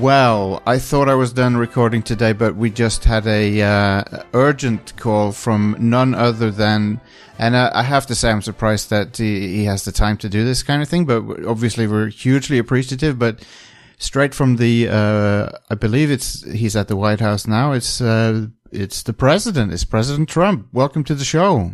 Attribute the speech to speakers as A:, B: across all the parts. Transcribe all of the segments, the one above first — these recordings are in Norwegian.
A: Well, I thought I was done recording today, but we just had a uh, urgent call from none other than, and I, I have to say I'm surprised that he, he has the time to do this kind of thing. But w- obviously we're hugely appreciative. But straight from the, uh, I believe it's he's at the White House now. It's uh, it's the president. It's President Trump. Welcome to the show.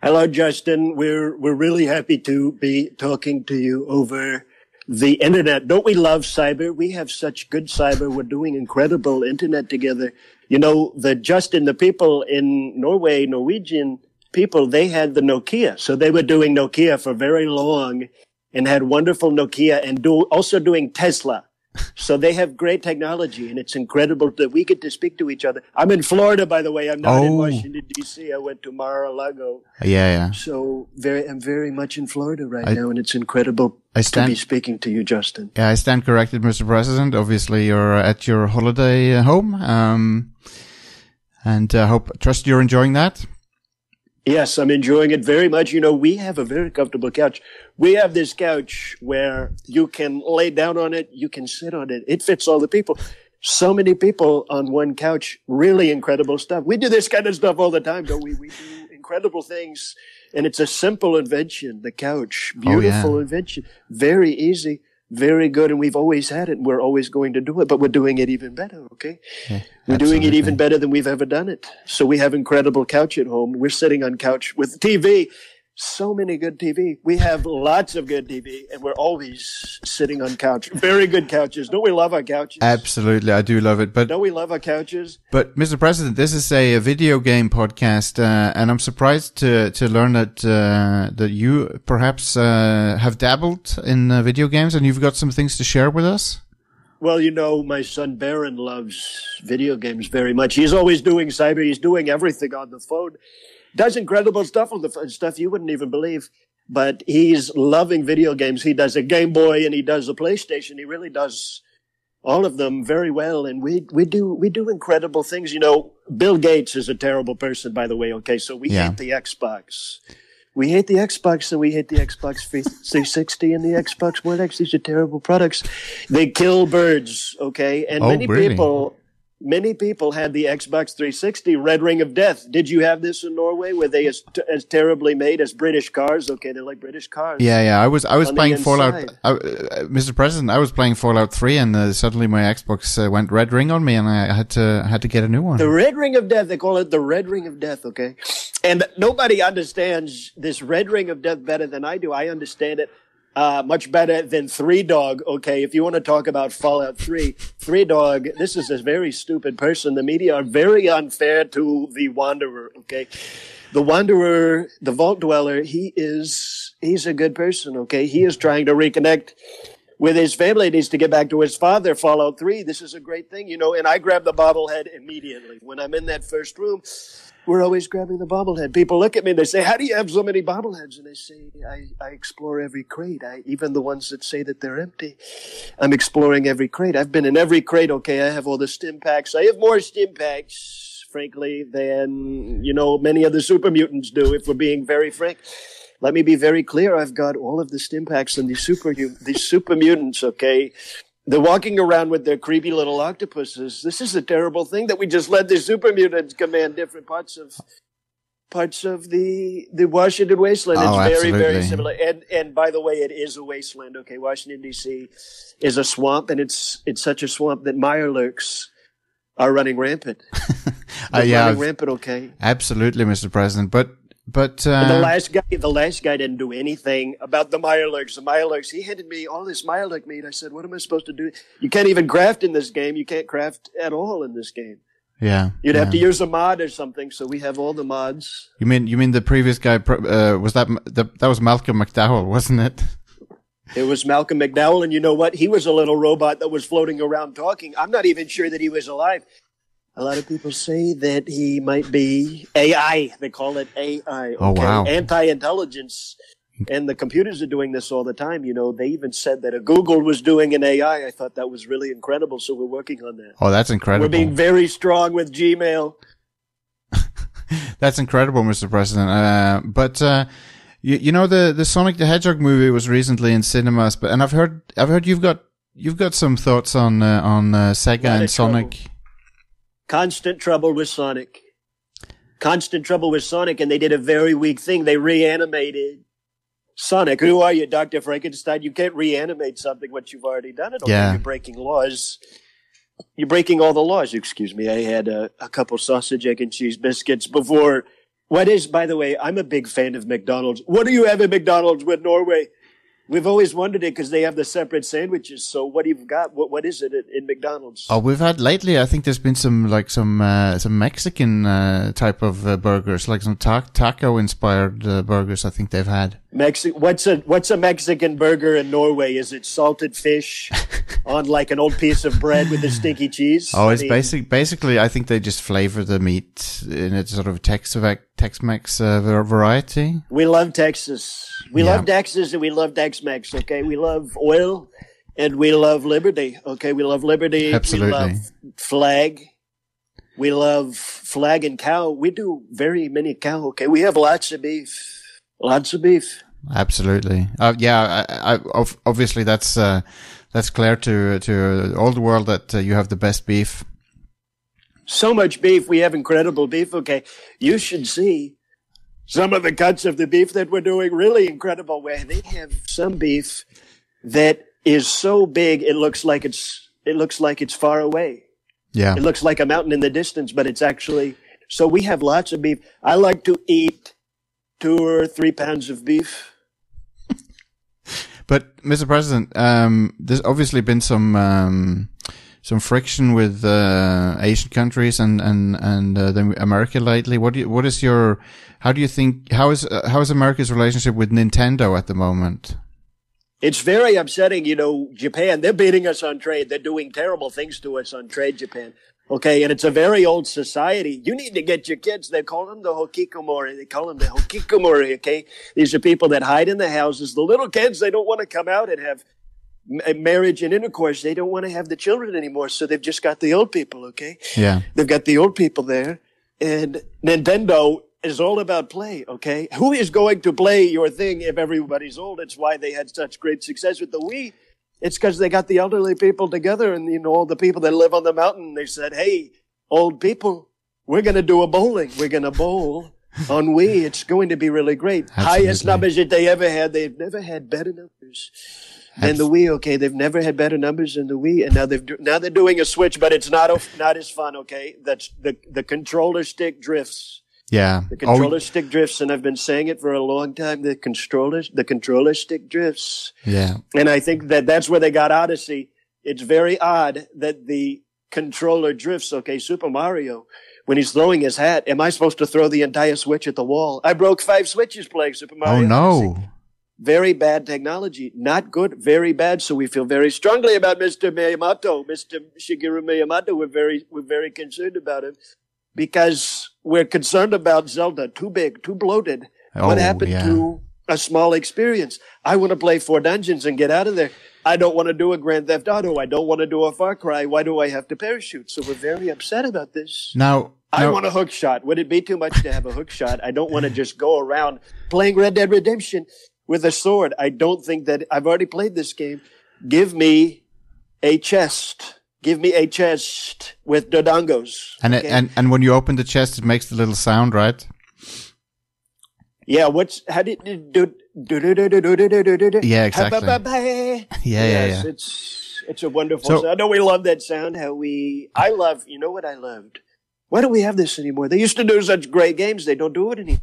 B: Hello, Justin. We're we're really happy to be talking to you over the internet. Don't we love cyber? We have such good cyber. We're doing incredible internet together. You know, the Justin, the people in Norway, Norwegian people, they had the Nokia, so they were doing Nokia for very long, and had wonderful Nokia, and do also doing Tesla. So they have great technology, and it's incredible that we get to speak to each other. I'm in Florida, by the way. I'm not in
A: Oh.
B: Washington D.C. I went to Mar-a-Lago.
A: Yeah, yeah.
B: So very, I'm very much in Florida right
A: I-
B: now, and it's incredible
A: I
B: to be
A: stand.
B: speaking to you, Justin.
A: Yeah, I stand corrected, Mr. President. Obviously, you're uh, at your holiday uh, home, um, and I hope, trust you're enjoying that.
B: Yes, I'm enjoying it very much. You know, we have a very comfortable couch. We have this couch where you can lay down on it, you can sit on it. It fits all the people. So many people on one couch, really incredible stuff. We do this kind of stuff all the time, don't we? We do incredible things. And it's a simple invention, the couch.
A: yeah.
B: Beautiful invention. Very easy, very good. And we've always had it. And we're always going to do it, but we're doing it even better, okay? We're doing it even better than we've ever done it. So we have incredible couch at home. We're sitting on couch with TV. So many good TV. We have lots of good TV, and we're always sitting on couch. Very good couches. Don't we love our couches?
A: Absolutely, I do love it. But
B: Don't we love our couches?
A: but Mr. President, this is a, a video game podcast, uh, and I'm surprised to to learn that uh, that you perhaps uh, have dabbled in uh, video games, and you've got some things to share with us.
B: Well, you know, my son Baron loves video games very much. He's always doing cyber. He's doing everything on the phone. Does incredible stuff on the phone, stuff you wouldn't even believe. But he's loving video games. He does a Game Boy and he does a PlayStation. He really does all of them very well. And we, we do we do incredible things. You know, Bill Gates is a terrible person, by the way. Okay, so we
A: Yeah.
B: hate the Xbox. We hate the Xbox and we hate the Xbox 360 and the Xbox One X. These are terrible products. They kill birds, okay? And
A: Oh,
B: many
A: really?
B: people many people had the Xbox 360 Red Ring of Death. Did you have this in Norway? Were they as, as terribly made as British cars? Okay, they're like British cars.
A: Yeah, yeah. I was I was
B: On the
A: playing Fallout,
B: inside.
A: I, uh, Mr. President. I was playing Fallout Three, and uh, suddenly my Xbox uh, went red ring on me, and I had to I had to get a new one.
B: The Red Ring of Death, they call it the Red Ring of Death, okay? And nobody understands this Red Ring of Death better than I do. I understand it uh, much better than Three Dog, okay? If you want to talk about Fallout 3, Three Dog, this is a very stupid person. The media are very unfair to the Wanderer, okay? The Wanderer, the Vault Dweller, he is, he's a good person, okay? He is trying to reconnect with his family. He needs to get back to his father. Fallout 3, this is a great thing, you know. And I grab the bobblehead immediately. When I'm in that first room, we're always grabbing the bobblehead. People look at me and they say, How do you have so many bobbleheads? And I say, I, I explore every crate, I, even the ones that say that they're empty. I'm exploring every crate. I've been in every crate, okay. I have all the stim packs. I have more stim packs, frankly, than, you know, many other super mutants do, if we're being very frank let me be very clear. I've got all of the Stimpaks and these super these super mutants. Okay, they're walking around with their creepy little octopuses. This is a terrible thing that we just let the super mutants command different parts of parts of the the Washington wasteland. It's
A: Oh,
B: very very
A: absolutely.
B: similar. And and by the way, it is a wasteland. Okay, Washington D.C. is a swamp, and it's it's such a swamp that mire lurks are running rampant.
A: Uh,
B: They're
A: yeah,
B: running
A: I've-
B: rampant. Okay.
A: absolutely, Mr. President. But but
B: And the
A: uh,
B: last guy, the last guy didn't do anything about the Meyerlurks. The Meyerlurks, he handed me all this Meyerlurk meat. I said, "What am I supposed to do? You can't even craft in this game. You can't craft at all in this game.
A: yeah,
B: You'd have
A: yeah.
B: to use a mod or something." So we have all the mods.
A: You mean you mean the previous guy pro- uh, was that the, that was Malcolm McDowell, wasn't it?
B: It was Malcolm McDowell, and you know what? He was a little robot that was floating around talking. I'm not even sure that he was alive. A lot of people say that he might be AI. They call it AI.
A: Oh, wow.
B: Anti-intelligence. And the computers are doing this all the time. You know, they even said that a Google was doing an AI. I thought that was really incredible. So we're working on that.
A: Oh, that's incredible.
B: We're being very strong with Gmail.
A: That's incredible, Mr. President. Uh, but uh, you, you know the the Sonic the Hedgehog movie was recently in cinemas, but and I've heard I've heard you've got You've got some thoughts on uh, on uh, Sega
B: Lot
A: and
B: of
A: Sonic.
B: Constant trouble with Sonic. Constant trouble with Sonic, and they did a very weak thing. They reanimated Sonic. Who are you, Doctor Frankenstein? You can't reanimate something once you've already done it. Okay,
A: Yeah.
B: you're breaking laws. You're breaking all the laws. Excuse me. I had a, a couple sausage, egg, and cheese biscuits before. What is, by the way, I'm a big fan of McDonald's. What do you have at McDonald's with Norway? We've always wondered it because they have the separate sandwiches. So what do you got? What what is it at, in McDonald's?
A: Oh, we've had lately. I think there's been some like some uh, some Mexican uh, type of uh, burgers, like some ta- taco inspired uh, burgers. I think they've had.
B: Mexi- what's a what's a Mexican burger in Norway? Is it salted fish on like an old piece of bread with a stinky cheese?
A: Oh,
B: I
A: it's
B: mean,
A: basic. Basically, I think they just flavor the meat in a sort of Tex Tex Mex uh, var- variety.
B: We love Texas. We
A: Yeah.
B: love Texas and we love Tex-Mex. Okay, we love oil and we love liberty. Okay, we love liberty.
A: Absolutely.
B: We love flag. We love flag and cow. We do very many cow. Okay, we have lots of beef. Lots of beef.
A: Absolutely. Uh, yeah. I, I, of- obviously, that's uh, that's clear to to all the world that uh, you have the best beef.
B: so much beef. We have incredible beef. Okay, you should see some of the cuts of the beef that we're doing. Really incredible. Where they have some beef that is so big it looks like it's it looks like it's far away.
A: Yeah.
B: It looks like a mountain in the distance, but it's actually so. We have lots of beef. I like to eat two or three pounds of beef.
A: But, Mr. President, um, there's obviously been some um, some friction with uh, Asian countries and and and uh, the America lately. What do you, what is your how do you think how is uh, how is America's relationship with Nintendo at the moment?
B: It's very upsetting, you know, Japan, they're beating us on trade. They're doing terrible things to us on trade, Japan. Okay, and it's a very old society. You need to get your kids. They call them the Hokikomori. They call them the Hokikomori, okay? These are people that hide in the houses. The little kids, they don't want to come out and have ma- marriage and intercourse. They don't want to have the children anymore. So they've just got the old people, okay?
A: Yeah,
B: They've got the old people there, and Nintendo is all about play. Okay, who is going to play your thing if everybody's old? It's why they had such great success with the Wii. It's because they got the elderly people together, and you know all the people that live on the mountain. They said, "Hey, old people, we're going to do a bowling. We're going to bowl." on Wii, it's going to be really great. Highest
A: Absolutely.
B: numbers that they ever had. They've never had better numbers than the Wii. Okay, they've never had better numbers than the Wii, and now they've do- now they're doing a Switch, but it's not a, not as fun. Okay, that's the the controller stick drifts.
A: yeah.
B: The
A: Oh,
B: controller stick drifts, and I've been saying it for a long time. The controller the controller stick drifts,
A: yeah.
B: and I think that that's where they got Odyssey. It's very odd that the controller drifts. Okay, Super Mario. When he's throwing his hat, am I supposed to throw the entire switch at the wall? I broke five switches playing Super Mario.
A: Oh
B: Odyssey
A: no.
B: very bad technology, not good, very bad. So we feel very strongly about Mr. Miyamoto, Mr. Shigeru Miyamoto. We're very, we're very concerned about him because we're concerned about Zelda. Too big, too bloated. what
A: Oh,
B: happened
A: yeah.
B: to a small experience? I want to play four dungeons and get out of there. I don't want to do a Grand Theft Auto. I don't want to do a Far Cry. Why do I have to parachute? So we're very upset about this.
A: Now,
B: I
A: now
B: want a hook shot. Would it be too much to have a hook shot? I don't want to just go around playing Red Dead Redemption with a sword. I don't think that I've already played this game. Give me a chest. Give me a chest with dodongos.
A: and, it,
B: okay?
A: and and when you open the chest, it makes the little sound, right?
B: yeah, what's how did do do do do do do do do do do?
A: Yeah, exactly.
B: Ba-ba-ba-ba.
A: Yeah, yeah,
B: yes,
A: yeah.
B: It's it's a wonderful
A: So-
B: sound. I know we love that sound. How we I love. You know what I loved? Why don't we have this anymore? They used to do such great games. They don't do it anymore.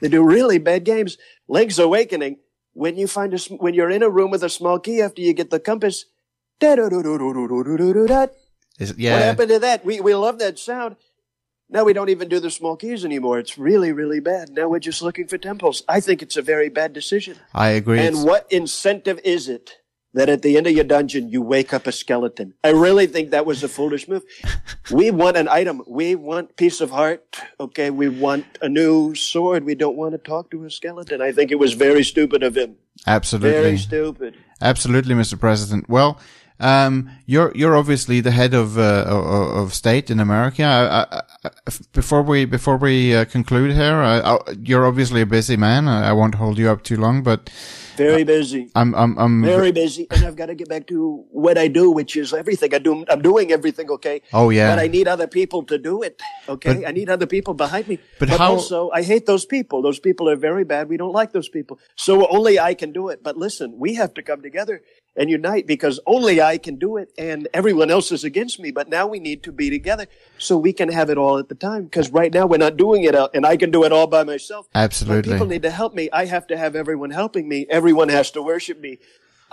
B: They do really bad games. Link's Awakening. When you find a sm- when you're in a room with a small key after you get the compass. da-da-da-da-da-da-da-da-da,
A: Is it,
B: What
A: yeah.
B: happened to that? We we love that sound. Now we don't even do the small keys anymore. It's really really bad. Now we're just looking for temples. I think it's a very bad decision.
A: I agree.
B: And what incentive is it that at the end of your dungeon you wake up a skeleton? I really think that was a foolish move. we want an item. We want peace of heart. Okay, we want a new sword. We don't want to talk to a skeleton. I think it was very stupid of him.
A: Absolutely.
B: Very stupid.
A: Absolutely, Mr. President. Well, um, you're you're obviously the head of uh, o- of state in America. I, I, I, before we before we uh, conclude here, I, I, you're obviously a busy man. I, I won't hold you up too long, but
B: Very busy.
A: I'm I'm I'm
B: very busy, and I've got to get back to what I do, which is everything. I do. I'm doing everything okay.
A: Oh, yeah.
B: but I need other people to do it. Okay,
A: But-
B: I need other people behind me.
A: But how-
B: Also, I hate those people. Those people are very bad. We don't like those people. So only I can do it. But listen, we have to come together and unite because only I can do it, and everyone else is against me. But now we need to be together so we can have it all at the time. Because right now we're not doing it, uh, and I can do it all by myself.
A: absolutely.
B: People need to help me. I have to have everyone helping me. Everyone has to worship me.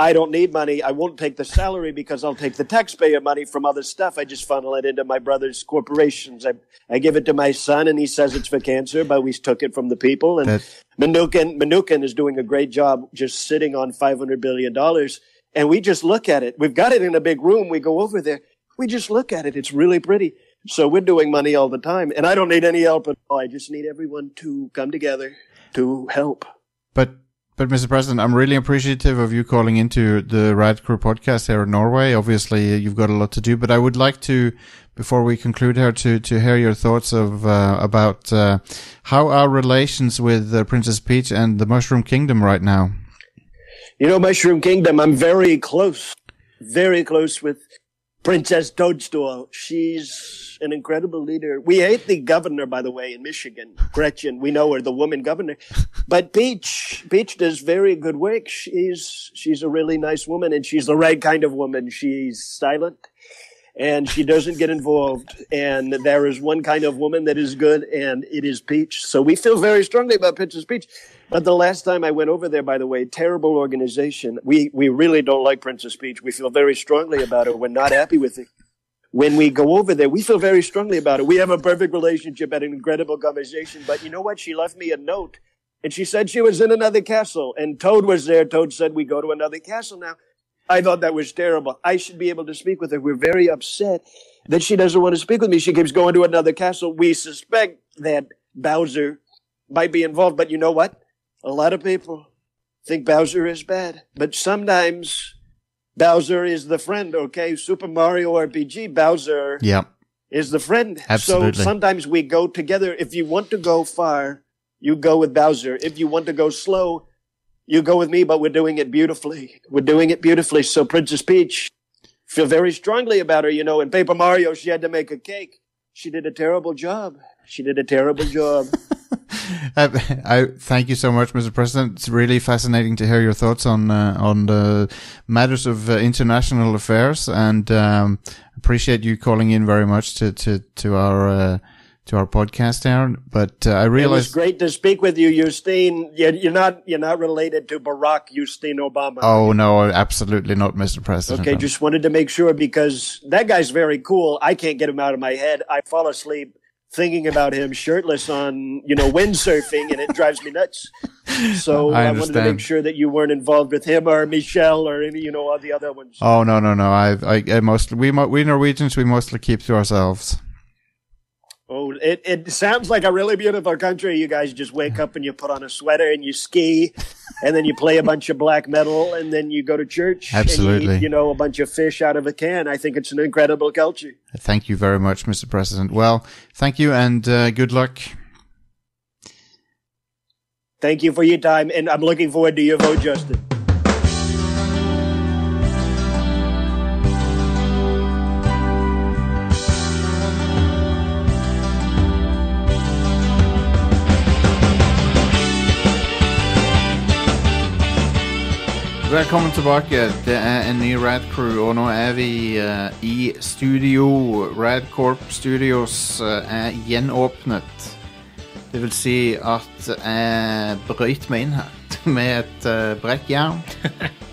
B: I don't need money. I won't take the salary because I'll take the taxpayer money from other stuff. I just funnel it into my brother's corporations. I, I give it to my son and he says it's for cancer, but we took it from the people. And
A: That-
B: Mnuchin, Mnuchin is doing a great job just sitting on $500 billion. And we just look at it. We've got it in a big room. We go over there. We just look at it. It's really pretty. So we're doing money all the time. And I don't need any help at all. I just need everyone to come together to help.
A: But but Mr. President, I'm really appreciative of you calling into the Rad Crew podcast here in Norway. Obviously, you've got a lot to do, but I would like to, before we conclude here, to to hear your thoughts of uh, about uh, how are relations with uh, Princess Peach and the Mushroom Kingdom right now.
B: You know, Mushroom Kingdom, I'm very close, very close with Princess Toadstool. She's an incredible leader. We hate the governor, by the way, in Michigan, Gretchen. We know her, the woman governor. But Peach, Peach does very good work. She's, she's a really nice woman and she's the right kind of woman. She's silent and she doesn't get involved. And there is one kind of woman that is good, and it is Peach. So we feel very strongly about Peach's Peach. But the last time I went over there, by the way, terrible organization. We we really don't like Princess Peach. We feel very strongly about her. We're not happy with it. When we go over there, we feel very strongly about it. We have a perfect relationship and an incredible conversation. But you know what? She left me a note, and she said she was in another castle, and Toad was there. Toad said we go to another castle now. I thought that was terrible. I should be able to speak with her. We're very upset that she doesn't want to speak with me. She keeps going to another castle. We suspect that Bowser might be involved, but you know what? A lot of people think Bowser is bad, but sometimes Bowser is the friend, okay? Super Mario RPG, Bowser
A: Yeah,
B: is the friend.
A: Absolutely.
B: So sometimes we go together. If you want to go far, you go with Bowser. If you want to go slow, you go with me, but we're doing it beautifully. We're doing it beautifully. So Princess Peach, feel very strongly about her. You know, in Paper Mario, she had to make a cake. She did a terrible job. She did a terrible job.
A: I, Uh, I thank you so much, Mr. President. It's really fascinating to hear your thoughts on uh, on the matters of uh, international affairs, and um, appreciate you calling in very much to to to our uh, to our podcast, Aaron. But uh, I
B: it was
A: realize,
B: great to speak with you, Justine. You're you're not, you're not related to Barack Justine Obama.
A: oh no, absolutely not, Mr. President.
B: Okay, just wanted to make sure because that guy's very cool. I can't get him out of my head. I fall asleep thinking about him shirtless on, you know, windsurfing and it drives me nuts. So
A: I
B: I, wanted to
A: understand.
B: make sure that you weren't involved with him or Michelle or any, you know, all the other ones.
A: oh no, no, no. I I, I mostly we mo- we Norwegians we mostly keep to ourselves.
B: Oh, it, it sounds like a really beautiful country. You guys just wake up and you put on a sweater and you ski and then you play a bunch of black metal and then you go to church. and you eat,
A: Absolutely.
B: you know, a bunch of fish out of a can. I think it's an incredible culture.
A: Thank you very much, Mr. President. Well, thank you and uh, good luck.
B: Thank you for your time, and I'm looking forward to your vote, Justin.
A: Velkommen tilbake. Det er en ny Rad Crew, og nå er vi eh, i studio. Radcorp Studios eh, er gjenåpnet. Det vil si at jeg brøyt meg inn her med et eh, brekkjern.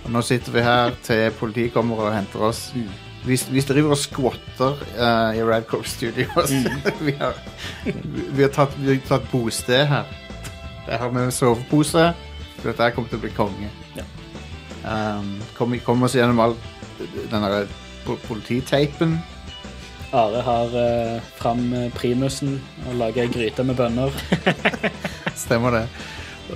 A: Og nå sitter vi her til politiet kommer og henter oss. Vi, vi driver og skvatter eh, i Radcorp Studios. vi, har, vi, har tatt, vi har tatt bosted her. Jeg har med meg sovepose. for Dette her kommer til å bli konge. Um, kom, kom oss gjennom all den der po- polititeipen.
C: Are har eh, fram eh, primusen og lager ei gryte med bønner.
A: Stemmer det?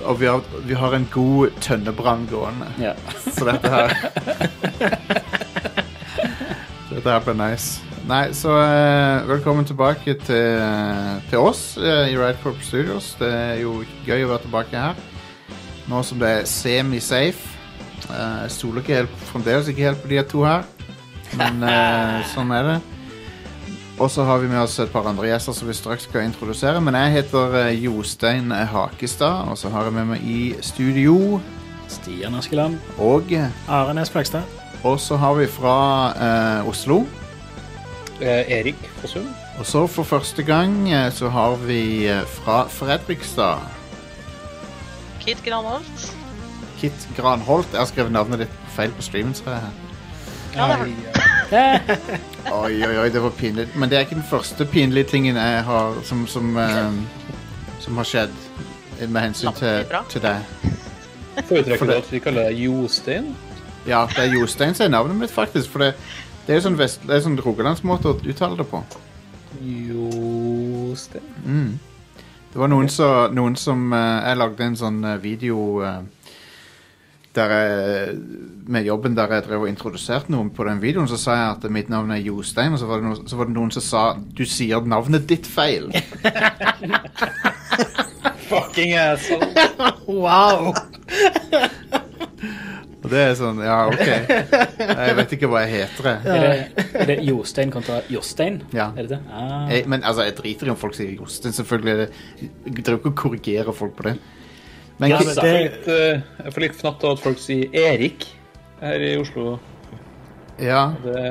A: Og vi har, vi har en god tønnebrann gående.
C: Ja.
A: Så dette her Dette her ble nice. Nei, så eh, velkommen tilbake til, eh, til oss eh, i Ride Corp Studios. Det er jo gøy å være tilbake her. Nå som det er semi-safe. Eh, Jeg stoler ikke helt, fremdeles ikke helt på de to her, men eh, sånn er det. Og så har vi med oss et par andre gjester som vi straks skal introdusere. Men jeg heter eh, Jostein Hakestad, og så har jeg med meg i studio
C: Stian Askeland.
A: Og
D: Are Næss Flagstad.
A: og så har vi fra eh, Oslo.
E: Erik Fossum.
A: Og så for første gang eh, så har vi eh, fra Fredrikstad.
F: Kit Granholt.
A: Kit Granholt. Jeg har skrevet navnet ditt feil på streamen, ser jeg her.
F: Ja, det
E: Nei,
F: er
A: Oi, oi, oi, det var pinlig. Men det er ikke den første pinlige tingen jeg har som, som, eh, som har skjedd med hensyn til,
F: Langt ifra.
A: til deg.
E: jeg
A: For
E: Foretrekker du
A: det-
E: at vi kaller deg Jostein?
A: Ja, det er Jostein som er navnet mitt, faktisk. For det, det er jo sånn, vest, det er sånn rogalandsmåte å uttale det på.
E: Jostein?
A: Mm. Det var noen, som- noen som eh, Jeg lagde en sånn eh, video eh, der jeg, med jobben der jeg drev og introduserte noen på den videoen. Så sa jeg at mitt navn er Jostein, og så var det noen, så var det noen som sa du sier navnet ditt feil.
E: Fucking asshole.
D: Wow!
A: Og det er sånn Ja, OK. Jeg vet ikke hva jeg heter. jeg.
C: Er det, er det Jostein kontra Jostein?
A: Ja.
C: Er det det? Ah.
A: Jeg, men altså, jeg driter i om folk sier Jostein. Selvfølgelig. er det- Jeg driver ikke og korrigerer folk på det. Men,
D: Ja,
A: Ki-
E: Jeg
D: men
E: får
D: det,
E: litt, eh, jeg får litt fnatt av at folk sier Erik her i Oslo.
A: ja,
E: Det,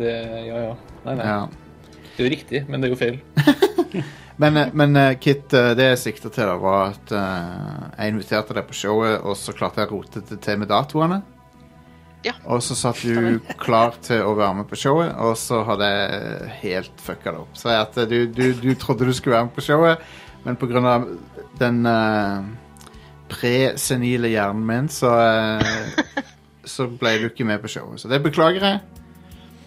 E: det Ja, ja. Nei, nei.
A: ja.
E: Det er jo riktig, men det er jo feil.
A: Men, eh, men eh, Kit, eh, det jeg sikta til, da, var at eh, jeg inviterte deg på showet, og så klarte jeg å rote det til med datoene.
F: Ja.
A: Og så satt du klar til å være med på showet, og så hadde jeg helt fucka det opp. Så at eh, du, du, du trodde du skulle være med på showet, men pga. den eh, presenile hjernen min, så eh, Så ble du ikke med på showet. Så det beklager jeg.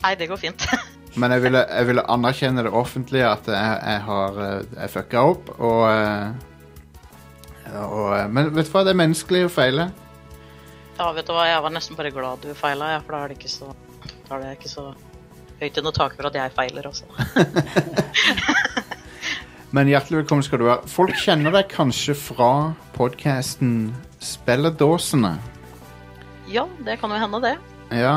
F: Nei, det går fint.
A: Men jeg ville, jeg ville anerkjenne det offentlige at jeg, jeg har eh, jeg fucka opp, og, eh, og eh, Men vet du hva, det er menneskelig å feile.
F: Ja, vet du hva, jeg var nesten bare glad du feila, ja, for da er det ikke så Da er det ikke så høyt under taket for at jeg feiler altså. også.
A: Men hjertelig velkommen skal du være. Folk kjenner deg kanskje fra podkasten Spelledåsene.
F: Ja, det kan jo hende, det.
A: Ja,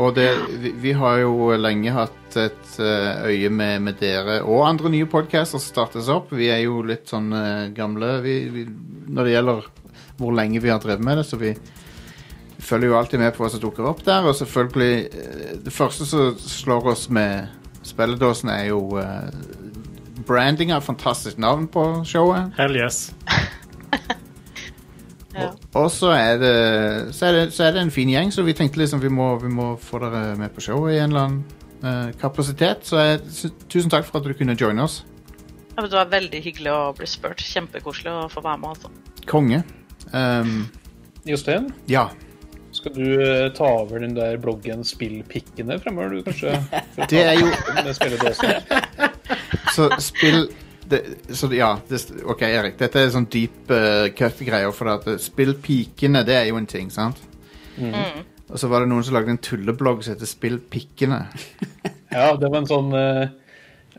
A: og det, vi, vi har jo lenge hatt et eh, øye med, med dere og andre nye podcaster som startes opp. Vi er jo litt sånn eh, gamle vi, vi, når det gjelder hvor lenge vi har drevet med det, så vi følger jo alltid med på hva som dukker opp der. Og selvfølgelig, eh, det første som slår oss med spilledåsen, er jo eh, branding av fantastisk navn på showet.
D: hell yes.
F: Ja.
A: Og så er, det, så, er det, så er det en fin gjeng, så vi tenkte liksom vi må, vi må få dere med på showet i en eller annen eh, kapasitet. Så jeg, sy- tusen takk for at du kunne joine oss.
F: Ja, men Det var veldig hyggelig å bli spurt. Kjempekoselig å få være med. altså.
A: Konge. Ehm,
E: Jostein,
A: ja.
E: skal du eh, ta over den der bloggen Spillpikkene fremover, du, kanskje? For å
A: Det er jo
E: ta den spilledåsen.
A: Så spill det, Så ja. Det, OK, Erik. Dette er sånn deep uh, cut-greier. For at eh, spill pikene, det er jo en ting, sant? Og så var det noen som lagde en tulleblogg som heter Spill pikkene.
E: Ja, det var en sånn eh,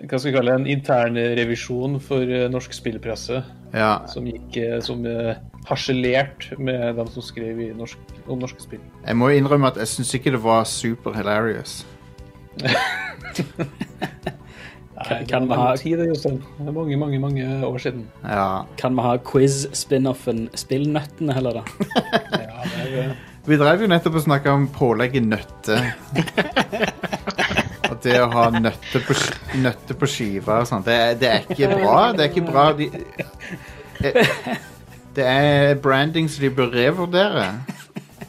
E: Hva skal vi kalle det? En intern revisjon for eh, norsk spillpresse.
A: Ja.
E: Som gikk eh, som eh, harselert med dem som skrev i norsk, om norske spill.
A: Jeg må innrømme at jeg syns ikke det var super hilarious.
C: Kan-
E: det
C: kan
E: var
C: man
E: lang
C: ha-
E: tid, det, Jostein. Det er mange, mange mange år siden.
A: Ja.
C: Kan vi ha quiz-spin-offen Spillnøttene heller, da?
E: Ja, det er, eh,
A: Vi drev jo nettopp og snakka om pålegg i nøtte. Og det å ha nøtter på, sk- nøtter på skiva og sånn, det, er- det er ikke bra. Det er ikke bra. De, det, det er branding som de bør revurdere.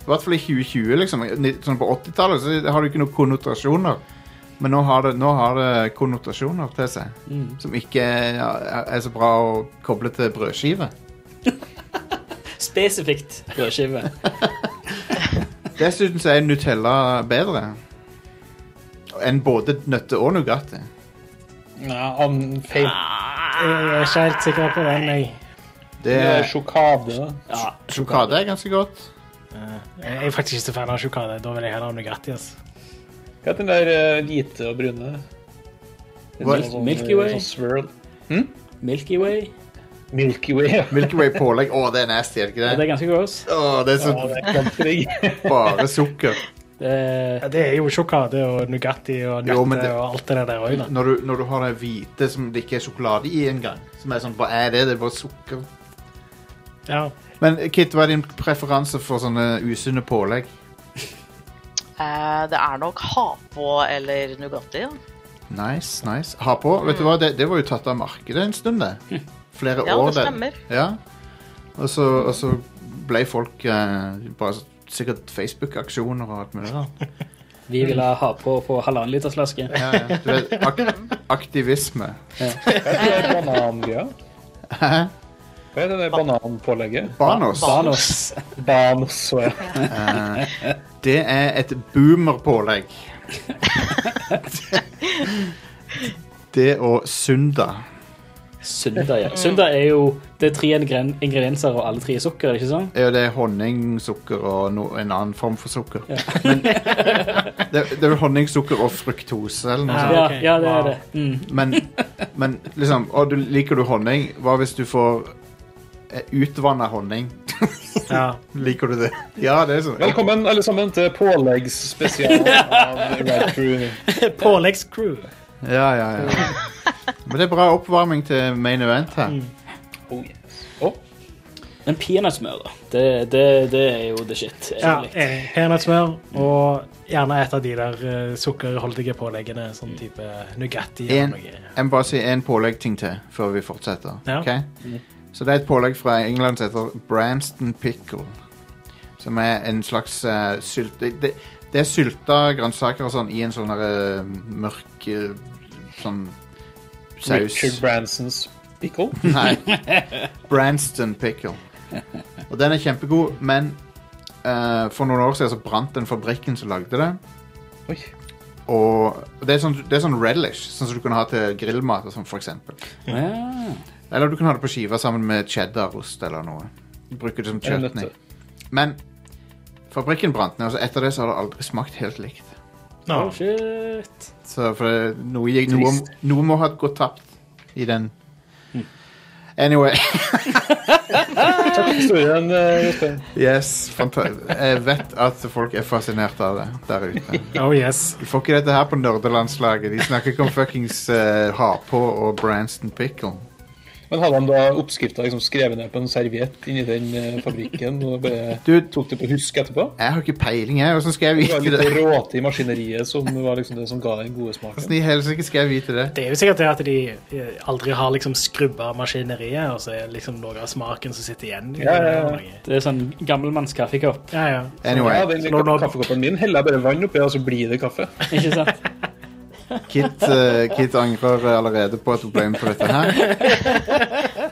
A: I hvert fall i 2020, liksom. Ni- Sånn på 80-tallet så har du ikke noen konnotasjoner. Men nå har det, nå har det konnotasjoner til seg som ikke er, er så bra å koble til brødskive.
C: Spesifikt brødskive.
A: Dessuten så er Nutella bedre enn både nøtte og Nugatti.
E: ja, an- feil.
D: Jeg er ikke helt sikker på den, jeg.
A: Det
E: Det er
A: er
E: eh, sjokade. da.
C: Ja,
A: sjokade er ganske godt.
D: Jeg er faktisk ikke så fan av sjokade. Da vil jeg heller ha Nugatti. altså. ass.
E: Hva heter den der eh, hvite og brune? Det er
A: Hva-
E: sånn-
C: Milky Way?
E: Sånn swirl.
C: Milky Way.
E: Milky Way. ja.
A: Milky Way pålegg. Å, det er nasty, er det
C: Ja,
A: ikke
C: det
A: det?
C: er ganske gross.
A: Å, det er
E: Ja,
A: så
E: det er ganske digg.
A: bare sukker.
C: Det er,
D: Ja, det er jo sjokolade og Nugatti og
A: Jo, men
D: nøtter
A: det-
D: og alt det der òg, da.
A: Når du, når du har det hvite som det ikke er sjokolade i engang. Som er sånn, hva er det? Det er bare sukker.
D: Ja.
A: Men Kit, hva er din preferanse for sånne usunne pålegg?
F: Eh, det er nok Hapo eller Nugatti. Ja.
A: Nice, nice. Ha på. Vet du hva, det, det var jo tatt av markedet en stund, det. Flere
F: Ja,
A: år.
F: det stemmer.
A: Ja. Og så, og så ble folk eh, bare så- sikkert Facebook-aksjoner og alt mulig rart.
C: vi ville ha på på halvannen liters flaske.
A: Ja, ja. Du vet, ak aktivisme.
E: Hva er banangreia? Hva er det der bananpålegget?
A: Banos.
C: Banos.
E: Banos, så ja.
A: Det er et boomer-pålegg. det og Sunda.
C: Sunda, ja. Sunda er jo Det er tre ingren- ingredienser, og alle tre er sukker, er det ikke sånn?
A: Ja, det er honning, sukker og no, en annen form for sukker. Men, det, det er honning, sukker og fruktose eller noe
D: Ja,
A: sånt.
C: Ja,
D: Ah, ok.
C: ja det er
D: Wow.
C: det. Mm.
A: Men, men liksom, å, du, liker du honning? Hva hvis du får utvanna honning?
D: ja.
A: Liker du det? Ja, det er sånn.
E: Velkommen alle sammen til påleggsspesial av Red Crew.
D: Påleggscrew.
A: Ja, ja, ja. Men det er bra oppvarming til main event her.
E: Oh, yes. Å,
C: Men peanøttsmør, da. Det, det, det er jo the shit.
D: Ja,
C: egentlig.
D: eh, Peanøttsmør og gjerne et av de der eh, sukkerholdige påleggene. Sånn type Nugatti
A: En,
D: eller noe.
A: jeg må bare si én påleggting til før vi fortsetter.
D: Ja.
A: ok? Så det er et pålegg fra England som heter Branston Pickle. Som er en slags eh, sylt... Det, det, det er sylta grønnsaker og sånn i en sånn der, eh, mørk eh, sånn saus.
E: Richard Bransons pickle.
A: Nei. Branston Pickle. Og den er kjempegod, men eh, for noen år siden så brant den fabrikken som lagde det.
E: Oi.
A: Og det er sånn, det er sånn relish, sånn som du kan ha til grillmat og sånn, for eksempel.
C: Ja.
A: Eller du kan ha det på skiva sammen med cheddarost eller noe. Bruker det som
E: Jeg er nødt
A: chutney. Men fabrikken brant ned, og så etter det så har det aldri smakt helt likt.
D: Nå,
C: Oh, shit.
A: Så for det, noe, gikk- noe,
E: Trist. Mm.
A: noe må ha gått tapt i den. Anyway.
E: Historien, eh, Jostein.
A: Yes. Fanta jeg vet at folk er fascinert av det der ute.
D: Oh yes.
A: Du får ikke dette her på nerdelandslaget. De snakker ikke om fuckings eh, ha-på og Branston Pickle.
E: Men hadde han da oppskrifta liksom, skrevet ned på en serviett inni den eh, fabrikken og bare
A: Du,
E: tok det på husk etterpå?
A: jeg har ikke peiling, jeg. Hvordan skal jeg
E: Det var
A: vite
E: litt
A: det?
E: råte i maskineriet som var liksom det som ga den gode smaken.
A: Hvordan i helsike skal jeg vite det?
D: Det er jo sikkert det at de eh, aldri har liksom skrubba maskineriet, og så er det liksom noe av smaken som sitter igjen.
E: Ja, ja, ja.
C: Det er sånn gammelmanns kaffekopp,
D: ja, ja.
A: Anyway.
E: Ja, den
D: Så når-
E: kaffekoppen min heller jeg bare vann oppi, og så blir det kaffe.
C: ikke sant?
A: Kit, eh, Kit angrer allerede på at hun ble med på dette her.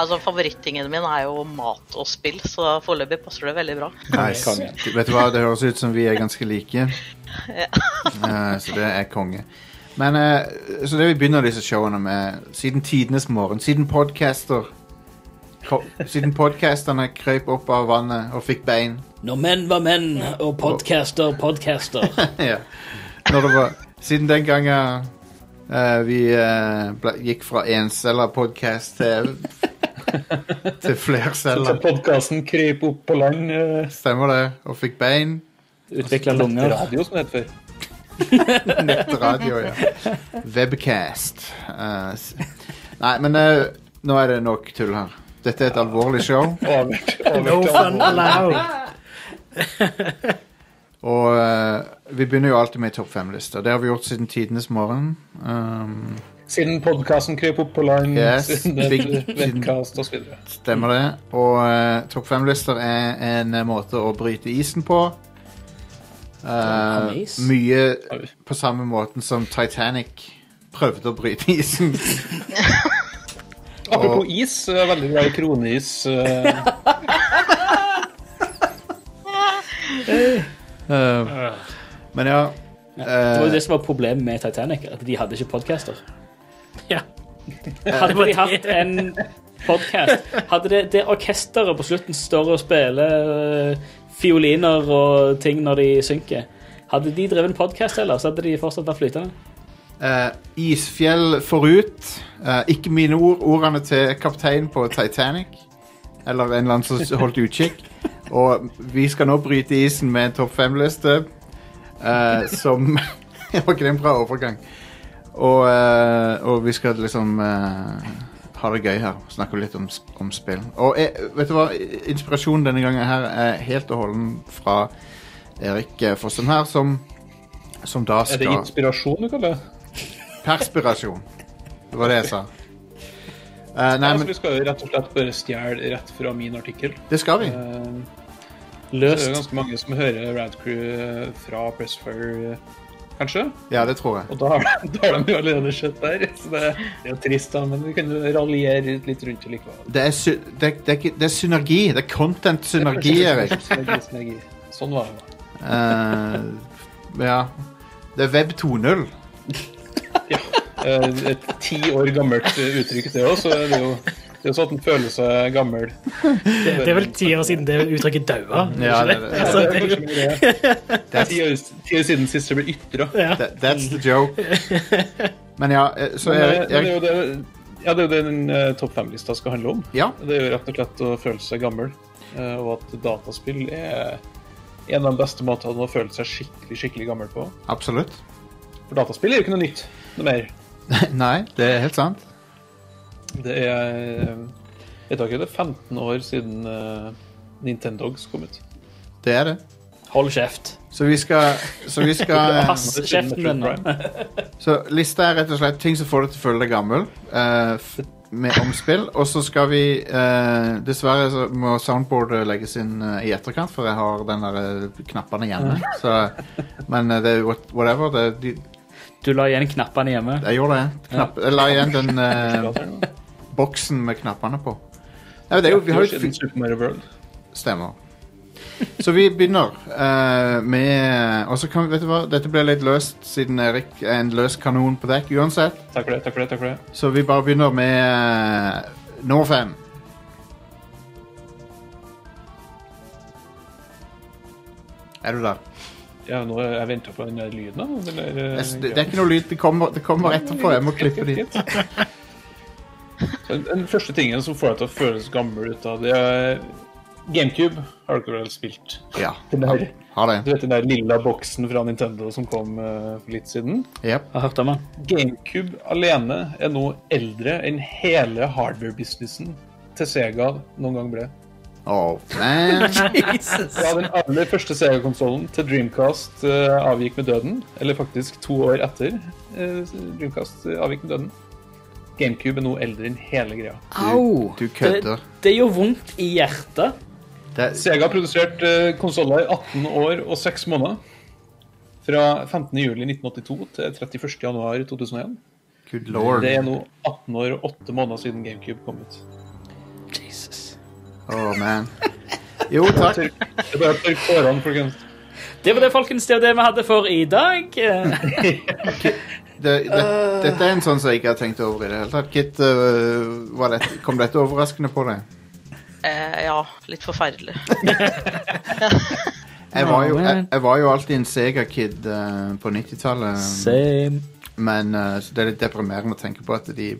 F: Altså, Favorittingen min er jo mat og spill, så foreløpig passer det veldig bra.
A: Nice.
E: Konge.
A: Du- Vet du hva, det høres ut som vi er ganske like. Eh, så det er konge. Men eh, så det vi begynner disse showene med, siden tidenes morgen, siden podcaster ko- Siden podcasterne krøp opp av vannet og fikk bein
C: Når menn var menn, og podcaster, podcaster.
A: ja. Når det var Siden den gangen eh, vi eh, ble, gikk fra enceller podcast til til
E: Så
A: flerceller.
E: podkasten krøp opp på land. eh,
A: Stemmer det. Og fikk bein.
C: Utvikla lunger.
E: Radio, som det het før.
A: Nettradio, ja. Webcast. Eh, s- nei, men eh, nå er det nok tull her. Dette er et alvorlig show,
E: Over til- over
D: No
E: til
D: fun
E: alvor.
D: allowed.
A: og eh, vi begynner jo alltid med topp fem-lister. Det har vi gjort siden tidenes morgen. Um,
E: Siden podkasten krøp opp på land,
A: Yes.
E: siden et
A: Big-
E: webcast osv.
A: stemmer det. Og eh, topp fem-lister er en eh, måte å bryte isen på. Eh,
C: is.
A: mye på samme måten som Titanic prøvde å bryte isen.
E: Apropos is, jeg er veldig glad i kroneis. eh,
A: Eh, men ja.
C: Det var jo
A: eh,
C: det som var problemet med Titanic, at de hadde ikke podcaster.
D: Ja.
C: Hadde de hatt en podcast, hadde det, det orkesteret på slutten står og spiller øh, fioliner og ting når de synker, hadde de drevet en podcast eller, så hadde de fortsatt vært flytende.
A: Eh, isfjell forut. Eh, ikke mine ord. Ordene til kapteinen på Titanic. Eller en eller annen som holdt utkikk. Og vi skal nå bryte isen med en topp fem-liste eh, som Var ikke det en bra overgang? Og, eh, og vi skal liksom eh, ha det gøy her. Snakke litt om, sp- om spill. Og eh, vet du hva? Inspirasjonen denne gangen her er helt og holden fra Erik eh, Fossum her, som, som da
E: Er
A: skal
E: det inspirasjon du kaller det?
A: Perspirasjon. Det var det jeg sa. Eh, nei,
E: Altså,
A: men
E: vi skal jo rett og slett bare stjele rett fra min artikkel.
A: det skal vi.
E: Eh, så er det
C: Løst.
E: ganske mange som hører Radcrew eh, fra Pressfire, eh, kanskje.
A: Ja, det tror jeg.
E: Og da har, de, da har de jo allerede sett der. Så det, det er jo trist, da, men vi kan jo raljere litt rundt det likevel.
A: Det er, sy det, det er, ikke- det er synergi. Det er content-synergi, Erik.
E: Synergi, synergi. Sånn var det. da.
A: Eh, ja. Det er Web 2.0.
E: Eh, Et ti år gammelt eh, uttrykk, det òg, så det er jo det er jo sånn at en føler seg gammel.
D: Det, det er vel ti år siden det uttrykket daua.
A: Ja, det, det,
D: Altså, det,
E: kanskje mer det. Det er ti år, ti år siden sist det ble ytra.
A: det, that's the joke. Men ja, eh, så
E: Men, eh,
A: Erik,
E: men det er
A: Erik
E: jo det, ja, det er jo det den eh, topp fem-lista skal handle om.
A: Ja.
E: Det er jo rett og slett å føle seg gammel, eh, og at dataspill er en av de beste måtene å føle seg skikkelig skikkelig gammel på.
A: Absolutt.
E: For dataspill er jo ikke noe nytt noe mer.
A: Nei, det er helt sant.
E: Det er eh, Jeg tar ikke det er 15 år siden eh, Nintendogs kom ut.
A: Det er det.
C: Hold kjeft.
A: Så vi skal, så vi skal eh,
C: Pass kjeften din nå.
A: Så lista er rett og slett ting som får deg til å føle deg gammel eh, f med omspill. Og så skal vi eh, Dessverre så må soundboardet legges inn eh, i etterkant, for jeg har den der eh, knappene hjemme. Så, men eh, det er what- whatever. Det, de,
C: Du la igjen knappene hjemme.
A: jeg gjorde det. Knapp, jeg la igjen den eh,
E: Det
A: boksen med knappene på. Nei, det er jo, vi har jo
E: siden Super Mario World.
A: Stemmer. Så vi begynner eh, med Og så kan vi, vet du hva, dette ble litt løst siden Erik er en løs kanon på dekk uansett.
E: Takk for det. takk for det, takk for det.
A: Så vi bare begynner med eh, nummer fem. Er du der?
E: Ja, nå er jeg venter på den der lyden. da, Eller, eh,
A: Det, det er ikke noe lyd. Det kommer, det kommer etterpå. Jeg må klippe det ut.
E: Så Den den første tingen som får deg til å føles gammel ut av det, er GameCube har dere vel spilt?
A: Ja.
E: Den
A: Ha,
E: der,
A: ha
E: du
A: det.
E: vet den der lilla boksen fra Nintendo som kom eh, for litt siden?
A: Yep.
C: Jeg har hørt om den.
E: GameCube alene er nå eldre enn hele hardware-businessen til Sega noen gang ble.
A: Oh, man.
E: Ja, den aller første Sega-konsollen til Dreamcast eh, avgikk med døden. Eller faktisk to år etter eh, Dreamcast eh, avgikk med døden. GameCube er nå eldre enn hele greia.
A: Du, du kødder.
C: Det, det gjør vondt i hjertet.
A: Det,
E: Sega har produsert uh, konsoller i 18 år og 6 måneder. Fra 15.07.1982 til 31.1.2001.
A: good lord.
E: Det er nå 18 år og 8 måneder siden GameCube kom ut.
A: Oh, man. Jo, takk.
E: Tørk- Det er bare å tørke tårene, folkens.
C: Det var det folkens, det var det vi hadde for i dag. Eh,
A: Det, det, dette er en sånn som jeg ikke har tenkt over i det hele tatt. Kit, eh, var dette, kom dette overraskende på deg?
F: Eh, ja, litt forferdelig.
A: Jeg var jo,
C: Ja,
A: jeg,
C: men-
A: jeg var jo alltid en Sega-kid eh, på 90-tallet.
C: Same.
A: Men eh, så det er litt deprimerende å tenke på at de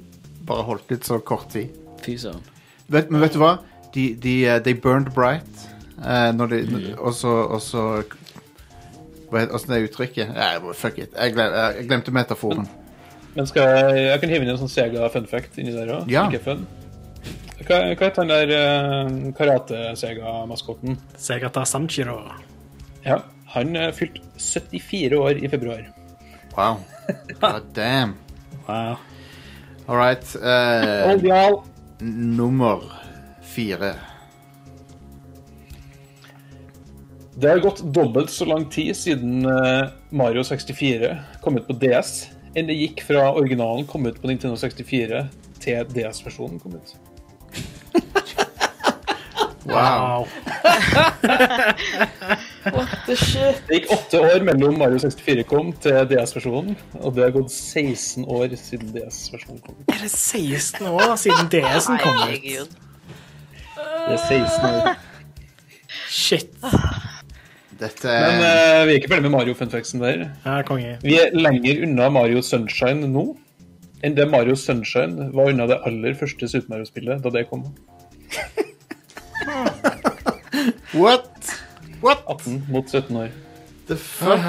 A: bare holdt ut så kort tid.
C: Fy søren.
A: Vet, men vet du hva? De, de, eh, they burned bright. eh, når de, og så og så- Hva het åssen er uttrykket? Nei, fuck it. Jeg, glem, jeg glemte metaforen.
E: Men skal jeg, jeg kan hive inn en sånn Sega-fun fact inni der òg.
A: Ja.
E: Ikke fun. Hva, hva heter han der eh, karate-Sega-maskoten?
D: Segata Sanchiro.
E: Ja, han eh, fylte 74 år i februar.
A: Wow. God damn.
C: Wow.
A: All right. eh,
E: Old y'all.
A: nummer fire.
E: Det har gått dobbelt så lang tid siden eh, Mario 64 kom ut på DS, enn det gikk fra originalen kom ut på Nintendo 64 til DS-versjonen kom ut.
A: Wow.
E: Det gikk åtte år mellom Mario 64 kom til DS-versjonen, og det har gått 16 år siden DS-versjonen kom ut.
D: Er det 16 år siden sånn? DS-en kom ut?
F: Herregud.
E: Det er 16 år.
D: Shit.
A: Dette
E: Men
A: er
E: eh, vi er ikke ferdig med Mario-funfaxen der.
D: Ja, konge.
E: Vi er lenger unna Mario Sunshine nå enn det Mario Sunshine var unna det aller første Super Mario-spillet da det kom.
A: What? What
E: 18 mot 17 år.
A: the fuck?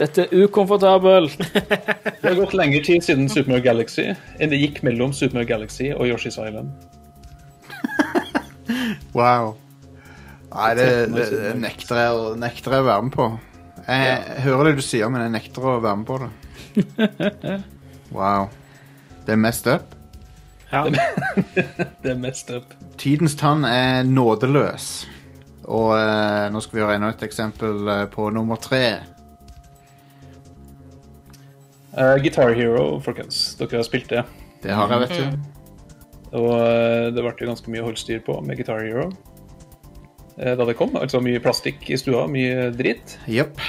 C: Dette er ukomfortabelt.
E: Det har gått lengre tid siden Super Mario Galaxy enn det gikk mellom Super Mario Galaxy og Yoshi's Island.
A: Wow. Nei, det, det, det nekter, jeg, å- nekter jeg å være med på. Jeg hører det du sier, men jeg nekter å være med på det. Wow. Det er messed up.
D: Ja.
E: Det er messed up.
A: Tidens tann er nådeløs. Og eh, nå skal vi høre enda et eksempel eh, på nummer tre.
E: Eh, Guitar Hero, folkens. Dere har spilt det.
A: Det har jeg, vet du.
E: Og eh, det ble jo ganske mye holdstyr på med Guitar Hero eh, da det kom. Altså mye plastikk i stua, mye dritt.
A: Jepp.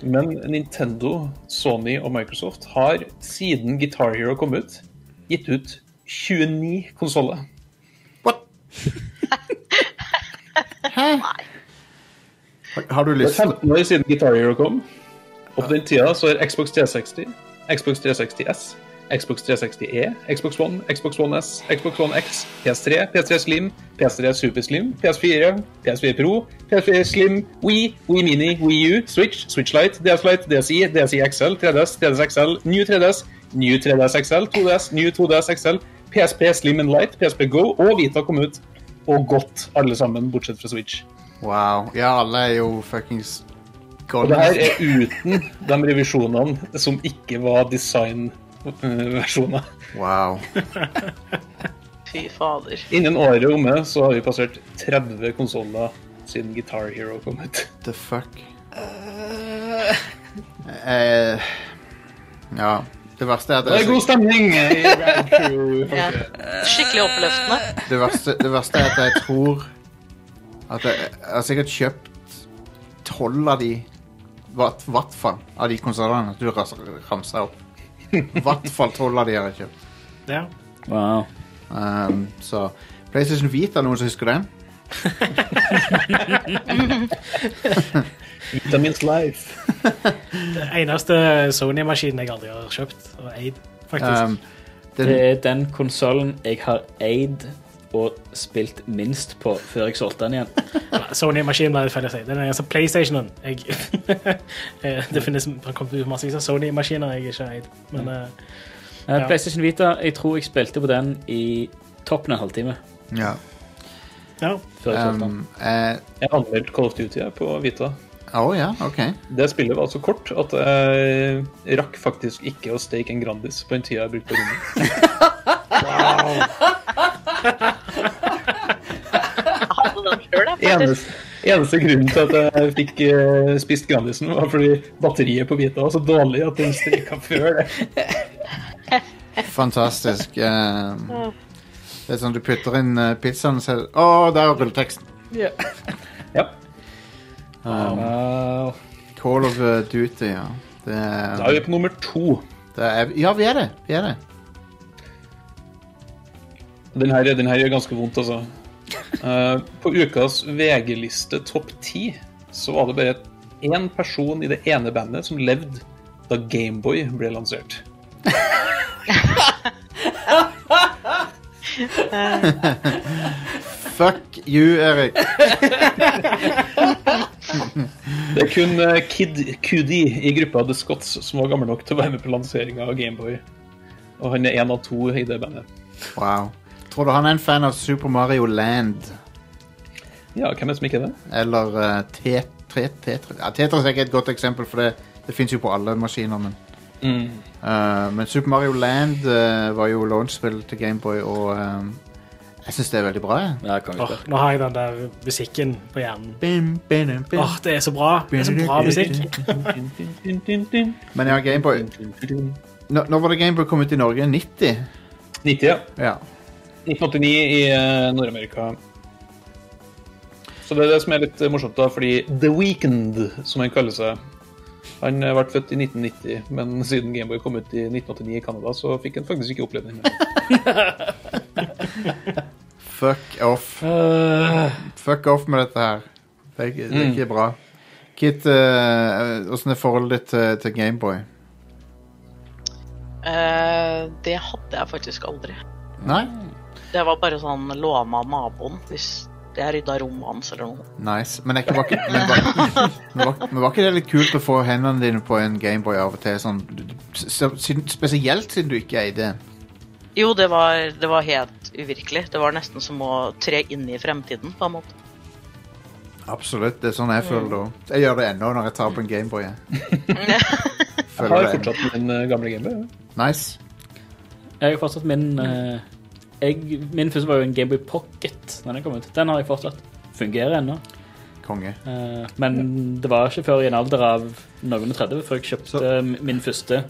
E: Men Nintendo, Sony og Microsoft har siden Guitar Hero kom ut, gitt ut 29 konsoller.
A: What? Hæ? Har, har du
E: Det er
A: lyst
E: 15 år siden Guitar Hero kom. Og på den tida så er Xbox 360, Xbox 360S, Xbox 360E, Xbox One, Xbox One S, Xbox One X, PS3, PS3 Slim, PS3 Super Slim, PS4, PS4 Pro, PS4 Slim, Wii, Wii Mini, Wii U, Switch, Switch Lite, DS Lite, DSi, DSi XL, 3DS, 3DS XL, New 3DS, New 3DS XL, 2DS, New 2DS XL, PSP Slim and Light, PSP Go og Vita kom ut. Og godt, alle sammen, bortsett fra Switch.
A: Wow. Ja, alle er jo fuckings
E: Og det her er uten de revisjonene som ikke var designversjoner.
A: Wow.
F: Fy fader.
E: Innen året omme så har vi passert 30 konsoller siden Guitar Hero kom ut.
A: The fuck? Eh, ja. Det verste er at
E: Det er
A: jeg,
E: god stemning! i Grand Crew,
F: Ja.
E: folk.
F: Skikkelig oppløftende.
A: det verste, det verste er at jeg tror At jeg, jeg har sikkert kjøpt tolv av de Hvert hvert fall av de konsollene du ras- ramsa opp. Hvert fall tolv av de har jeg kjøpt.
D: Ja.
C: Wow.
A: Um, så PlayStation Vita, noen som husker den?
E: Vitamins Life.
D: Det eneste Sony-maskinen jeg aldri har kjøpt og eid, faktisk.
A: Um,
C: Det
A: den
C: er den konsollen jeg har eid og spilt minst på før jeg solgte den igjen.
D: Sony-maskinen ble det feil å si. Det er den eneste PlayStationen jeg Eh, Det finnes det kom ut massevis av Sony-maskiner jeg ikke har eid,
A: Mm.
D: men eh,
C: Eh,
D: Ja.
C: PlayStation Vita, jeg tror jeg spilte på den i toppen av en halvtime
A: Ja.
D: ja.
C: før jeg solgte den.
A: Um, eh,
E: Jeg anmeldte Call of Duty jeg, på Vita.
A: Å ja, OK.
E: Det spillet var så kort at jeg rakk faktisk ikke å steke en Grandis på den tida jeg brukte på rommet.
F: Hadde den selv, jeg, faktisk.
E: Eneste, eneste grunnen til at jeg fikk eh, spist Grandisen, var fordi batteriet på Vita var så dårlig at den streka før det.
A: Fantastisk. eh, det er sånn du putter inn eh, pizzaen og sier Å, der er rulleteksten.
E: Ja.
C: Wow.
A: Call of Duty, ja. Det er,
E: Da er vi på nummer to.
A: det er, ja, vi er det. Vi er det.
E: Den her, den her gjør ganske vondt, altså. Eh, på ukas VG-liste topp ti så var det bare én person i det ene bandet som levde da Gameboy ble lansert.
A: Fuck you, Erik.
E: Det er kun eh, Kid Cudi i gruppa The Scots som var gammel nok til å være med på lanseringa av Gameboy. Og han er én av to i det bandet.
A: Wow. Tror du han er en fan av Super Mario Land?
E: Ja, hvem er det som ikke er det?
A: Eller eh, Te- Tre- Tetris? Ja, Tetris er ikke et godt eksempel, for det, det fins jo på alle maskiner. Men,
E: Mm.
A: Eh, men Super Mario Land eh, var jo launchspill til Gameboy, og eh, jeg syns det er veldig bra. jeg.
C: Ja, kongespill.
D: Åh, nå har jeg den der musikken på hjernen.
A: Bim, bim, bim.
D: Åh, det er så bra. Det er så bra musikk.
A: Men ja, Gameboy
E: 90,
A: Nå, når var det Gameboy kom ut i Norge? 90?
E: ja.
A: Ja.
E: 1989 i eh, Nord-Amerika. Så det er det som er litt eh, morsomt, da, fordi The Weekend, som han kaller seg Han eh, ble født i 1990, men siden Gameboy kom ut i 1989 i Canada, så fikk han faktisk ikke oppleve den.
A: Eh. Fuck off. Fuck off med dette her. Det er, ikke- det er ikke bra. Kit, eh, åssen er forholdet ditt til, til Gameboy?
F: Eh, det hadde jeg faktisk aldri.
A: Nei?
F: Det var bare sånn låna av naboen hvis jeg rydda rommet hans eller noe.
A: Nice. Men, er ikke, var, ikke, men, var, men, var, men var ikke det litt kult å få hendene dine på en Gameboy av og til? Sånn, du- du- s- siden, spesielt siden du ikke eide en.
F: Jo, det var, det var helt uvirkelig. Det var nesten som å tre inn i fremtiden, på en måte.
A: Absolutt. Det er
E: Mm.
A: sånn jeg føler det òg. Jeg gjør det ennå når jeg tar på en Gameboy. jeg.
E: Jeg har
A: Føler det.
E: fortsatt min eh, gamle gamer.
A: Nice.
C: Jeg har fortsatt min eh, jeg, Min første var jo en Gameboy Pocket. Når Den kom ut Den har jeg fortsatt. Fungerer ennå.
A: Konge.
C: Eh, men det var ikke før i en alder av noen og 30 før jeg kjøpte
A: Så-
C: m- min første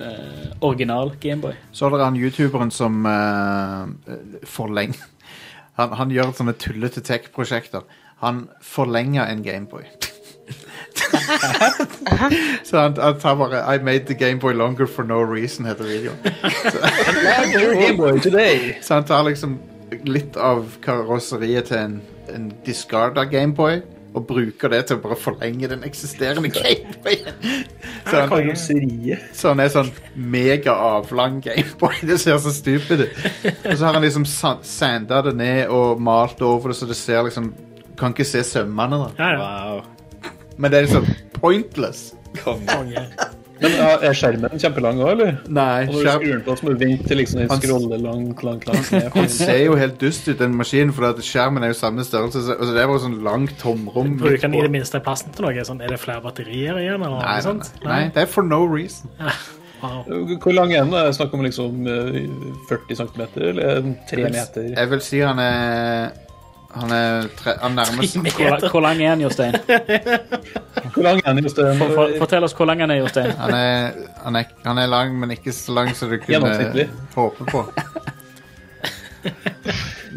C: eh, original Gameboy.
A: Så er det han youtuberen som eh, forleng... Han, han gjør sånne tullete tech-prosjekter. Han forlenger en Gameboy. så han, han tar bare I made the Gameboy longer for no reason, heter videoen.
E: Gameboy today!
A: Så han tar liksom litt av karosseriet til en, en discarda Gameboy og bruker det til å bare forlenge den eksisterende Gameboyen. Så han,
E: Karosseriet.
A: Så han er sånn mega avlang Gameboy. Det ser så stupid ut. Og så har han liksom sa- sanda det ned og malt over det, så det ser liksom Kan ikke se sømmene, da.
D: Ja, ja.
G: Wow.
A: Men det er liksom pointless.
G: Konge.
E: Men ja, er skjermen kjempelang òg, eller?
A: Nei.
E: Og når du
A: skjerm-
E: skrur den på, så må du vente til liksom den
A: Han-
E: scroller langt, langt, langt ned.
A: Han ser jo helt dust ut, den maskinen, for at skjermen er jo samme størrelse. Så altså, det er bare sånn langt tomrom. midt
D: Bruker den i
A: på.
D: det minste plassen til noe? Sånn, er det flere batterier igjen? Eller
A: Nei,
D: noe
A: nei,
D: sånt?
A: nei. nei, det er for no reason.
D: Wow.
E: Hvor lang er den? Er det Snakk om liksom eh, 40 cm, eller er den 3 meter?
A: Jeg vil si han er Han er tre, han nærmer seg
C: Hvor, la- hvor lang er den, Jostein?
E: Hvor lang er den? Just den?
C: For, for, fortell oss hvor lang den er, Jostein.
A: han er, han, er, han er lang, men ikke så lang som du kunne
E: Gjennomsnittlig.
A: håpe på.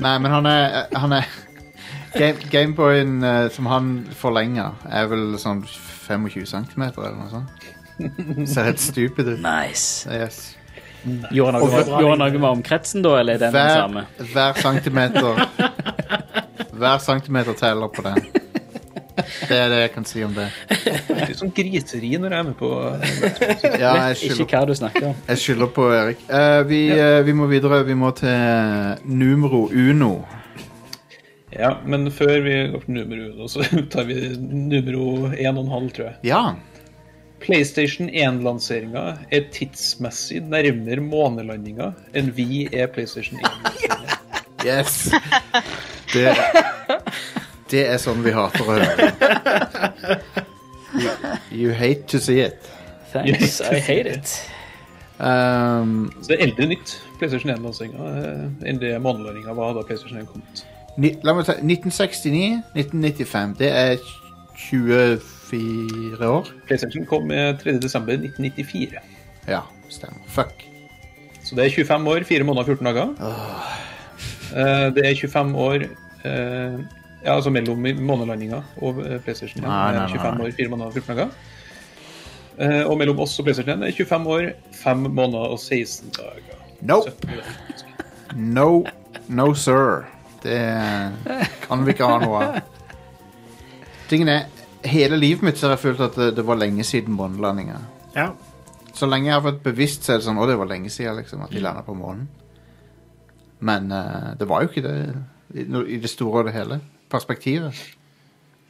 A: Nei, men han er, han er Game- Gameboyen eh, som han forlenger, er vel sånn 25 cm eller noe sånt. Ser helt stupid ut.
C: Nice.
A: Yes.
C: Gjorde han noe, med- gjorde han noe med omkretsen, da, eller er den den
A: Hver,
C: samme?
A: hver centimeter Hver centimeter teller på den. Det er det jeg kan si om det.
E: Det er sånn griseri når jeg er med på
A: Ja, jeg
C: Vet ikke
A: skylder,
C: hva du snakker om.
A: jeg skylder på Erik. Eh, vi, eh, vi må videre. Vi må til numero uno.
E: Ja, men før vi går til numero uno, så tar vi numero 1,5, tror jeg.
A: Ja.
E: PlayStation 1-lanseringa er tidsmessig nærmere månelandinga enn vi er PlayStation 1.
A: Yes. Det, det er sånn vi hater å høre. You, you hate to see it.
C: Thanks, I hate it.
A: Um,
E: Så det er eldre nytt, PlayStation 1-lanseringa, eh, enn det månelandinga var da PlayStation 1 kom ut.
A: ni, la meg ta 1969, 1995. Det er 24 år.
E: PlayStation kom eh, 3. desember 1994.
A: Ja, stemmer. Fuck.
E: Så det er 25 år, 4 måneder og 14 dager. Eh, Det er 25 år eh, Ja, altså mellom månelandinga og eh, PlayStation 1.
A: Nei, nei, nei,
E: 25
A: nei.
E: år, 4 måneder og 14 dager. Eh, Og mellom oss og PlayStation 1 er 25 år, 5 måneder og 16 dager.
A: Nope.
E: 17 dager.
A: No, no sir. Det kan vi ikke ha noe av. Tingen er, hele livet mitt så har jeg følt at det, det var lenge siden månelandinga.
D: Ja.
A: Så lenge jeg har vært bevisst, så er det sånn Å, det var lenge siden liksom, at de landa på månen. Men eh, det var jo ikke det i, no- i det store og det hele. Perspektivet.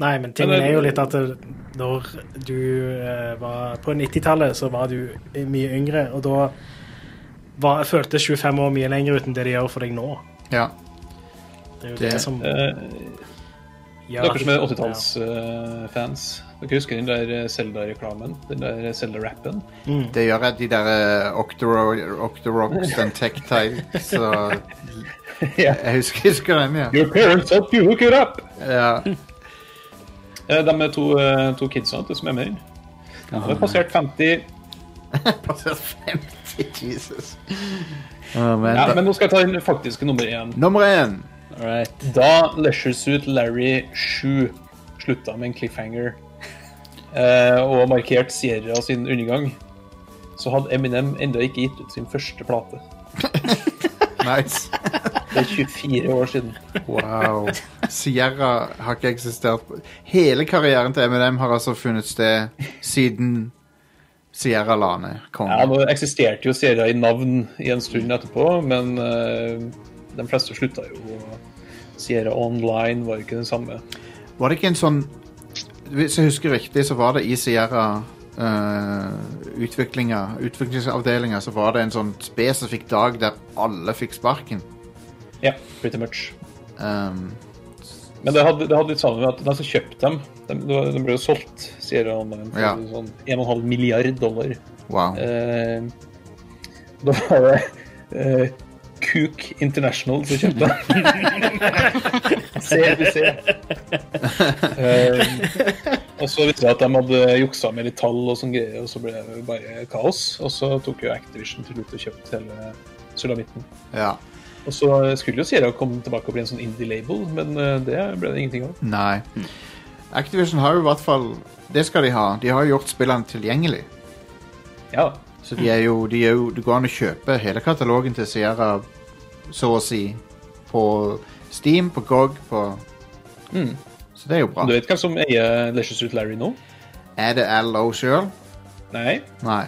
D: Nei, men tingen
E: Men det-
D: er jo litt at det- når du eh, var På 90-tallet så var du mye yngre, og da var, føltes 25 år mye lenger uten det de gjør for deg nå.
A: Ja.
D: Det er jo
A: Det-
D: det, som gjør
E: Eh,
D: at-
E: Dere som er 80-tallsfans, dere husker den der eh, Zelda-reklamen? Den der Zelda-rappen?
A: Det gjør at de der eh, Octoro- Octorocks, den Tectile Så
E: Ja.
A: jeg husker, husker den, ja.
E: Your parents help you hook it up!
A: ja.
E: Eh, De er to, eh, to kidsa til som er med. De har passert 50
A: Passert 50, Jesus. Å, men,
E: Ja,
A: da-
E: men nå skal jeg ta den faktiske nummer én.
A: Nummer én.
C: All right.
E: Da Leisure Suit Larry 7 slutta med en cliffhanger eh, og markerte Sierra sin undergang, så hadde Eminem enda ikke gitt ut sin første plate.
A: Nice.
E: Det er 24 år siden.
A: Wow. Sierra har ikke eksistert på- Hele karrieren til M&M har altså funnet sted siden Sierra la ned kongen.
E: Ja, Nå eksisterte jo serier i navn i en stund etterpå, men eh, de fleste slutta jo. Sierra Online var jo ikke den samme.
A: Var det ikke en sånn Hvis jeg husker riktig, så var det i Sierra uh, utviklingsavdelinga så var det en sånn spesifikk dag der alle fikk sparken.
E: Ja, pretty much.
A: Um,
E: Men det hadde, det hadde litt sammen med at de som kjøpte dem, de, de ble jo solgt, Sierra Online, for
A: Ja.
E: sånn 1,5 milliard dollar.
A: wow.
E: Eh, da var det eh, Cook International som kjøpte den. CBC. Eh, og så visste jeg at de hadde juksa med litt tall, og sånn greier, og så ble det jo bare kaos. Og så tok jo Activision til slutt og kjøpte hele sulamitten.
A: Ja.
E: Og så skulle jo Sierra komme tilbake og bli en sånn indie-label, men eh, det ble det ingenting av.
A: Nei. Activision har jo i hvert fall Det skal de ha. De har jo gjort spillene tilgjengelig.
E: Ja,
A: Så de er jo, de er jo Det går an å kjøpe hele katalogen til Sierra, så å si, på Steam, på GOG, på
E: Mm.
A: Så det er jo bra.
E: Du vet hvem som eier Leisure Suit Larry nå?
A: Er det LO sjøl?
E: Nei.
A: Nei.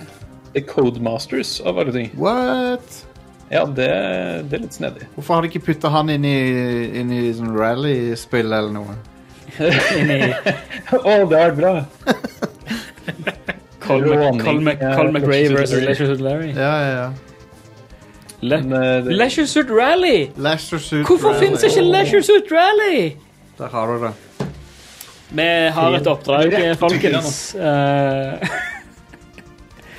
E: Det er Codemasters, av alle ting.
A: What?
E: Ja, det, det er litt snedig.
A: Hvorfor har de ikke putta han inn i, inn i sånn rallyspill eller noe?
E: Å, det har vært bra!
C: Col
E: Råning, eh,
C: McRae
E: Leisure
C: versus
E: Suit Larry.
C: Leisure Suit Larry.
A: Ja, ja, ja.
C: Le
E: Men, eh, det,
C: Leisure Suit Rally!
A: Leisure Suit
C: Hvorfor
A: Rally.
C: finnes ikke Leisure Suit Rally?
A: Der har du det.
C: Vi har et oppdrag, folkens. Eh,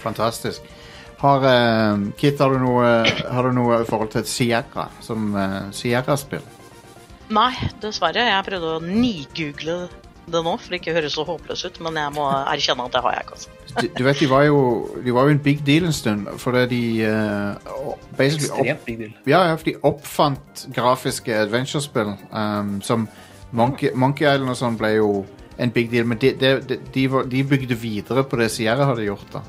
A: Fantastisk. Har, eh, Kit, har du, noe, eh, har du noe i forhold til et Sierra som eh, Sierra-spill?
F: Nei, dessverre. Jeg prøvde å nigoogle det nå, for det ikke høres så håpløst ut. Men jeg må erkjenne at det har jeg ikke. altså.
A: Du, du vet, de var, jo, de var jo en big deal en stund, fordi de eh, o- basically opp,
E: ekstremt big deal.
A: Ja, ja, for de oppfant grafiske adventure-spill ehm, som Monkey, Monkey Island og sånn ble jo en big deal, men de, de, de, de, var, de bygde videre på det Sierra hadde gjort da.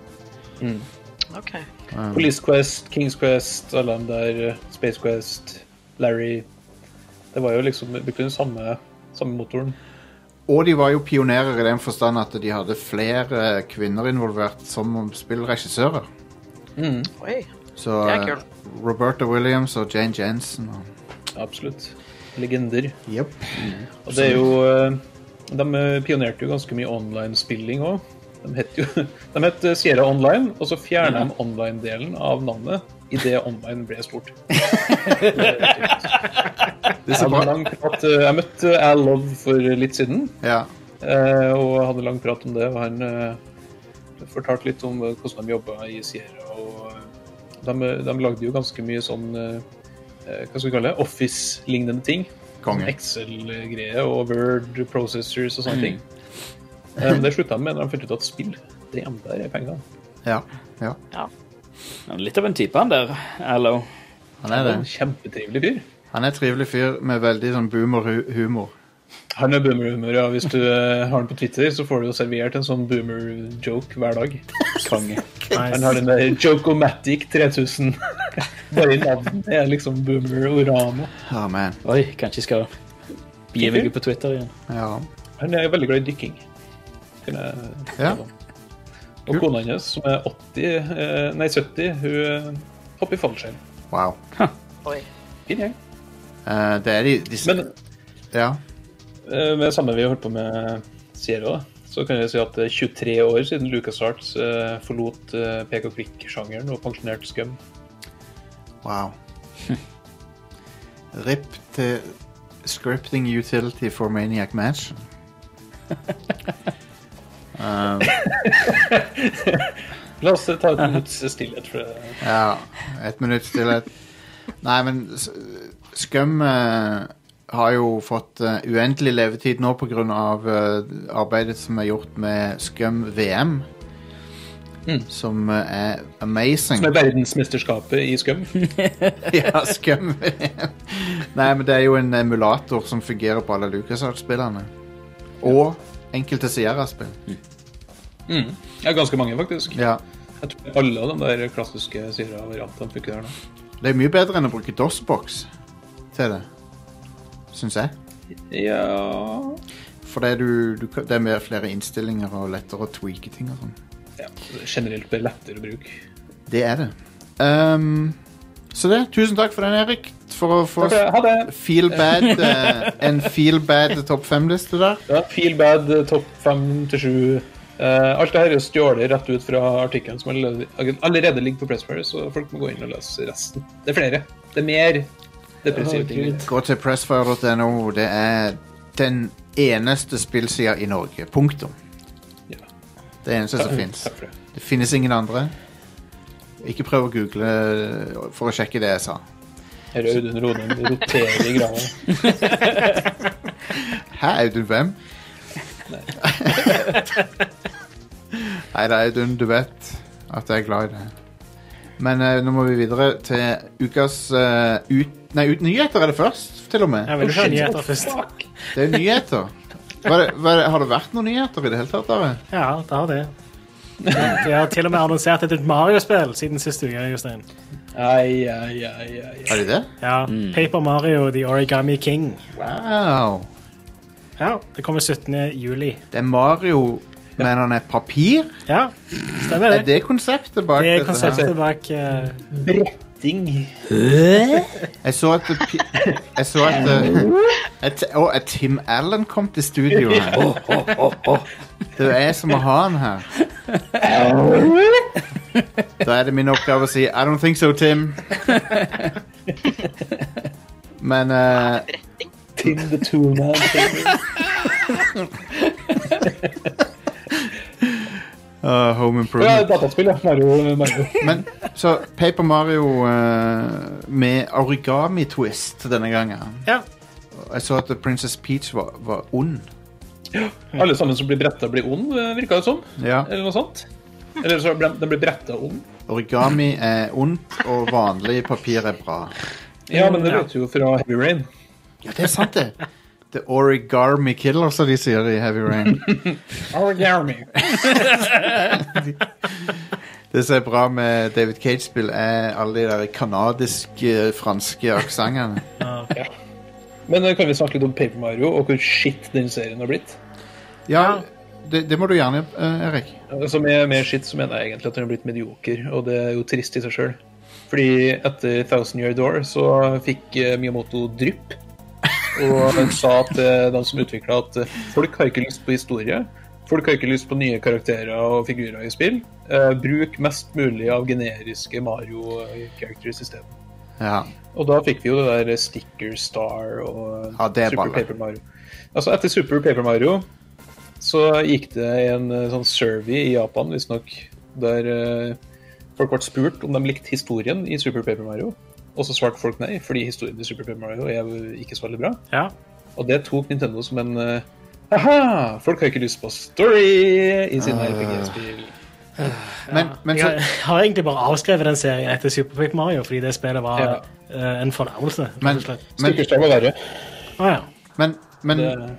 F: Ok.
E: Police Quest, Kings Quest, alle de der eh, Space Quest, Larry Det var jo liksom brukte den samme, samme motoren.
A: Og de var jo pionerer i den forstand at de hadde flere kvinner involvert som spillregissører.
F: Oi.
A: Så
F: Det er kult.
A: eh, Roberta Williams og Jane Jensen. Og,
E: Absolutt. Legender.
A: Jep.
E: Og det er jo eh, De eh, pionerte jo ganske mye online-spilling òg. De het jo de het eh, Sierra Online, og så fjerna
A: Mhm.
E: de online-delen av navnet idet online ble stort.
A: Det er
E: Jeg,
A: så
E: hadde en
A: bra.
E: lang prat, eh, jeg møtte Al Love for litt siden.
A: Ja.
E: Eh, og hadde lang prat om det. Og han eh, fortalte litt om eh, hvordan de jobba i Sierra. Og eh, de, de lagde jo ganske mye sånn eh, eh, Hva skal vi kalle det? Office-lignende ting. Sånn
A: Konge.
E: Excel-greier og Word processors og sånne ting. Eh, men det slutta de med da de fant ut at spill, det er der er pengene.
A: Ja. ja.
C: litt av en type, han der. Hallo.
A: Han er
E: Det
A: det.
E: er en kjempetrivelig fyr.
A: Han er en trivelig fyr med veldig sånn boomer-humor.
E: Han er boomer-humør, ja. Hvis du eh, har den på Twitter, så får du jo servert en sånn boomer-joke hver dag. Konge. Han har
D: Nice.
E: den der Jokomatic 3000. Bare i navnet er liksom Boomer Orama.
A: Ja, man.
C: Oi, kanskje jeg skal begi meg ut på Twitter igjen.
A: Ja.
E: Han er veldig glad i dykking. Kan jeg
A: Ja.
E: fortelle om. Og kona hans, som er 80, eh, nei 70, hun eh, hopper i fallskjerm.
A: Wow.
F: Oi.
E: Fin gjeng.
A: Eh, det er de, disse
E: Men
A: Ja.
E: eh, med det samme vi har holdt på med Sierra, da, så kan jeg si at det er 23 år siden Lucas Arts forlot eh, pek og klikk-sjangeren og pensjonerte Scum.
A: Wow. RIP til Scripting Utility for Maniac Mansion. Um,
E: La oss eh, ta et minutts stillhet for det.
A: ja, ett minutt stillhet. Nei, men s- Skum eh, har jo fått eh, uendelig levetid nå pga. Uh, arbeidet som er gjort med Skum VM.
E: Mm.
A: Som eh, er amazing.
E: Som er verdensmesterskapet i Scum.
A: ja, Skum VM. Nei, men det er jo en emulator som fungerer på alle LucasArts-spillene. Og enkelte Sierra-spill.
E: Mm. Ja, ganske mange, faktisk.
A: Ja.
E: Jeg tror alle de der klassiske Sierra-variantene funker der nå.
A: Det er mye bedre enn å bruke DOS-box. til det. Syns jeg.
E: Ja
A: For det er, du, du, kan- det er mer flere innstillinger og lettere å tweake ting og sånn.
E: ja, Generelt blir det lettere å bruke.
A: Det er det. Ehm, så det. Tusen takk for den, Erik. For å få
E: Takk for det. Ha det!
A: feel bad, eh, en feel bad topp fem-liste der.
E: Ja, feel bad, eh, topp fem til sju. Eh, alt det her er stjålet rett ut fra artikkelen som allerede, allerede ligger på Pressfire, så folk må gå inn og lese resten. Det er flere. Det er mer depressive ting.
C: Herregud.
A: Gå til pressfire.no. Det er den eneste spillsida i Norge. Punktum.
E: Ja.
A: Det eneste som fins.
E: Takk for det.
A: Det finnes ingen andre. Ikke prøv å google eh, for å sjekke det jeg sa.
E: Her er Audun Roden de roterer i grava.
A: Hæ, Audun hvem? Nei da, Audun, du vet at jeg er glad i deg. Men eh, nå må vi videre til ukas eh, ut... Nei, ut nyheter er det først, til og med.
D: Jeg vil ha nyheter først.
A: Det er nyheter. Hva er det, hva er det, har det vært noen nyheter i det hele tatt? Are?
D: Ja, det har det. De har til og med annonsert et nytt Mario-spill siden sist uke. Jostein.
E: Ai, ai, ai, ai.
A: Har de det?
D: Ja, Paper Mario The Origami King.
A: Wow.
D: Ja, Det kommer 17. juli.
A: Det er Mario, men han er papir?
D: Ja, stemmer
A: Er
D: det.
A: det konseptet bak
D: Det er
A: dette her?
D: konseptet bak eh,
E: Bretting.
A: Jeg så at det pi- Jeg så at det- at, å, at Tim Allen kom til studio her. Det er jeg som må ha han her. Da er det min oppgave å si I don't think so, Tim. Men eh,
F: Bretting.
E: Tim the Tuna.
A: uh, Home
E: Ja,
A: Improvement.
E: dataspill, ja. Mario. Mario.
A: Men så Paper Mario eh, med origami-twist denne gangen.
D: Ja.
A: Jeg så at Princess Peach var, var ond.
E: Alle sammen som blir bretta, blir ond, eh, virka det som.
A: Ja.
E: Eller noe sånt. Eller så ble, de blir bretta ond.
A: Origami er ondt, og vanlig papir er bra.
E: Ja, men det
D: Ja.
E: vet du jo fra Heavy Rain.
A: Ja, det er sant, det. The Origami Killer, som de sier i Heavy Rain.
E: Origami.
A: Det som er bra med David Cage-spill, er alle de der kanadiske, franske aksentene.
E: Men eh, kan vi snakke litt om Paper Mario og hvor shit den serien har blitt?
A: Ja, det, det må du gjerne, eh, Erik.
E: Altså med, med shit så mener jeg egentlig at den har blitt medioker, og det er jo trist i seg sjøl. Fordi etter Thousand Year Door så fikk eh, Miyamoto drypp. Og han sa til de som utvikla at eh, folk har ikke lyst på historie. Folk har ikke lyst på nye karakterer og figurer i spill. Eh, bruk mest mulig av generiske Mario-characters i stedet.
A: Ja.
E: Og da fikk vi jo det der Sticker Star og
A: Ja, det er
E: Super
A: balle.
E: Paper Mario. Altså etter Super Paper Mario så gikk det en eh, sånn survey i Japan, visstnok, der eh, folk ble spurt om de likte historien i Super Paper Mario. Og så svarte folk nei, fordi historien i Super Paper Mario er jo ikke så veldig bra.
D: ja.
E: Og det tok Nintendo som en eh, Haha, folk har ikke lyst på story
A: Ah.
E: i sine RPG-spill.
A: Men, men
D: Jeg
A: så
D: har- har egentlig bare avskrevet den serien etter Super Paper Mario fordi det spillet var
E: Ja.
D: eh, en fornærmelse. rett og
A: Men,
D: slett.
A: men,
E: Sticker Star var verre.
D: Å ja.
A: men, men
E: Det-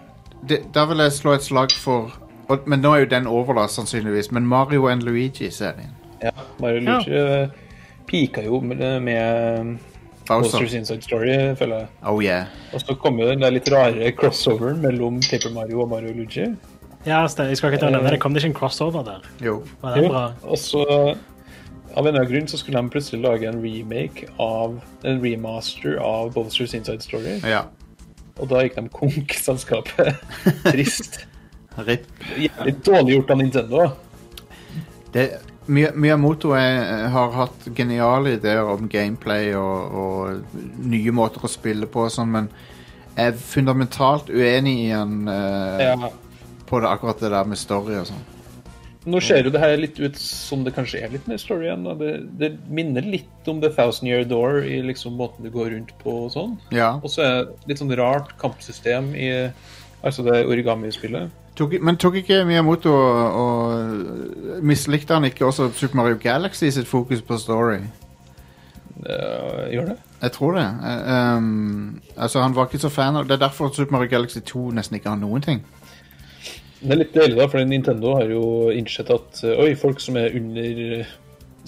A: det, Da vil jeg slå et slag for og, Men nå er jo den overlast, sannsynligvis. Men Mario and Luigi-serien.
E: Ja, Mario Luigi eh, pika jo med, med Monsters
A: Bowser.
E: Inside Story, føler jeg.
A: Oh yeah.
E: Og så kom jo den der litt rare crossoveren mellom Paper Mario og Mario Luigi.
D: ja stemmer. jeg skal ikke ta og nevne det. Kom det ikke en crossover der?
A: Jo.
D: Var det bra?
E: Og så av en eller annen grunn så skulle de plutselig lage en remake av en remaster av Bowsers Inside Story,
A: Ja.
E: og da gikk de konk selskapet. Trist.
A: RIP.
E: Jævlig dårlig gjort av Nintendo.
A: det, Mi- Miyamoto er, eh, har hatt geniale ideer om gameplay og, og nye måter å spille på og sånn, men jeg er fundamentalt uenig i han eh,
E: Ja.
A: på det, akkurat det der med story og sånn.
E: Nå ser jo det her litt ut som det kanskje er litt mer story igjen. da. Det, det minner litt om The Thousand Year Door i liksom måten det går rundt på og sånn.
A: Ja.
E: Og så er det litt sånn rart kampsystem i altså det origami-spillet.
A: Tok, men tok ikke Miyamoto og, og mislikte han ikke også Super Mario Galaxy sitt fokus på story?
E: Eh, gjør det?
A: Jeg tror det. Eh, ehm, altså Han var ikke så fan av Det er derfor Super Mario Galaxy 2 nesten ikke har noen ting.
E: Det er litt deilig, da, for Nintendo har eh, jo innsett at eh, oi, folk som er under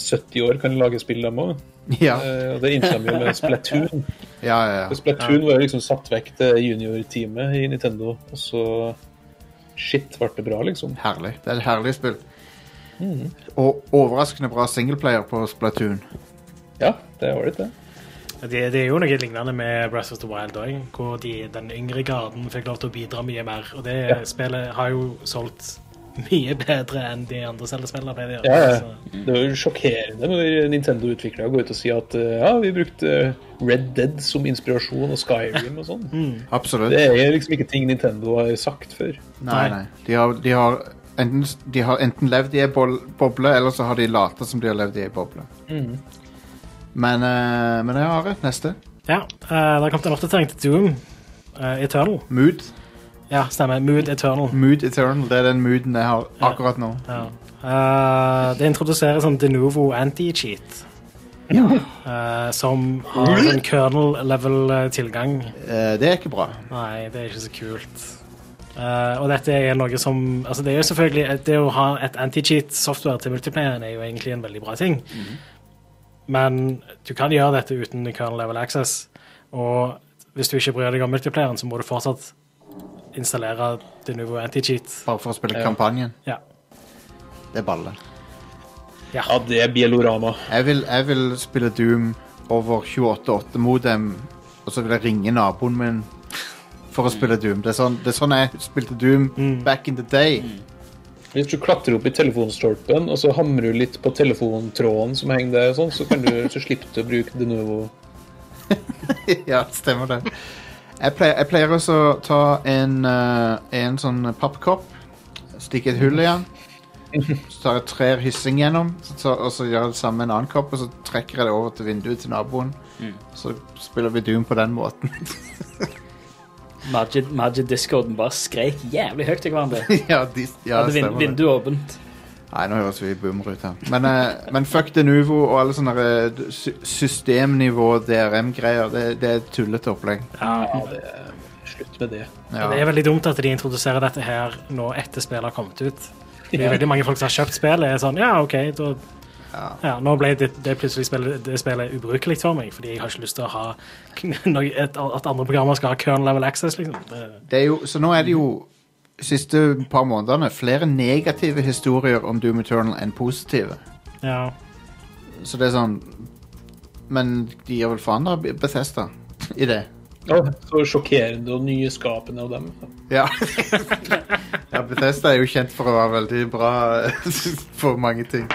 E: 70 år, kan lage spill, dem òg.
A: Ja,
E: Eh, og det innstemmer jo med Splatoon.
A: ja, ja.
E: For
A: ja.
E: Splatoon var jo liksom satt vekk til juniorteamet i Nintendo, og så Shit, ble det bra, liksom.
A: Herlig. Det er et herlig spill. Og overraskende bra singleplayer på Splatoon.
E: Ja, det var det, det.
D: Det, det er jo noe lignende med Breath of the Wild òg, hvor de, den yngre garden fikk lov til å bidra mye mer. Og det
E: Ja.
D: spillet har jo solgt mye bedre enn de andre spillene. ble det,
E: Ja, ja.
D: så-
E: Det var jo sjokkerende når Nintendo-utviklere går ut og sier at eh, ja, vi brukte Red Dead som inspirasjon og Skyrim og sånn.
A: Mm. Absolutt.
E: Det er liksom ikke ting Nintendo har sagt før.
A: Nei, nei. De har, de har, enten, de har enten levd i ei bol- boble, eller så har de lata som de har levd i ei boble. Men, eh, men jeg har et neste.
D: Ja, eh, det har kommet en oppdatering til Doom eh, Eternal.
A: Mood.
D: Ja, stemmer. Mood Eternal.
A: Mood Eternal. Det er den mooden jeg har akkurat nå.
D: Ja. Eh, det introduserer sånn de novo anti-cheat. Eh, som har en kernel-level-tilgang.
A: Eh, det er ikke bra.
D: Nei, det er ikke så kult. Eh, og dette er noe som altså Det er jo selvfølgelig Det å ha et anti-cheat-software til multiplayeren er jo egentlig en veldig bra ting. Men du kan gjøre dette uten kernel level access. Og hvis du ikke bryr deg om multiplayeren, så må du fortsatt installere det nye anti-cheat.
A: Bare for å spille
E: Ja.
A: kampanjen.
D: Ja.
A: Det er balle.
E: Ja, det er Bielorama.
A: Jeg vil, jeg vil spille Doom over 28.8 modem, og så vil jeg ringe naboen min for å spille Doom. Det er sånn, det er sånn jeg spilte Doom back in the day.
E: Hvis du klatrer opp i telefonstolpen og så hamrer du litt på telefontråden som henger der, og sånn, så, kan du, så slipper du å bruke de novo.
A: ja, stemmer det. Jeg pleier, jeg pleier også å ta en, eh, en sånn pappkopp, stikke et hull i den, så tar jeg trer hyssing gjennom, så tar, og så gjør jeg det samme med en annen kopp, og så trekker jeg det over til vinduet til naboen. Så spiller vi Doom på den måten.
C: Magic, Magic Discorden bare skreik jævlig høyt til hverandre.
A: ja, de, ja,
C: Hadde vind,
A: stemmer det.
C: vinduet åpent.
A: Nei, nå høres vi boomer ut her. Men, eh, men fuck Denuvo og alle sånne eh, sy- systemnivå DRM-greier, det, det er et tullete opplegg.
E: Ja, det er Slutt med det.
A: Ja.
D: Det er veldig dumt at de introduserer dette her nå etter spillet har kommet ut. Det er veldig mange folk som har kjøpt spillet. er sånn, ja, ok, da... Ja, nå ble det, det plutselig spillet, det spillet ubrukelig for meg, fordi jeg har ikke lyst til å ha noe, et, at andre programmer skal ha kernel level access, liksom. Det,
A: Det er jo, så nå er det jo siste par månedene flere negative historier om Doom Eternal enn positive.
D: ja.
A: Så det er sånn Men de gir vel faen da, Bethesda, i det.
E: Ja, så sjokkerende og nyskapende av dem.
A: Ja. ja, Bethesda er jo kjent for å være veldig bra for mange ting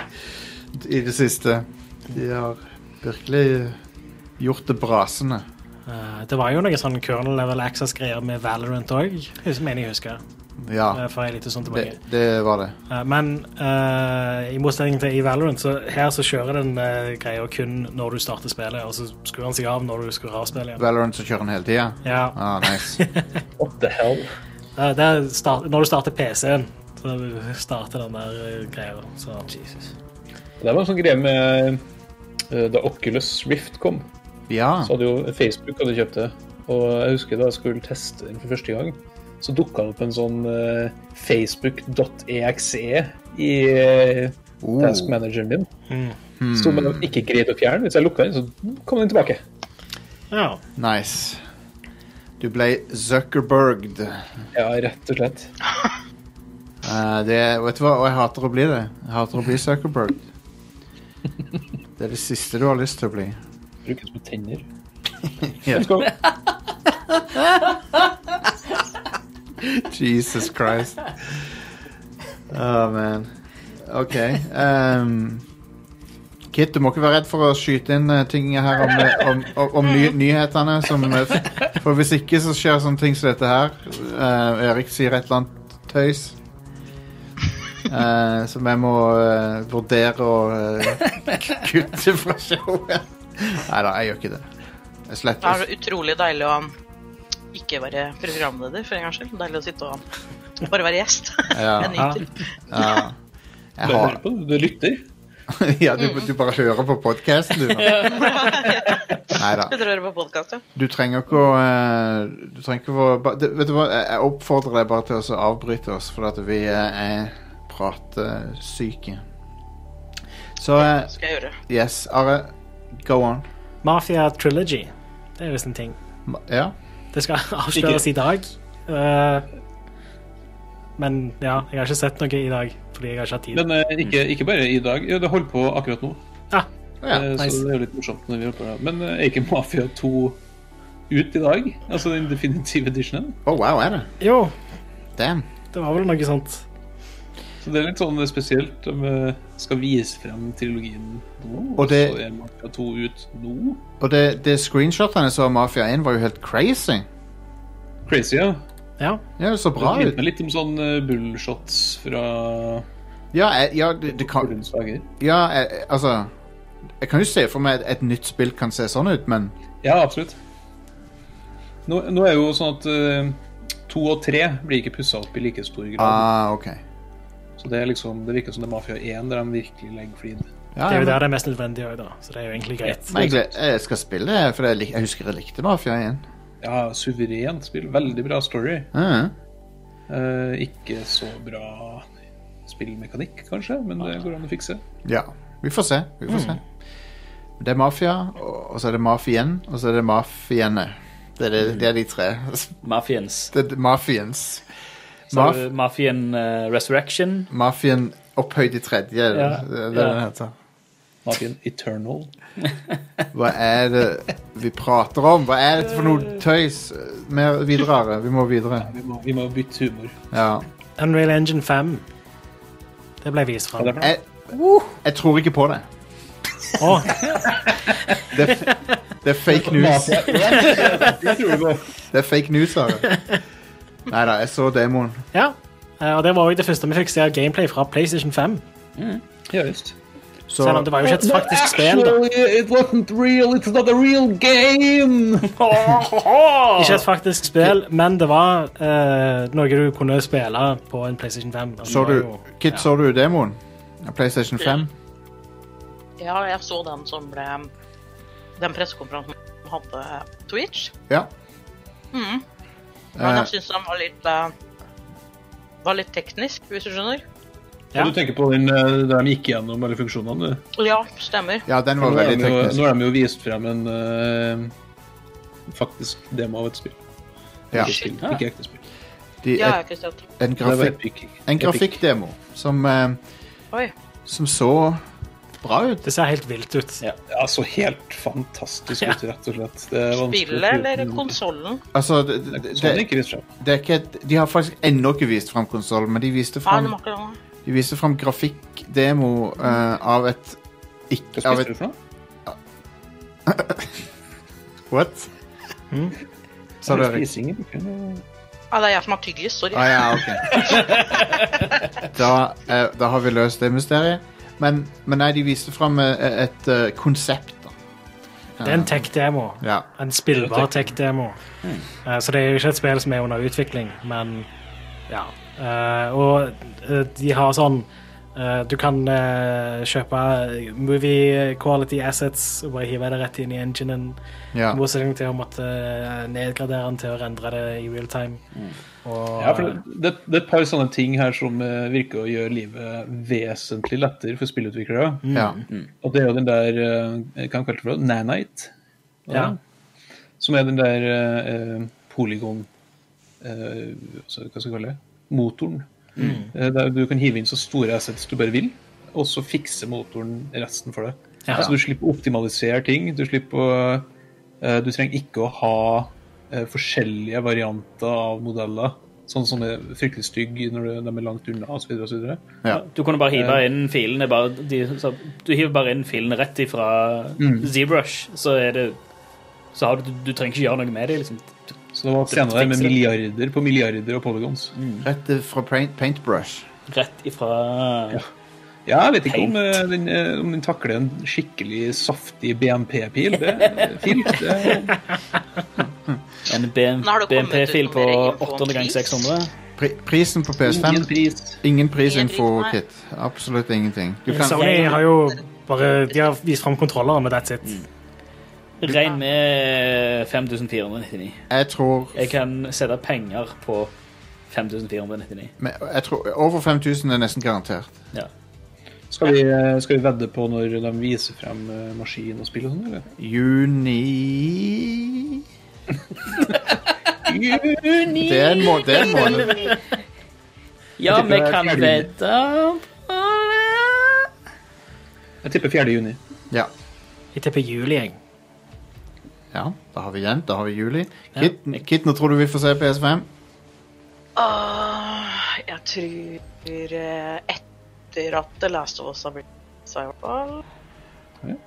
A: i det siste. De har virkelig gjort det brasende.
D: Eh, det var jo noen sånne kernel level access-greier med Valorant òg, mener jeg husker. eh,
A: Ja,
D: For jeg er litt sånn tilbake.
A: det, det var det.
D: Eh, Men eh, i motsetning til i Valorant, så her så kjører den eh, greia kun når du starter spillet, og så skrur den seg av når du skrur av spillet igjen.
A: Valorant som kjører den hele tida?
D: Ja,
A: Ah, nice.
E: What the hell?
D: eh, det er start, Når du starter PC-en, så starter den der eh, greia. Så. Jesus.
E: Det var en sånn greie med eh, da Oculus Rift kom.
A: Ja.
E: Så hadde jo Facebook hadde kjøpt det. Og jeg husker da jeg skulle teste den for første gang, så dukka det opp en sånn eh, facebook.exe i eh,
A: Oh.
E: task manageren min. Som jeg ikke greide å fjerne. Hvis jeg lukka den, så kom den tilbake.
D: Ja.
A: Nice. Du ble Zuckerberged.
E: Ja, rett og slett.
A: Eh, det, vet du hva? Og jeg hater å bli det. Jeg hater å bli Zuckerberged. Det er det siste du har lyst til å bli.
E: Brukes på tenner.
A: Ja.
E: Let's go.
A: Jesus Christ. Oh, man. OK. ehm, Kit, du må ikke være redd for å skyte inn eh, ting her om, eh, om, om, om ny, nyhetene. Som, eh, f- for hvis ikke så skjer sånne ting som dette her. Eh, Erik sier et eller annet tøys. eh, som jeg må eh, vurdere å eh, kutte fra showet. Nei da, jeg gjør ikke det. Jeg
F: Det er
A: sletter.
F: det utrolig deilig å ikke være programleder for en gangs skyld. Deilig å sitte og bare være gjest.
A: Ja.
F: Jeg nyter.
A: Ja.
E: Du
A: Jeg har,
E: hører på, du lytter.
A: ja, du, du bare hører på podkasten, du. Nei da.
F: Sitter og hører på podkast, ja.
A: Du trenger ikke å eh, Du trenger ikke å ba- det- Vet du hva, jeg jeg oppfordrer deg bare til å så avbryte oss, for at vi eh, er pratesyke. Så eh,
F: Skal jeg gjøre.
A: yes, Are. Go on.
D: Mafia Trilogy. Det er visst en ting.
A: Ma- Ja.
D: Det skal avsløres i dag. Eh, men ja, jeg har ikke sett noe i dag fordi jeg har ikke hatt tid.
E: Men eh, ikke, ikke bare i dag. Jo, det holder på akkurat nå.
A: Ja,
D: Ah,
E: Eh,
D: nice.
E: Så det er jo litt morsomt når vi holder på med det. Men eh, er ikke Mafia 2 ut i dag? Altså den definitive editionen?
A: Å, Oh, wow, er det?
D: jo,
A: Damn.
D: det var vel noe sånt.
E: Så det er litt sånn spesielt. De eh, skal vise frem trilogien nå,
A: Og det-
E: så er Mafia 2 ut nå.
A: Og det, det screenshotene jeg så av Mafia 1, var jo helt crazy.
E: Crazy, ja.
D: Ja.
A: Ja, det så
E: Det
A: bra ut.
E: minner meg litt om sånn eh, bullshots fra
A: Ja, jeg, ja, det, det kan,
E: Korens dager.
A: ja jeg, jeg- altså Jeg kan jo se for meg at et nytt spill kan se sånn ut, men
E: Ja, absolutt. Nå, nå er jo sånn at eh, to og tre blir ikke pussa opp i like stor grad.
A: Ah, ok.
E: Så det er liksom, det virker som det er Mafia 1 der de virkelig legger flid.
A: Ja,
D: Det er
A: men-
D: jo der det er mest nødvendig òg, da. Så det er jo egentlig greit.
A: men jeg, gled- jeg skal spille det, for jeg, lik- jeg husker jeg likte Mafia 1.
E: Ja, suverent spill. Veldig bra story.
A: Ah,
E: Eh, ikke så bra spillmekanikk, kanskje, men det går an å fikse.
A: ja. Vi får se. Vi får se. Det er Mafia, og og så er det Mafien, og så er det Mafiene. Det er, det, det er de tre.
C: Mafians.
A: Det er Mafiens.
C: Så
A: Maf
C: har du Mafian eh, Resurrection.
A: Mafien opphøyd i tredje, er det
C: Ja,
A: det er det
C: ja.
A: den heter.
E: Mafiaen Eternal.
A: Hva er det vi prater om? Hva er dette for noe tøys? Mer videre. Vi må videre.
E: Vi må, vi må bytte humor.
A: Ja.
D: Unreal Engine 5. Det ble vist
E: Hva er det
D: fram.
E: for noe?
A: Jeg, jeg tror ikke på det.
D: Å,
A: Det er, det er fake news. Det er fake news, Are. Nei da, jeg så demoen.
D: ja. Eh, Og det var òg det første vi fikk se av gameplay fra PlayStation 5.
E: Ja visst.
A: Så
D: Selv om det var jo ikke et faktisk spill. da
E: it wasn't real. It's not a real game.
D: Ikke et faktisk spill, men det var eh, noe du kunne spille på en PlayStation 5. Altså,
A: så
D: det var
A: du
D: jo-
A: Kit, så du demoen? Av PlayStation 5?
F: Ja, jeg så den som ble Den pressekonferansen som hadde Twitch.
A: Ja.
E: Mm.
F: Mhm. Men
A: Eh,
F: jeg syns den var litt eh, Var litt teknisk, hvis du skjønner.
D: Ja.
E: Du tenker på den eh, der de gikk gjennom alle funksjonene? du?
F: Ja, stemmer.
A: ja, den var
E: Nå har
A: veldig
E: de jo, nå
A: teknisk.
E: har de jo vist frem en eh, faktisk demo av et spill.
A: Ja.
E: Ikke, spill, ikke ekte spill.
A: De,
F: Ja, jeg har ikke sett.
A: en,
E: Det var
A: grafikk,
E: epic.
A: en
E: Epic.
A: grafikkdemo som, eh,
F: Oi.
A: som så bra ut.
D: Det ser helt vilt ut.
C: Ja.
E: Ja, så helt fantastisk ut, rett og slett. Det er vanskelig å
F: Spillet
E: tro på
F: eller
E: noe.
F: konsollen?
A: Altså, det, det,
E: Nei, Sånn er
A: det,
E: ikke vist frem.
A: det er ikke et, De har faktisk ennå ikke vist fram konsollen, men de viste
F: Ja, den
A: fram,
F: var ikke den.
A: de viste fram grafikkdemo eh, av et
E: Hva
A: ikke, av
E: spiste
A: et,
E: du for noe?
A: What? Hmm? Sa du, Erik?
E: Spising i bakgrunnen.
F: Ja, det er jeg som har tyggis. Sorry.
A: Ah, ja, ok. da, eh, da har vi løst det mysteriet. Men, men nei, de viste fram et, et eh, konsept. da.
D: Det er en tech-demo.
A: Ja.
D: En spillbar tech-demo. Eh, så det er jo ikke et spill som er under utvikling, men ja. Eh, og eh, de har sånn eh, Du kan eh, kjøpe movie quality assets og bare hive det rett inn i enginen.
A: Ja.
D: I motsetning til å måtte eh, nedgradere den til å rendre det i real time. Og,
A: Ah.
E: Ja, for det, det, det er et par sånne ting her som eh, virker å gjøre livet vesentlig lettere for spillutviklere.
A: ja.
C: Mm.
E: Og det er jo den der eh, Hva kalte det for noe? Nanite?
D: Ja.
E: Som er den der eh, eh, polygon eh, altså, Hva skal vi kalle det? Motoren. Eh, der du kan hive inn så store assets du bare vil, og så fikser motoren resten for deg.
D: Ja.
E: Så du slipper å optimalisere ting. Du slipper å eh, Du trenger ikke å ha eh, forskjellige varianter av modeller. Sånn som er fryktelig stygge når de er langt unna osv. videre
A: Ja.
C: Du kunne bare
E: Eh.
C: hive inn filene bare, de, så, Du hiver bare inn filene rett ifra
E: Mm.
C: ZBrush, så er det Så har du Du trenger ikke gjøre noe med det, liksom.
E: Så det var scener der med milliarder på milliarder av polygons.
A: Rett eh, fra paint, paintbrush.
C: Rett ifra
E: Ja, jeg vet ikke om,
C: Paint.
E: eh, den, eh, om den takler en skikkelig saftig BMP-pil. Det er fint. Det,
C: en
F: Nå har det kommet
C: BMP-fil
F: ut
C: på
F: noe mer info om
C: 800 ganger
F: pris.
C: 600.
A: Pri, prisen på
E: ingen
A: PS5
E: pris.
A: Ingen prisinfo,
F: Ingen pris, nei.
A: Kit. Absolutt ingenting. Du kan,
D: Sony har jo bare De har vist fram kontrolleren, og that's it.
A: Mm.
C: Regn med 5499.
A: jeg tror
C: Jeg kan sette penger på 5499.
A: men Jeg tror Over 5000 er nesten garantert.
C: Ja.
E: Skal vi, eh, skal vi vedde på når de viser frem eh, maskin og spill og sånn, eller?
A: Juni Det er en, må det er en måned.
C: Ja, vi
E: Jeg tipper det er
C: kan
E: fjerde juni.
C: vedde på det.
E: Jeg tipper 4. juni.
A: Ja.
D: Jeg tipper juli, jeg.
A: ja, da har vi den. Da har vi juli. Kit, Kit nå tror du vi får se PS5?
F: Åh, Ah, jeg tror eh, etter at The Last of Us har blitt sa i hvert fall.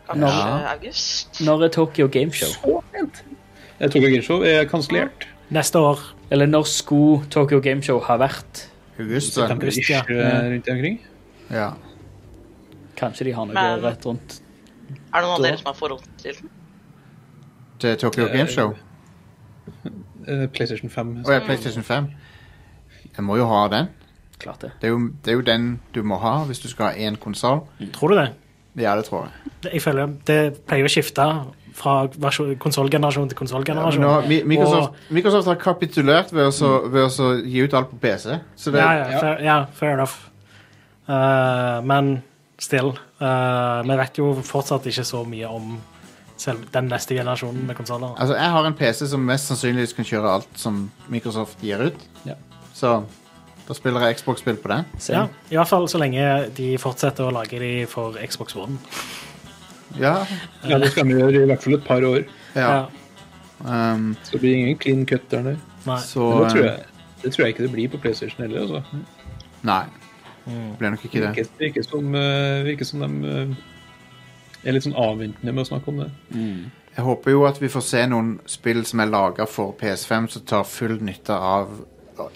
F: Kanskje
A: Ja.
F: august.
C: Når er Tokyo Gameshow?
E: Så fint! Eh, Tokyo Game Show er kansellert.
D: Neste år.
C: Eller når skulle Tokyo Gameshow ha vært?
A: August, da.
E: September-ish
D: ja.
E: eh, rundt omkring.
A: Ja.
C: Kanskje de har noe
F: Men-
C: rett rundt.
F: Er det noen av dere som har forhold til den?
A: Til Tokyo
E: Eh,
A: Game Show?
E: Eh, PlayStation 5.
A: Å ja, PlayStation 5. Jeg må jo ha den.
C: Klart det.
A: Det er jo, det er jo den du må ha hvis du skal ha én konsoll.
D: Tror du det?
A: Ja, det tror jeg.
D: Det- Jeg føler Det pleier å skifte fra konsollgenerasjon til
A: Men
D: konsollgenerasjon.
A: nå, har Mi- Microsoft, Microsoft har kapitulert ved å, så, ved å så gi ut alt på PC. Så det,
D: Ja, ja, fair, ja, fair enough. Eh, men still. eh, vi vet jo fortsatt ikke så mye om selv den neste generasjonen med konsoller.
A: Altså, jeg har en PC som mest sannsynligvis kan kjøre alt som Microsoft gir ut.
E: Ja.
A: Så da spiller jeg Xbox-spill på den.
C: Se.
D: Ja, I hvert fall så lenge de fortsetter å lage de for Xbox One.
A: Ja.
E: Ja, det skal vi gjøre i hvert fall et par år.
A: ja. Um,
E: Så det blir ingen clean cut der nede.
D: Nei.
A: så
E: Men det tror,
A: eh,
E: jeg, det tror jeg ikke det blir på PlayStation heller. Altså.
A: Nei.
E: Mm.
A: Det blir nok ikke
E: Det
A: det.
E: virker, virker, som, eh, virker som de eh, er litt sånn avventende med å snakke om det.
A: Jeg håper jo at vi får se noen spill som er laga for PS5, som tar full nytte av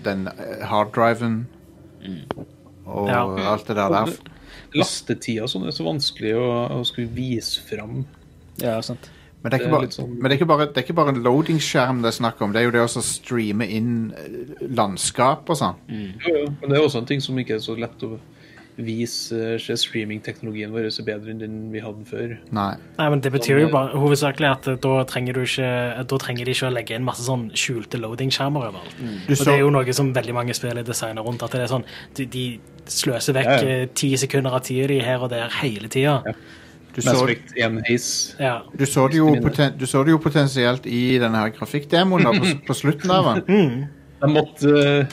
A: den eh, harddriven
E: Mm.
A: og
D: Ja.
A: alt det der der.
E: Lastetida og sånn er så vanskelig å, å skulle vise fram.
C: Ja, sant.
A: Men det er
E: Det er
A: ikke bare,
E: litt sånn-
A: men det er ikke bare, det er ikke bare en loading-skjerm det er snakk om. Det er jo det også å streame inn eh, landskap og sånn.
E: Jo, jo, Men det er også en ting som ikke er så lett å vise. eh, Se, streamingteknologien vår er bedre enn den vi hadde før.
A: Nei.
D: Nei, men Det betyr jo bare hovedsakelig at eh, da trenger, du ikke, eh, da trenger de ikke å legge inn masse sånn skjulte loading-skjermer overalt.
A: Du
D: Og
A: så-
D: Det er jo noe som veldig mange spill er designet rundt. At det er sånn, de, de sløser vekk
E: Ja, ja.
D: eh, ti sekunder av tida di her og der hele tida. Ja.
A: Du
E: Mass
A: så-
E: Effect 1 Haze.
A: Du så, det jo
E: Minner.
A: poten, du så det jo potensielt i denne her grafikkdemoen da, på, s- på slutten av den.
E: De måtte, eh,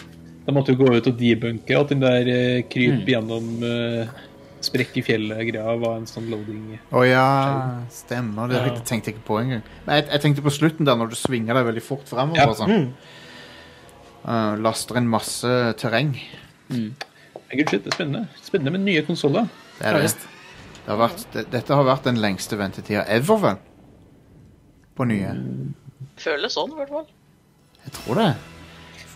E: de måtte jo gå ut og debunke at den der eh,
A: Mm.
E: kryp gjennom eh, sprekk i fjellet-greia var en sånn loading.
A: Å ja, stemmer. Det
D: Ja.
A: tenkte jeg ikke på engang. Men jeg, jeg tenkte på slutten, der når du svinger deg veldig fort fremover.
E: Ja.
A: og Sånn. Eh, laster inn masse terreng.
E: Men Gud shit, det er spennende. Spennende med nye konsoller.
A: Det er det. Det har vært, det, dette har vært den lengste ventetida ever, vel? På nye.
F: Føles sånn, i hvert fall.
A: Jeg tror det.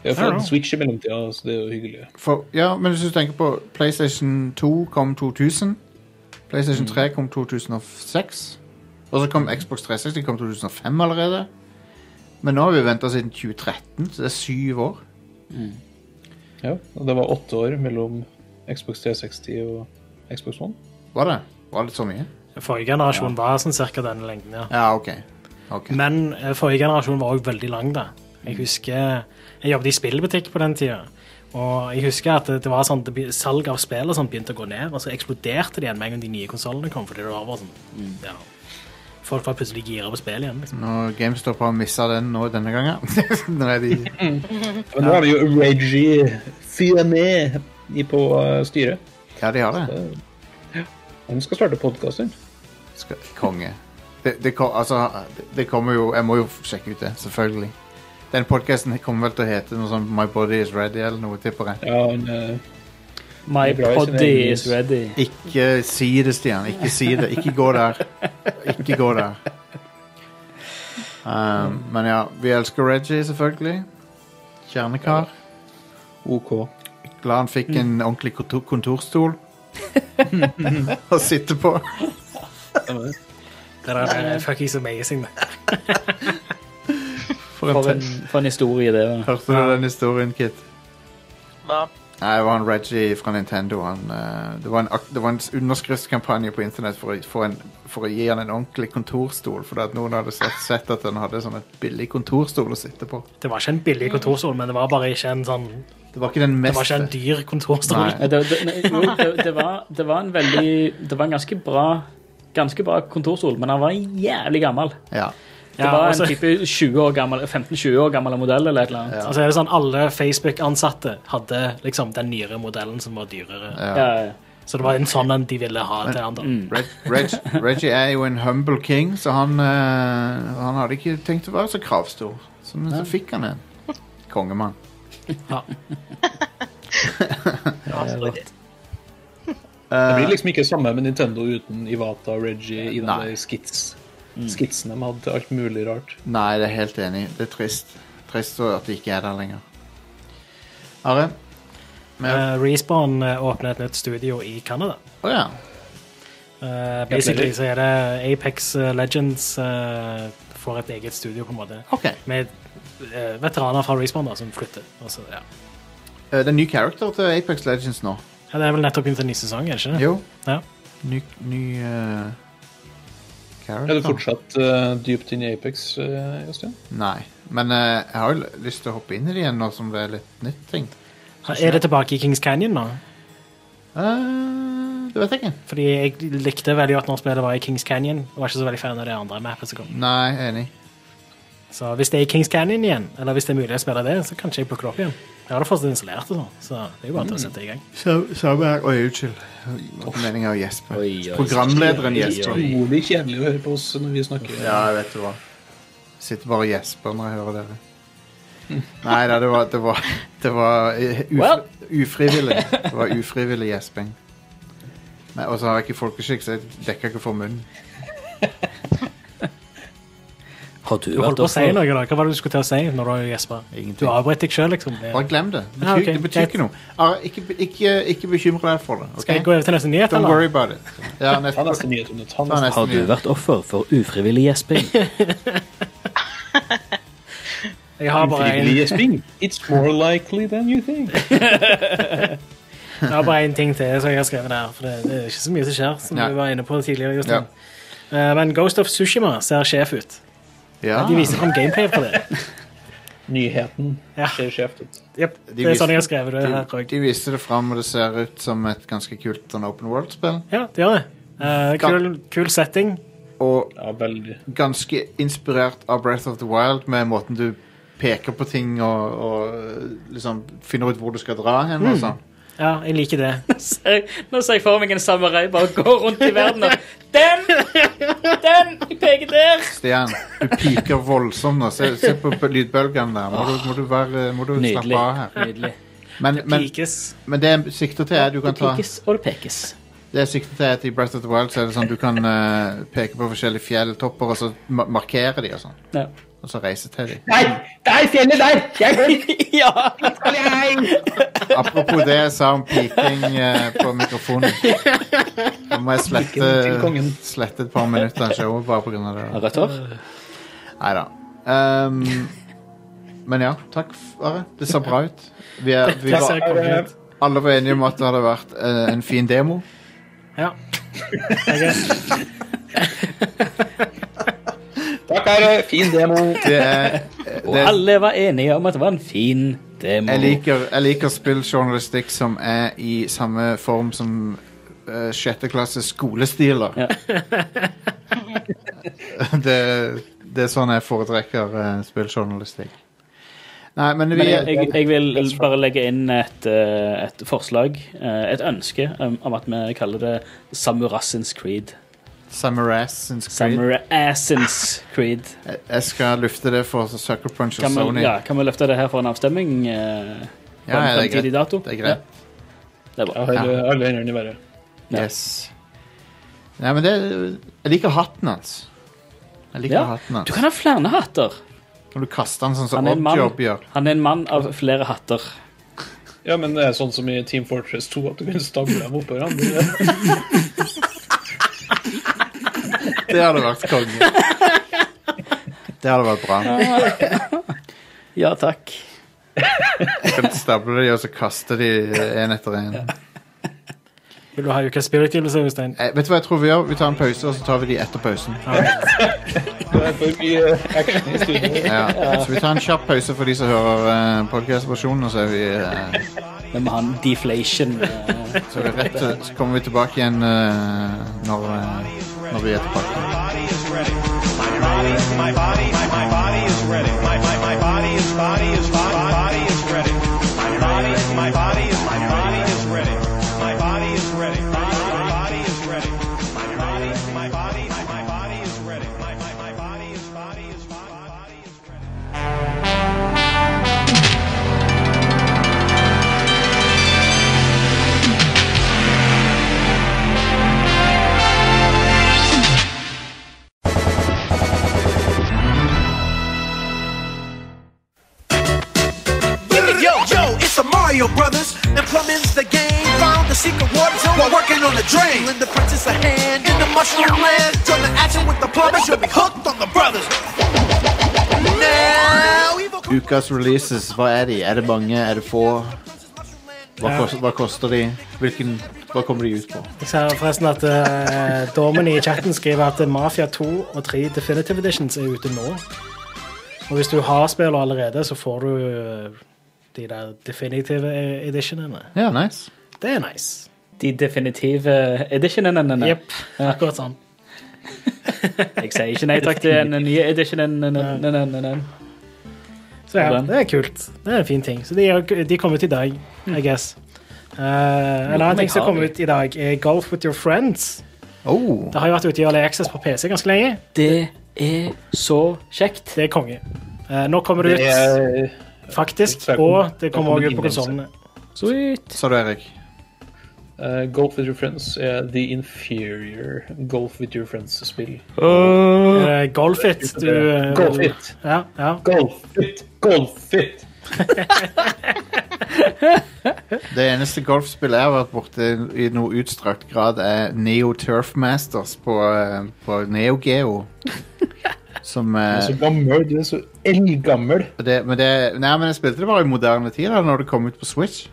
E: Vi har fått
D: Ja.
E: en Switch i mellomtida, så det er jo hyggelig.
A: For, ja, men hvis du tenker på PlayStation 2 kom 2000. PlayStation 3 kom 2006. Og så kom Xbox 360 kom 2005 allerede. Men nå har vi venta siden 2013, så det er syv år.
E: Ja, og det var åtte år mellom Xbox 360 og Xbox One.
A: Var det? Var det så mye?
D: Forrige generasjon var sånn cirka denne lengden, ja.
A: Ja, OK. Ok.
D: Men eh, forrige generasjon var også veldig lang, da.
A: Mm.
D: Jeg husker Jeg jobbet i spillbutikk på den tida. Og jeg husker at det, det var sånn, det, be- salg av spill og sånn begynte å gå ned, og så eksploderte det igjen med en gang de nye konsollene kom. fordi det var bare sånn,
A: Mm.
D: ja. Folk var plutselig gira på spill igjen. liksom.
A: Når GameStop har missa den nå denne gangen. nå er de
E: Men nå har vi jo Reggie Fionet i- på eh, styret.
A: Ja, de har det.
E: Han skal starte podkast.
A: Skal, konge. Det, det, kom, altså, det kommer jo Jeg må jo sjekke ut det, selvfølgelig. Den podkasten kommer vel til å hete noe sånn My Body Is Ready eller noe, tipper jeg.
E: Ja, han, eh,
C: My
E: Det er bra hvis det er
C: poddy
E: engelsk.
C: is ready.
A: Ikke si det, Stian. Ikke si det. Ikke gå der. Ikke gå der. Um, men ja, vi elsker Reggie, selvfølgelig. Kjernekar.
E: OK.
A: Glad han fikk
D: Mm.
A: en ordentlig kontor kontorstol å sitte på.
D: Det der er fuckings amazing. det.
A: For en
C: For en,
A: te-
C: for en historie det var.
A: Hørte du den historien, Kit?
F: Da,
A: Nei, det var han Reggie fra Nintendo. Han, eh, det, var en, ak- det var en s- underskriftskampanje på internett for å, for, en, for å gi han en ordentlig kontorstol. Fordi at noen hadde sett, sett at han hadde sånn et billig kontorstol å sitte på.
D: Det var ikke en billig kontorstol, men det var bare ikke en sånn
A: Det var ikke den
D: Det var
A: mest
D: ikke en dyr kontorstol.
A: Nei.
C: Nei, Det, det, nei, jo, det, det, var, det var en veldig Det var en ganske bra Ganske bra kontorstol, men han var jævlig gammel.
A: Ja.
C: Det
D: Ja,
C: var
D: altså-
C: en type 20 år gammel 15-20 år gammel modell eller et eller annet.
D: Altså er det sånn Alle Facebook-ansatte hadde liksom den nyere modellen som var dyrere.
A: Ja. Mm.
C: Ja, ja.
D: Så det var en sånn en de ville ha til han. da.
A: Reg, Reg, Reggie er jo en humble king, så han, eh, han hadde ikke tenkt å være så kravstor. Så, men så fikk han en. Kongemann.
F: Ja, sorry.
E: Det blir liksom ikke samme med Nintendo uten Ivata og Reggie i
A: Nei.
E: de skits. Mm. skitsene de hadde til alt mulig rart.
A: Nei, det er helt enig. Det er trist. Trist at de ikke er der lenger. Are? Med-
D: Eh, Respawn eh, åpnet et nytt studio i Canada.
A: Å ja.
D: Eh, basically så er det Apex eh, Legends eh, får et eget studio, på en måte.
A: OK.
D: Med eh, veteraner fra Respawn da, som flytter. Og så, ja.
A: Eh, Det er en ny character til Apex Legends nå.
D: ja, Det er vel nettopp begynt en ny sesong, er det ikke det?
A: Jo.
D: Ja.
A: Ny, ny eh,
E: Er du
A: character?
E: fortsatt eh, dypt inn i Apex, eh, Jostein?
A: Nei. Men eh, jeg har jo lyst til å hoppe inn i det igjen nå som det er litt nytt ting.
D: Er det tilbake i Kings Canyon nå?
A: Eh, det vet jeg ikke.
D: Fordi jeg likte veldig godt når spillet var i Kings Canyon. Og var ikke så veldig fan av det andre mappet som kom.
A: Nei, jeg er enig.
D: Så hvis det er i Kings Canyon igjen, eller hvis det er mulig å spille det, så kanskje jeg plukker det opp igjen. Jeg har det fortsatt installert, og sånn, så det er jo bare til å sette i gang.
A: Samme her. Oi, unnskyld. Det var ikke meningen å gjespe.
G: Oi, oi,
A: Programlederen
G: oi, oi.
A: gjesper.
E: Utrolig kjedelig å høre på oss når vi snakker.
A: Ja, jeg vet du hva. Sitter bare og gjesper når jeg hører dere. Nei da, det var, det var, det var eh, ufri,
C: Well.
A: ufrivillig. Det var ufrivillig gjesping. Men- Og så har jeg ikke folkeskikk, så jeg dekker ikke for munnen.
G: Har du
D: Du holdt
G: vært
D: på å si
G: oppe?
D: noe, da. Hva var det du skulle til å si når du gjespa? Du
A: Ingenting.
D: avbrøt deg sjøl, liksom. Det.
A: Bare glem det. Det betyr,
D: Ja, ok,
A: det betyr
D: greit.
A: ikke noe. Are, ikke, ikke, ikke bekymre deg for det. ok?
D: Skal jeg gå over til neste nyhet,
A: Don't
D: eller?
A: worry about it. Ja,
E: Ta
A: nesten.
E: neste nyhet, Jonny. Ta
A: Ta
E: neste.
A: neste
G: Har du
A: nyhet.
G: vært offer for ufrivillig gjesping?
D: Jeg har bare en,
E: Frivillig gjesping. It's more likely than you think.
D: jeg har bare en ting til som jeg har skrevet der. For det, det er ikke så mye som skjer, som
A: Nei.
D: vi var inne på tidligere. Justin. Eh, Men Ghost of Sushima ser sjef ut.
A: Ja,
D: De viser fram gameplay fra det.
E: Nyheten
D: Ja.
E: skjer skjevt ut.
D: Jep,
A: De
D: det er
A: viser-
D: sånn jeg har skrevet det. her
A: de,
D: også.
A: de viste det fram, og det ser ut som et ganske kult sånn open world-spill.
D: Ja, det gjør det. Eh, kul, kul setting.
A: Og
E: Ja, veldig.
A: ganske inspirert av Breath of the Wild med måten du peker på ting og, og liksom finner ut hvor du skal dra hen og sånn.
D: Ja, jeg liker det.
C: Jeg- Nå ser jeg for meg en samurai bare går rundt i verden og Den! Den! Jeg peker der!
A: Stian, du piker voldsomt nå. Se, se på på lydbølgene der. Må du, må du, være, må du
G: Nydelig.
A: slappe av her.
G: Nydelig.
A: Men, men,
D: Pikes.
A: men det jeg sikter til, er du kan
G: Det
A: ta
G: pikes og det pekes.
A: Det jeg sikter til, er at i Breath of the Wild så er det sånn du kan eh, peke på forskjellige fjelltopper og så ma- markere de og sånn.
C: Ja.
A: Og så reise til de.
E: Nei! Der! Fjellet der! Jeg går!
C: ja.
E: Skal jeg!
A: Apropos det jeg sa om piking eh, på mikrofonen. Nå må jeg slette,
E: Piken til kongen.
A: slette et par minutter av showet bare pga. det.
G: Rødt hår?
A: Nei da. Um, men ja, takk, f- Are. Det ser bra ut. Vi, er, vi
D: Det ser
A: var
D: konge ut.
A: alle var enige om at det hadde vært eh, en fin demo.
D: Ja. Jeg er-
E: Takk, er det. Fin demo.
A: Det er, eh,
G: Og
A: det er
G: alle var enige om at det var en fin demo.
A: Jeg liker, jeg liker spilljournalistikk som er i samme form som uh, sjetteklasse skolestiler.
G: Ja.
A: det, det er sånn jeg foretrekker eh, spilljournalistikk. Nei, men vi
C: Men jeg, jeg, jeg vil bare legge inn et, eh, et forslag, eh, et ønske, om om at vi kaller det Samurassins Creed.
A: Samarassins Creed.
C: Samurassins Creed.
A: Jeg- Jeg skal lufte det for Sucker Punch og
C: Kan
A: Sony.
C: vi, ja, kan vi løfte det her for en avstemning? eh,
A: Ja,
C: på en
A: ja, det er
C: fremtidig
A: greit.
C: dato?
A: Det er greit.
C: Ja, det er bra.
E: Jeg har eh, alle hendene i været.
C: Ja.
A: Yes. Nei, men det Jeg liker hatten hans. Jeg liker
C: Ja.
A: hatten hans.
C: Du kan ha flere hatter.
A: Kan du kaste den sånn som
C: Han er en mann.
A: Oddjob gjør?
C: Han er en mann av flere hatter.
E: Ja, men det er sånn som i Team Fortress 2, at du kan stable dem oppå hverandre.
A: Det hadde vært konge. Det hadde vært bra.
C: Ja takk.
A: eh, kan stable de og så kaste de en etter en.
D: Vil du ha ukas spirit-givelse, Øystein?
A: Eh, vet du hva jeg tror vi gjør? Vi tar en pause, og så tar vi de etter pausen.
E: Det er for mye action i studio.
A: Ja. Så vi tar en kjapp pause for de som hører eh, podcastversjonen, og så, er vi, eh,
G: Vi må ha en deflation. eh,
A: så, er vi rett, til- så kommer vi tilbake igjen eh, når, eh, når vi er tilbake.
H: My body is ready. My body, my body, my, my body is ready. My, my, my body is body is body, body is ready. My body, my body is my body is ready. My body is ready. My, my body is ready. My body, my body, my, my body is ready. My, my, my body is body is body, body is ready.
I: Yo, yo, it's the Mario Brothers, and plumbing's the game. Found the secret water zone while working on the drain. Lend the princess a hand in the mushroom land. Join the action with the plumbers, you'll be hooked on the brothers. Now, evil
A: Ukas releases, hva er de? Er det mange? Er det få? Hva,
D: Ja.
A: koster, hva koster de? Hvilken, hva kommer de ut på?
D: Jeg ser forresten at uh, Dormen i chatten skriver at Mafia 2 og 3 Definitive Editions er ute nå. Og hvis du har spillet allerede, så får du eh, de der definitive eh, editionene.
A: Ja, nice.
D: Det er nice.
G: De definitive editionene.
D: Jepp. Akkurat sånn.
G: Jeg sier ikke nei takk til en ny edition. en- en- en- en- en- en.
D: Så ja,
G: Den.
D: det er kult. Det er en fin ting. Så de, er- de kom ut i dag, I guess. Eh, en annen ting som
G: har
D: kom
G: de.
D: ut i dag, er Golf with your friends.
A: Oh,
D: Det har jo vært ute i Early Access på PC ganske lenge.
G: Det er så kjekt.
D: Det er konge. Eh, nå kommer det
E: Det
D: ut,
E: er
D: faktisk.
E: det er-
D: Og det kommer
E: kommer
D: også ut på
E: ingen sensor.
D: konsollene.
G: Sweet.
A: sa du, Erik?
E: eh, Golf with your friends er the inferior Golf with your friends-spill.
D: Uh, Golfit. Du, eh,
E: Golf it!
D: Ja, ja.
E: Golf it! Golf it!
A: Det eneste golfspillet jeg har vært borti i noe utstrakt grad, er Neo Turfmasters på, eh, på Neo Geo. Som
E: Du
A: eh,
E: er så gammel, du er så eldgammel.
A: det, men det, Nei, men jeg spilte det bare i moderne tid, da når det kom ut på Switch.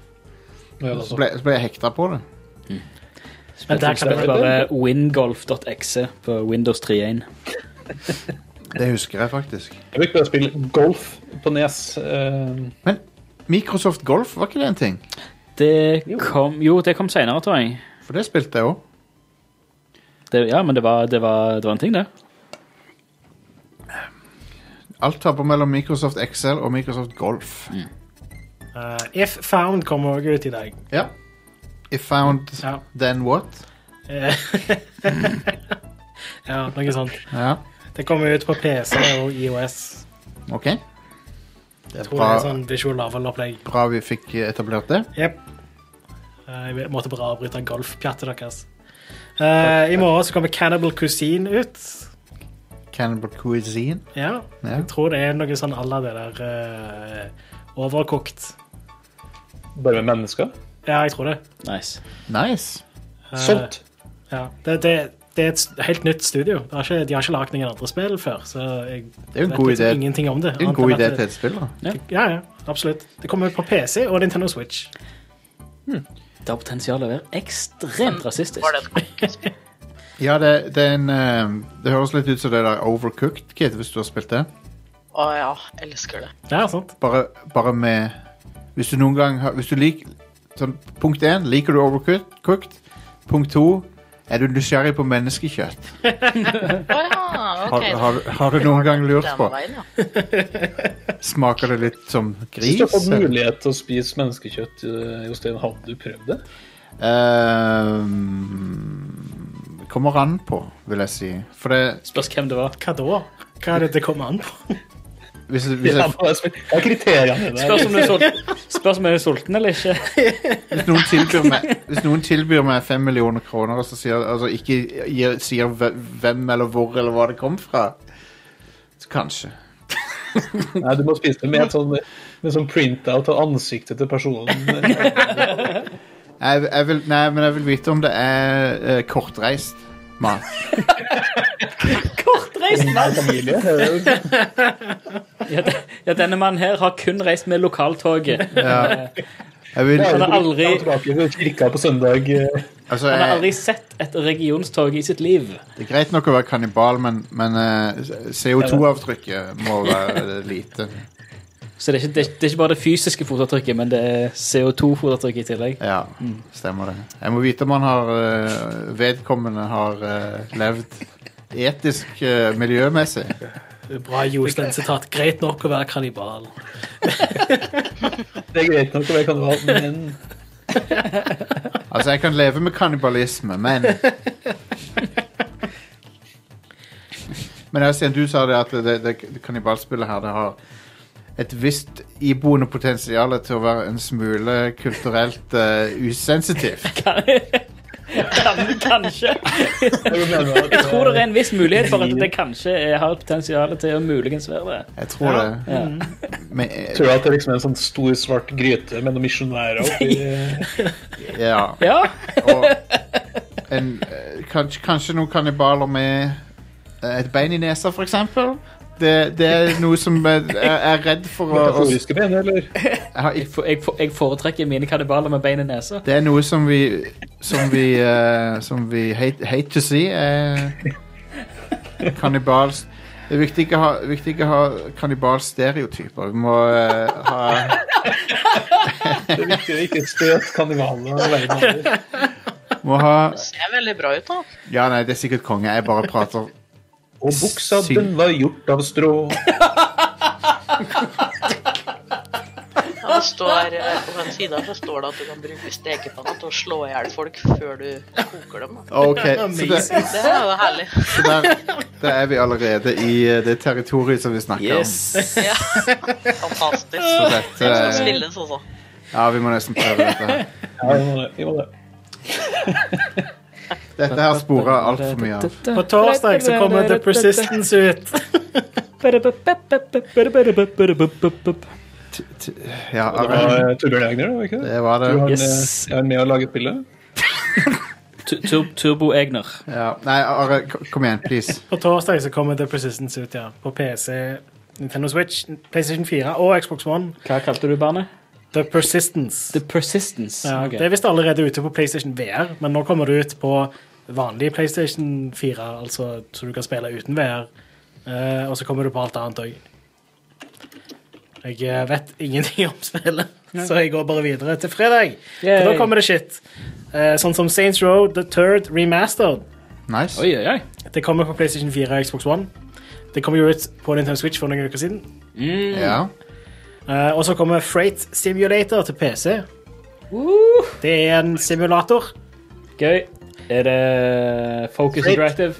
A: Så
E: Ja, altså.
A: ble, så ble jeg hekta på det.
D: Men der kan
G: Spiller
D: du
G: bare wingolf.exe på Windows 3.1.
A: Det husker jeg faktisk.
E: Jeg vil ikke bare spille golf på nes. eh,
A: Men Microsoft Golf, var ikke det en ting?
G: Det kom Jo, det kom senere, tror jeg.
A: For det spilte jeg òg.
G: Det, ja, men det var, det, var, det var en ting, det.
A: Alt tapper mellom Microsoft Excel og Microsoft Golf.
D: Eh, If Found kommer også ut i dag.
A: Ja. If found,
D: Ja.
A: then what?
D: Eh, ja, noe sånt.
A: Ja,
D: Det kommer ut på PC og IOS.
A: ok. Det er
D: Tror det
A: bra,
D: er sånn visual level-opplegg.
A: bra vi fikk etablert det.
D: Jep. Eh, Jeg måtte bare avbryte golfpjattet deres. Eh, I morgen så kommer Cannibal Cuisine ut.
A: Cannibal Cuisine.
D: Ja,
A: Ja.
D: jeg tror det er noe sånn à la det der eh, overkokt.
E: bare med mennesker.
D: Ja, jeg tror det.
G: Nice.
A: Nice.
D: Eh,
E: Solgt.
D: Ja, det, det, det er et s- helt nytt studio. Det har ikke, de har ikke lagd noen andre spill før, så jeg liksom
A: Det er jo en god idé.
D: ingenting om det.
A: Det er en
D: annet
A: god
D: enn at
A: idé
D: det-
A: til et spill, da.
D: Ja, ja, absolutt. Det kommer ut på PC og Nintendo Switch.
G: Det har potensial til å være ekstremt rasistisk.
F: Var det et
A: Ja, det, det er en eh, Det høres litt ut som det der Overcooked Kid, hvis du har spilt det.
F: Å ja, elsker det.
D: Ja, sant?
A: Bare, bare med Hvis du noen gang har Hvis du liker sånn, Punkt én, liker du Overcooked? Punkt to, er du nysgjerrig på menneskekjøtt?
F: Å ja,
A: Har,
F: ok.
A: har, har du noen gang lurt
F: Den
A: på
F: veien, ja.
A: Smaker det litt som
E: Hvis
A: gris?
E: du har fått
A: eller?
E: mulighet til å spise menneskekjøtt, eh, Jostein, hadde du prøvd det?
A: Ehm, Det Eh, kommer an på, vil jeg si. For det,
G: Spørs hvem det var.
D: Hva da? Hva er det det kommer an på?
A: hvis, hvis,
E: Ja,
A: jeg,
E: hva er sp- hva er kriteriene i det?
G: Spørs om du er sulten, spørs om du er sulten eller ikke.
A: hvis, noen tilbyr meg, hvis noen tilbyr meg fem millioner kroner og så sier, altså ikke gir, sier hve- hvem eller hvor eller hva det kom fra, så kanskje.
E: Nei, du må spise det med en sånn, med en sånn printout av ansiktet til personen.
A: Jeg, jeg vil, nei, men jeg vil vite om det er eh, kortreist mat.
G: Kortreist mann!
E: Familie. Det er jo-
G: Ja, de- ja, denne mannen her har kun reist med lokaltoget.
A: Jeg vil,
E: det er jo
G: Han har aldri-
E: tilbake til kirka på søndag. eh,
A: Altså,
C: Han har
A: jeg,
C: aldri sett et regionstog i sitt liv.
A: det er greit nok å være kannibal, men, men eh, CO2-avtrykket må være eh, lite.
C: Så det er ikke, det er, det er ikke bare det fysiske fotavtrykket, men det er CO2-fotavtrykket i tillegg.
A: Ja, stemmer det. Jeg må vite om han har eh, vedkommende har eh, levd etisk eh, miljømessig.
D: Bra Jostein-sitat. Greit nok å være kannibal.
E: Det er greit nok å være kannibal, men
A: Altså, jeg kan leve med kannibalisme, men Men jeg ser du sa det at det, det, det kannibalspillet her, det har et visst iboende potensial til å være en smule kulturelt eh, usensitivt.
C: Kan, kanskje.
E: jeg mener at,
C: Jeg tror det er en viss mulighet for at det kanskje er- har potensial til å muligens være det.
A: Jeg tror det.
C: Ja.
A: Men,
E: jeg
A: eh,
E: tror at det er liksom en sånn stor, svart gryte med noen misjonærer oppi
A: ja.
C: Ja,
A: Og en, eh, kanskje, kanskje noen kannibaler med eh, et bein i nesa, for eksempel. Det, det er noe som eh, jeg er redd for å, å
E: metaforiske ben, eller?
A: jeg har
C: jeg, for- jeg, for- jeg foretrekker mine kannibaler med bein i nesa.
A: Det er noe som vi Som vi, eh, som vi hate, hate to see. Uh, kannibals Det er viktig ikke å ha, viktig ikke å ha kannibalstereotyper. Vi må eh, ha
E: Det er viktig å ikke støte kannibalene av verden over.
A: Må ha
F: Det ser veldig bra ut, da.
A: Ja, nei, det er sikkert konge. Jeg bare prater
E: Og buksa, den var gjort av strå.
F: Ja, det står, eh, på den siden så står det at du kan bruke stekepanna til å slå i hjel folk før du koker dem. Da.
A: OK. Så det,
F: Det er jo herlig.
A: så der, der er vi allerede i eh, det territoriet som vi snakker
C: Yes.
F: Ja.
A: om. Så
F: Fantastisk.
A: dette
F: Det skal
A: eh,
F: spilles altså. også.
A: Ja, vi må nesten prøve dette her.
E: Ja, vi må det. Vi må det.
A: Dette her sporer altfor mye av.
D: På torsdag så kommer The Persistence ut.
A: T- t- Ja,
E: Det var eh, Torbjørn Egner, var det ikke det?
A: det var
E: Du har
A: det.
E: en,
C: Yes.
E: eh, er han med å lage et bilde?
C: Tu- tur- Turbo Egner.
A: Ja. Nei, Are, k- kom igjen, please.
D: På torsdag så kommer The Persistence ut, ja. På PC, Nintendo Switch, PlayStation 4 og Xbox One.
C: Hva kalte du barnet?
D: The Persistence.
C: The Persistence.
D: Ja,
C: Ok.
D: Det er visst allerede ute på PlayStation VR, men nå kommer det ut på vanlig PlayStation 4, altså så du kan spille uten VR. Eh, og så kommer det på alt annet òg. Jeg eh, vet ingenting om spillet, så jeg går bare videre til fredag. For da
C: Yay.
D: kommer det shit. Eh, sånn som Saints Row The Third Remastered.
A: Nice.
C: Oi, oi, oi.
D: Det kommer på PlayStation 4 og Xbox One. Det kommer jo ut på Nintendo Switch for noen uker siden.
A: Ja.
D: Eh, og så kommer Freight Simulator til PC. Det er en simulator.
C: Gøy. Er det Focus
D: Shit.
C: Interactive?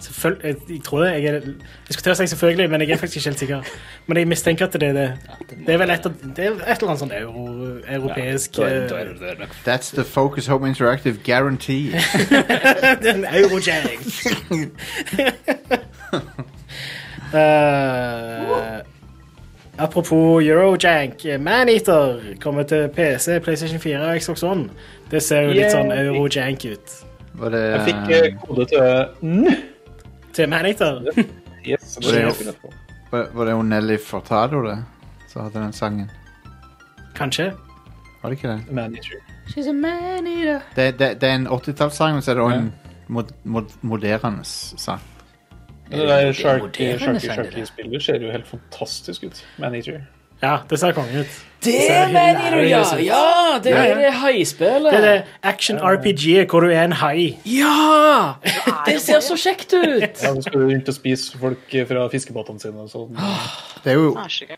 D: Selvfølgelig, jeg, jeg tror det. Jeg, er, jeg skulle til å si selvfølgelig, men jeg er faktisk ikke helt sikker. Men jeg mistenker at det er det. Det er vel et, av- det er et eller annet sånn euro, europeisk eh,
A: That's the Focus Home Interactive guarantee.
D: Det er en eurojag. Eh, apropos Eurojank. Maneater kommer til PC, PlayStation 4 og Xbox One. Det ser jo litt sånn
E: Yay.
D: eurojank ut.
A: Var det,
E: Jeg fikk eh, kode til N.
D: Til Maneater.
E: Yes,
A: det er
E: det
A: jo-
E: er fint etterpå.
A: var, var det jo Nelly Furtado det? Som hadde den sangen?
D: Kanskje.
A: Var det ikke det?
E: Manager.
A: Det, det, det er en 80-tallssang, men så er det også en mod, mod, moderne sang.
E: Men Det der Sharky
G: moderne
E: Sharky
G: sender,
E: Sharky-spillet ser jo helt fantastisk ut. Manager.
D: Ja, det ser konge ut.
C: Det
D: ser
C: mener du, ja!
D: hilarious ut.
C: Ja, det er det haispillet.
D: Det er det action RPG-et hvor du er en hai.
C: Ja! Det ser så kjekt ut!
E: Ja, Nå skal du rundt og spise folk eh, fra fiskebåtene sine og sånn. Nei,
A: Det er jo
F: Det er så gøy.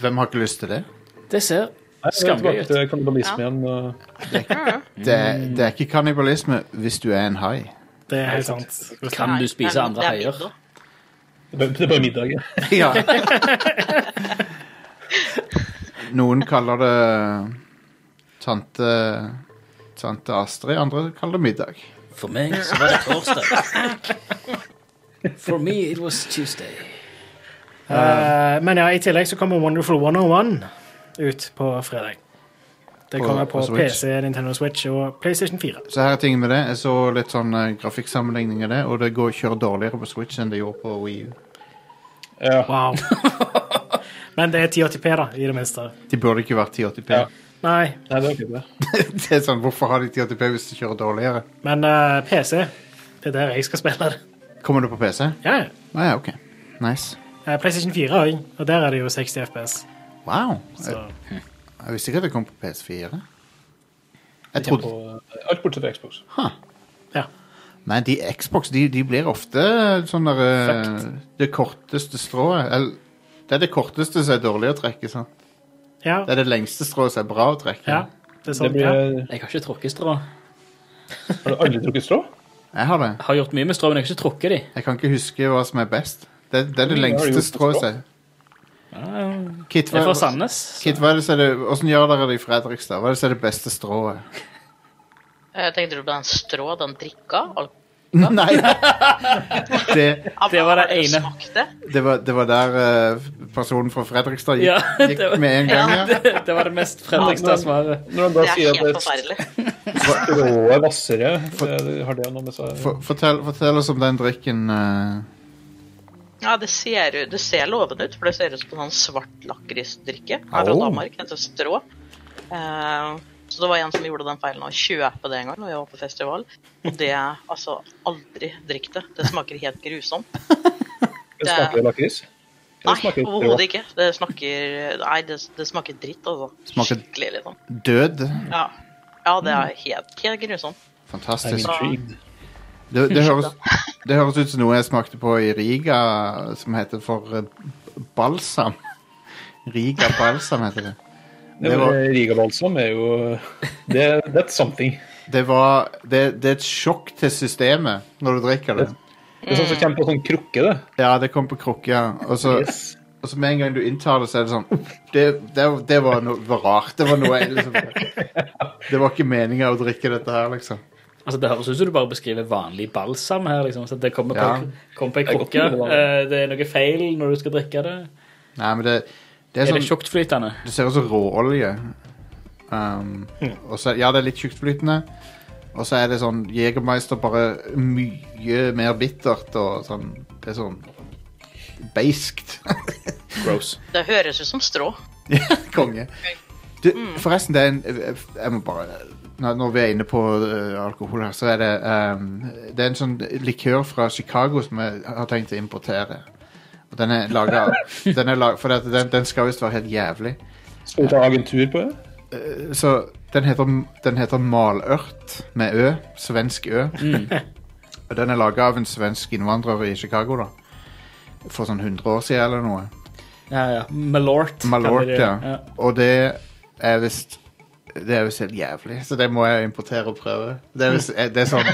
A: Hvem har ikke lyst til det?
C: Det ser
E: vi er
C: Skamgøy
E: tilbake
C: ut.
E: til kannibalisme igjen. og-
A: Det, er-
E: Mm.
A: det er ikke kannibalisme hvis du er en hai.
D: Det er helt sant.
C: Kan du spise
F: Nei,
C: andre
F: det er
C: haier?
F: middag.
E: Det er bare- det er bare middag. ja.
A: Ja. Noen kaller det tante Tante Astrid, andre kaller det middag.
G: For meg så var det torsdag.
C: For me it was Tuesday.
D: Eh, men ja, i tillegg så kommer Wonderful 101 ut på fredag. Det
A: På-
D: kommer
A: på
D: på
A: Switch.
D: PC, Nintendo Switch og PlayStation 4.
A: Så her er ting med det. Jeg så litt sånn eh, grafikksammenligning av det, og det går kjører dårligere på Switch enn det gjorde på Wii U.
E: Ja.
D: Wow. men det er 1080P, da, i det minste.
A: De burde ikke vært 1080p.
E: Ja.
D: Nei,
E: Nei, det er ikke det.
A: det er sånn, Hvorfor har de ikke ATP hvis de kjører dårligere?
D: men eh, PC. Det er der jeg skal spille det.
A: Kommer du på PC? Å
D: Ja, ja.
A: ja, OK. Nice.
D: Eh, PlayStation 4 òg, og der er det jo 60 FPS.
A: Wow.
D: Så.
A: Jeg, jeg visste ikke at det kom på PS4. Jeg
E: På,
A: trodde
E: eh, alt bortsett fra Xbox.
A: Nei, de Xbox de, de blir ofte sånn der eh, Det korteste strået. Eller det er det korteste som er dårlig å trekke. sant?
D: Ja,
A: Det er det lengste strået som er bra å trekke.
D: ja, det er
E: Det
D: sånn.
E: blir,
D: Ja.
G: Jeg har ikke trukket strå.
E: har du aldri drukket strå?
A: Jeg har det.
G: Jeg har gjort mye med strå, men jeg har ikke trukket de.
A: Jeg kan ikke huske hva som er best. Det, det er det
E: Ja, har du
A: lengste
E: gjort
A: strået
E: det
A: som er Kit,
G: Jeg er
A: hva,
G: fra Sandnes.
A: Kit, hva er det som er det, hvordan gjør dere det i Fredrikstad? Hva er det som er det beste strået?
F: Eh, Tenkte du på den strå den drikka? Al-
A: Nei! Det,
G: Det
F: Har
G: var det
F: du
G: ene.
F: smakt det?
A: det, var, det var der eh, personen fra Fredrikstad gikk,
G: Ja, det
A: gikk
G: var-
A: med en gang. Ja.
G: Det, det var det mest Fredrikstad svaret.
E: Når han
F: Det
E: da
F: er
E: sier at
F: helt
E: det er
F: forferdelig.
E: strået hvassere, det- har det noe med seg
A: For, fortell, fortell oss om den drikken. eh,
F: Ja, det ser, jo- det ser lovende ut, for det ser ut som en sånn svart lakrisdrikke her fra
A: Au.
F: Danmark. Den heter strå. Eh, så det var en som gjorde den feilen å kjøpe det en gang når vi var på festival. Og det altså aldri drikk det. Det smaker helt grusomt.
E: Det smaker lakris?
F: Nei,
E: Det smaker strå.
F: overhodet ikke. Det smaker Nei, det, det smaker dritt, altså.
A: Smaker-
F: Skikkelig, liksom.
A: Død.
F: Ja. ja, det er helt, helt grusomt.
E: I'm
A: Fantastisk.
E: intrigued.
A: Det, det, høres, det høres ut som noe jeg smakte på i Riga, som heter for eh, balsam. Riga balsam heter det.
E: Det
A: Det var-
E: var... Rigabalsam er jo det, That's something.
A: Det, var, det, det er et sjokk til systemet når du drikker det.
E: Det er sånn som kommer på sånn krukke, det.
A: Ja, det kom på krukke. Ja. Og, så-
E: Yes.
A: og så med en gang du inntar det, så er det sånn «Uff, Det, det, det var noe var rart. Det var noe jeg liksom Det var ikke meninga å drikke dette her, liksom.
G: Altså, det høres ut som du bare beskriver vanlig balsam her. liksom. Så det kommer på,
A: Ja.
G: kommer på en
E: er godt
G: krukke.
E: med
G: Eh, Det er noe feil når du skal drikke det.
A: Nei, men det, det er
G: Er
A: sånn
G: det tjuktflytende?
A: Det ser ut som råolje. Um, og så- ja, det er litt tjuktflytende. Og så er det sånn Jegermeister bare mye mer bittert og sånn Det er sånn beiskt.
G: Gross.
F: Det høres ut som strå.
A: Konge. Du, forresten, det er en Jeg må bare Når når vi er inne på eh, alkohol her, så er det um, Det er en sånn likør fra Chicago som jeg har tenkt å importere. Og den er laga den, er laget- for det at den, den skal visst være helt jævlig.
E: Skal vi ta agentur på det?
A: Så den heter, den heter Malørt med Ø. Svensk Ø. Og den er laga av en svensk innvandrer i Chicago, da. For sånn 100 år siden eller noe.
G: Ja, ja. Malort.
A: Malort,
G: kaller de det.
A: ja. Og det er visst Det er visst helt jævlig, så det må jeg importere og prøve. Det er, visst, det er sånn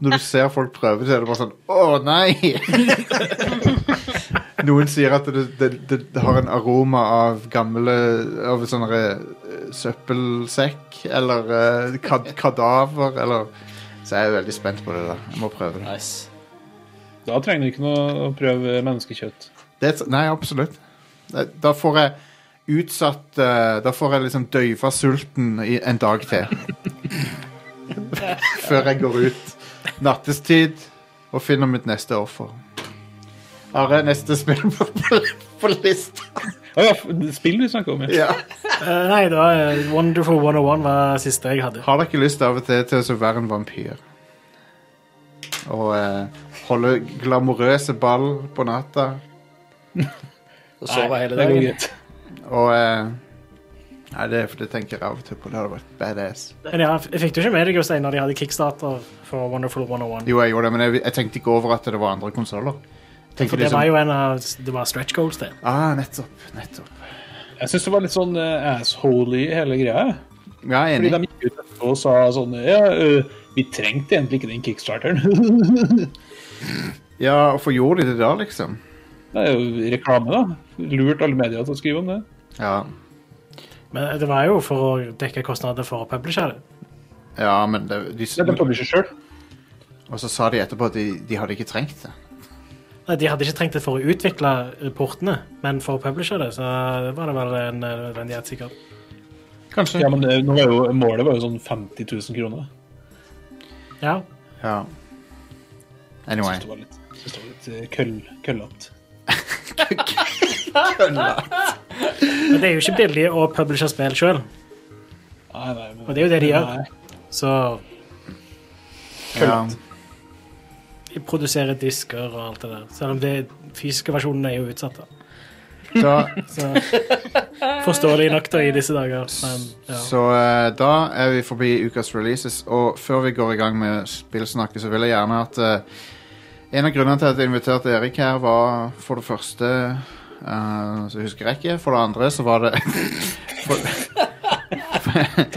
A: Når du ser folk prøve, så er det bare sånn Å, nei! Noen sier at det, det, det, det har en aroma av gamle Av sånn eh, søppelsekk eller eh, kad, kadaver eller Så jeg er veldig spent på det der. Jeg må prøve det.
G: Nice.
E: Da trenger du ikke noe å prøve menneskekjøtt.
A: det er et- nei, absolutt. Eh, Da får jeg utsatt eh, Da får jeg liksom døyva sulten i en dag til. Før jeg går ut nattestid og finner mitt neste offer. Are, neste spill på, på, på lista.
E: Å ja, f- spill vi snakker om, ja.
A: Ja.
D: Eh, nei, det var eh, Wonderful 101 var det siste jeg hadde.
A: Har dere ikke lyst av og til til å så være en vampyr? Og eh, holde glamorøse ball på natta?
G: Og sove hele
E: Det går
G: dagen.
E: greit.
A: Og eh, Nei, det, det tenker jeg av og til på. Det hadde vært badass.
D: Men ja, f- fikk du ikke med deg Jostein, når de hadde kickstarter for Wonderful 101?
A: Jo, jeg gjorde det, men jeg, jeg tenkte ikke over at det var andre konsoller. Tenkte
D: For det
A: liksom,
D: var jo en av det var stretch goals, det.
A: Ah, nettopp, nettopp.
E: Jeg syns det var litt sånn uh, assholey hele greia.
A: Ja, jeg er
E: Fordi de
A: enig.
E: gikk ut etterpå og sa sånn Ja, eh, vi trengte egentlig ikke den kickstarteren.
A: Ja, hvorfor gjorde de det da, liksom?
E: det er jo reklame, da. Lurt alle medier til å skrive om det.
A: Ja,
D: Men eh, det var jo for å dekke kostnader for å publisere det.
A: ja men det, de,
E: Det er de publisher sjøl.
A: Og så sa de etterpå at de, de hadde ikke trengt det.
D: Nei, De hadde ikke trengt det for å utvikle eh, portene, men for å publisere det, så det var det vel en eh, nødvendighet, sikkert.
A: Kanskje.
E: Ja, men det, nå var jo, målet var jo sånn 50 000 kroner.
D: Ja.
A: Ja.
E: Jeg
A: Anyway.
E: synes det var litt, synes det var litt eh, køll, køllete.
D: Men det er jo ikke billig å publisere spill sjøl.
E: Nei, nei, men-
D: Og det er jo det de gjør.
E: Nei.
D: Så
A: Ja.
D: de produserer disker og alt det der. Selv om det fysiske versjonen er jo utsatt. da.
A: Da,
D: Så forståelig nok da i disse dager. Men, ja.
A: Så eh, da er vi forbi ukas releases, og før vi går i gang med spillsnakket, så vil jeg gjerne at eh, En av grunnene til at jeg inviterte Erik her, var for det første eh, Så husker jeg ikke. For det andre så var det
E: Takk.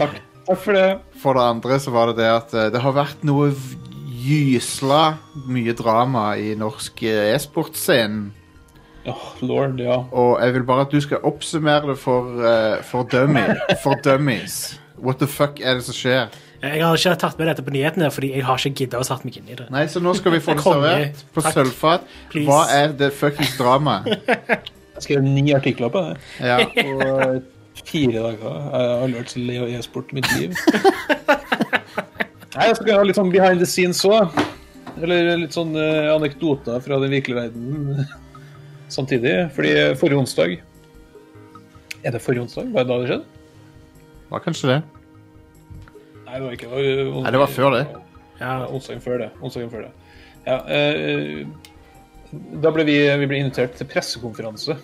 E: Takk for det.
A: For det andre så var det det at eh, det har vært noe v- gysla mye drama i norsk eh, e-sportscene.
E: Åh, lord, ja.
A: Og jeg vil bare at du skal oppsummere det for, eh, for, dummy, for dummies. What the fuck er det som skjer?
D: Jeg har ikke tatt med dette på nyhetene, fordi jeg har ikke giddet å satt meg inn i det.
A: Nei, så nå skal vi få det
D: Konge.
A: servert på
D: Takk.
A: sølvfat.
D: Please.
A: Hva er det fuckings dramaet?
E: Jeg skrev ni artikler på det.
A: Ja.
E: Og fire dager. Jeg har aldri vært så lei av e-sport i mitt liv. Nei, jeg skal ha litt sånn behind the scenes òg. Eller litt sånn eh, anekdoter fra den virkelige verden samtidig. Fordi forrige onsdag Er det forrige onsdag? Var det da det skjedde?
A: Var kanskje det.
E: Nei, det var ikke det. Var,
A: Nei, det var før det.
D: Ja,
E: Ja, onsdagen før det. Onsdagen før det. Ja, eh, da ble vi, vi ble invitert til pressekonferanse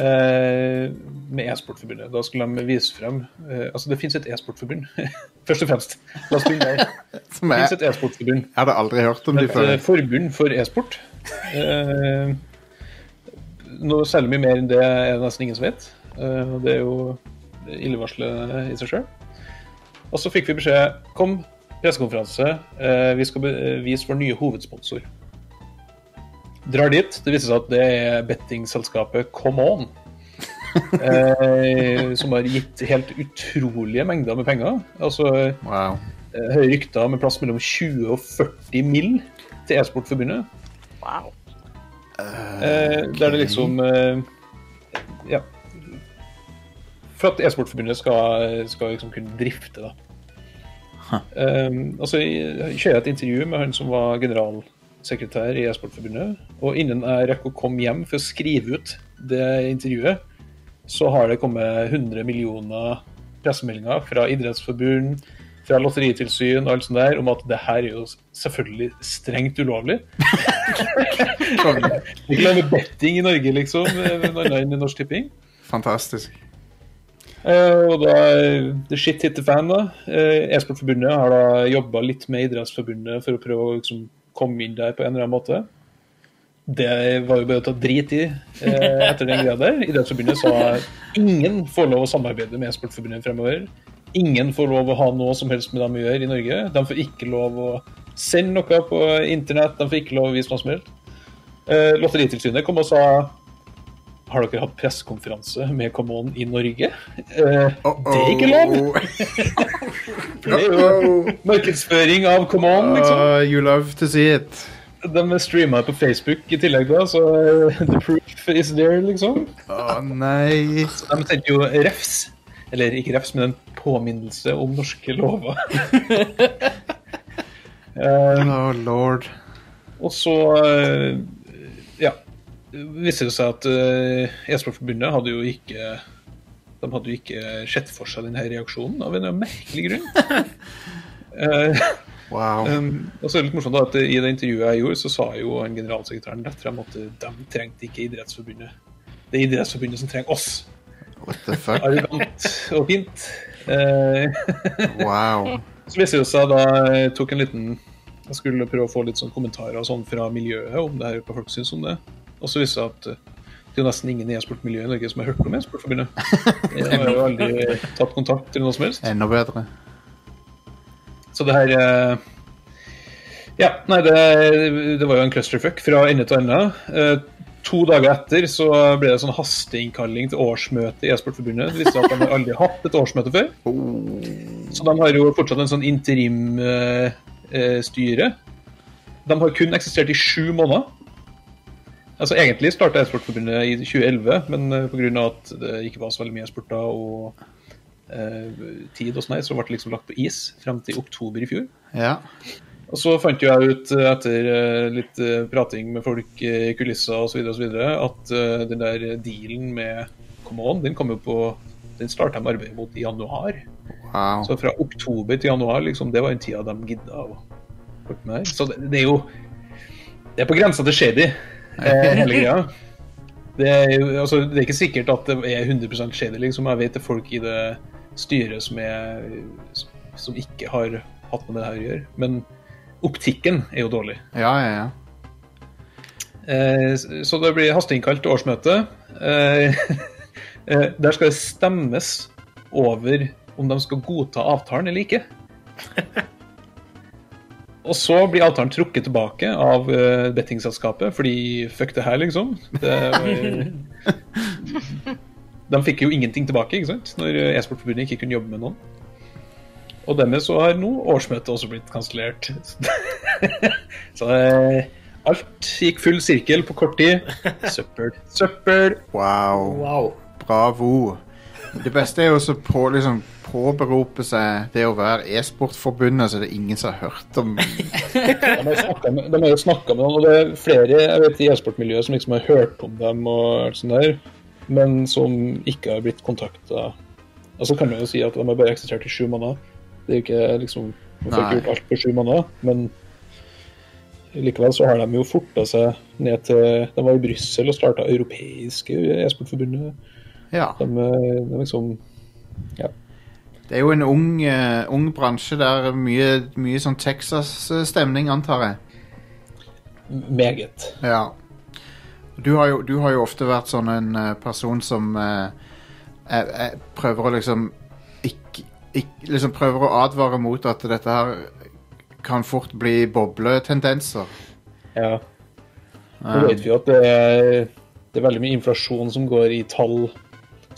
E: eh, med E-sportforbundet. Da skulle de vise frem eh, Altså, det fins et e-sportforbund, først og fremst. La oss begynne der.
A: Som
E: Det fins
A: jeg,
E: et e-sportforbund.
A: jeg hadde aldri hørt om de
E: Et
A: før.
E: eh, forbund for e-sport. Eh, noe særlig mye mer enn det er det nesten ingen som vet. Eh, og det er jo illevarslende i seg sjøl. Og så fikk vi beskjed Kom, pressekonferanse. Eh, vi skal be- vise vår nye hovedsponsor. Drar dit. Det viser seg at det er bettingselskapet Come On. Eh, som har gitt helt utrolige mengder med penger. Altså
A: Wow.
E: eh, høye rykter med plass mellom 20 og 40 mill. til E-sportforbundet.
F: Wow.
E: Eh, Der det liksom eh, Ja. For at E-sportforbundet skal, skal liksom kunne drifte, da. Um, og så i- kjører jeg et intervju med han som var generalsekretær i E-sportforbundet. Og innen jeg rekker å komme hjem for å skrive ut det intervjuet, så har det kommet 100 millioner pressemeldinger fra idrettsforbund, fra lotteritilsyn og alt sånt der om at det her er jo selvfølgelig strengt ulovlig. Vi kan med betting i Norge, liksom. Noe annet enn i Norsk Tipping.
A: Fantastisk.
E: Eh, og da eh, The shit hit the fan, da. Eh, E-sportforbundet har da jobba litt med Idrettsforbundet for å prøve å liksom, komme inn der på en eller annen måte. Det var jo bare å ta drit i eh, etter den greia der. Idrettsforbundet sa ingen får lov å samarbeide med E-sportforbundet fremover. Ingen får lov å ha noe som helst med dem å gjøre i Norge. De får ikke lov å sende noe på internett, de får ikke lov å vise noe som helst. Eh, Lotteritilsynet kom og sa har dere hatt pressekonferanse med Come On i Norge? Eh, Det er ikke lov! Det er jo
A: Uh-oh.
E: markedsføring av Come On, liksom.
A: Uh, you love to see it.
E: De streama det på Facebook i tillegg, da, så eh, the proof is there, liksom.
A: Å nei.
E: De sendte jo refs, eller ikke refs, men en påminnelse om norske lover. Eh,
A: Oh lord.
E: Og så eh, ja, viste det seg at eh, E-sportforbundet hadde jo ikke de hadde jo ikke sett for seg denne reaksjonen av en eller annen merkelig grunn. Eh,
A: Wow.
E: Um, og så er det litt morsomt da, at I det intervjuet jeg gjorde, så sa jo han generalsekretæren rett frem at eh, de trengte ikke Idrettsforbundet. Det er Idrettsforbundet som trenger oss.
A: What the fuck?
E: Arrogant og fint. Eh,
A: Wow.
E: så viste det seg da jeg tok en liten Jeg skulle prøve å få litt sånn kommentarer og sånn fra miljøet om det her, hva folk syns om det. Og så viste det seg at eh, det er jo nesten ingen i e-sportmiljøet i Norge som har hørt om E-sportforbundet. Jeg har jo aldri tatt kontakt eller noe som helst.
A: Enda bedre.
E: Så det her eh, Ja, nei, det, det var jo en clusterfuck fra ende til ende. Eh, To dager etter så ble det sånn hasteinnkalling til årsmøte i E-sportforbundet. Det viste seg at de har aldri hatt et årsmøte før. Så de har jo fortsatt en sånn interimstyre. De har kun eksistert i sju måneder. Altså Egentlig starta E-sportforbundet i 2011, men eh, på grunn av at det ikke var så veldig mye e-sport da, og eh, tid og sånn, her, så ble det liksom lagt på is frem til oktober i fjor.
A: Ja.
E: Og så fant jo jeg ut eh, etter eh, litt eh, prating med folk eh, i kulisser osv. at eh, den der dealen med Come On, den kom jo på Den starta de arbeidet mot i januar.
A: Wow.
E: Så fra oktober til januar, liksom, det var den tida de gidda å holde med her. Så det, det er jo Det er på grensa til shady, eh, hele greia. Det er, jo, altså, det er ikke sikkert at det er 100 shady, liksom. Jeg vet det er folk i det styret som, er, som ikke har hatt med det her å gjøre. Men optikken er jo dårlig.
A: Ja, ja, ja.
E: Eh, Så det blir hasteinnkalt til årsmøte. Eh, eh, Der skal det stemmes over om de skal godta avtalen eller ikke. Og så blir avtalen trukket tilbake av eh, bettingselskapet, fordi fuck det her, liksom. Det, var- de fikk jo ingenting tilbake, ikke sant, når eh, e-sportforbundet ikke kunne jobbe med noen. Og dermed så har nå årsmøtet også blitt kansellert. så eh, alt gikk full sirkel på kort tid. Søppel, søppel.
A: Wow.
D: Wow.
A: Bravo. Det beste er jo å på, liksom, påberope seg det å være e-sportforbundet, så det er ingen som har hørt om
E: De har jo snakket med- de har jo snakka med noen, og det er flere jeg vet, i e-sportmiljøet som liksom har hørt om dem, og alt sånt der, men som ikke har blitt kontakta. Og så kan man jo si at de har bare eksistert i sju måneder. Det er jo ikke liksom Man får
A: Nei.
E: ikke gjort alt på sju måneder, men likevel så har de jo forta seg ned til De var i Brussel og starta Europeiske e-sportforbundet.
A: Ja.
E: De, eh, de liksom
A: Det er jo en ung, eh, ung bransje der mye, mye sånn Texas-stemning, antar jeg.
E: Meget.
A: Ja. Du har jo, du har jo ofte vært sånn en eh, person som eh, eh, eh, prøver å liksom ikke, ikke Liksom prøver å advare mot at dette her kan fort bli bobletendenser.
E: Ja. Nå vet vi jo at det er, det er veldig mye inflasjon som går i tall,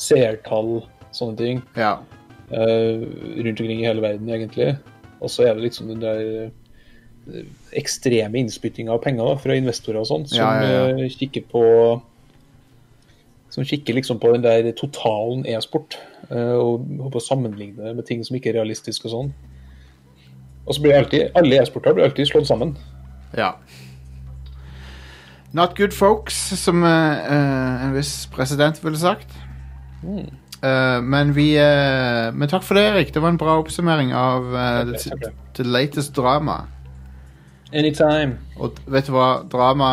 E: seertall, sånne ting,
A: Ja.
E: eh, rundt omkring i hele verden, egentlig. Og så er det liksom den der eh, ekstreme innspyttinga av penger da, fra investorer og sånn, som
A: Ja, ja, ja.
E: eh, kikker på som kikker liksom på den der totalen e-sport, eh, og håper å sammenligne det med ting som ikke er realistiske og sånn. Og så blir alltid, alle e-sporter blir alltid slått sammen.
A: Ja. Not good folks, som eh, eh, en viss president ville sagt. Eh, men vi eh, Men takk for det, Erik. Det var en bra oppsummering av eh,
E: Takk,
A: the,
E: takk, takk.
A: the latest drama.
E: Anytime.
A: Og d- vet du hva? Drama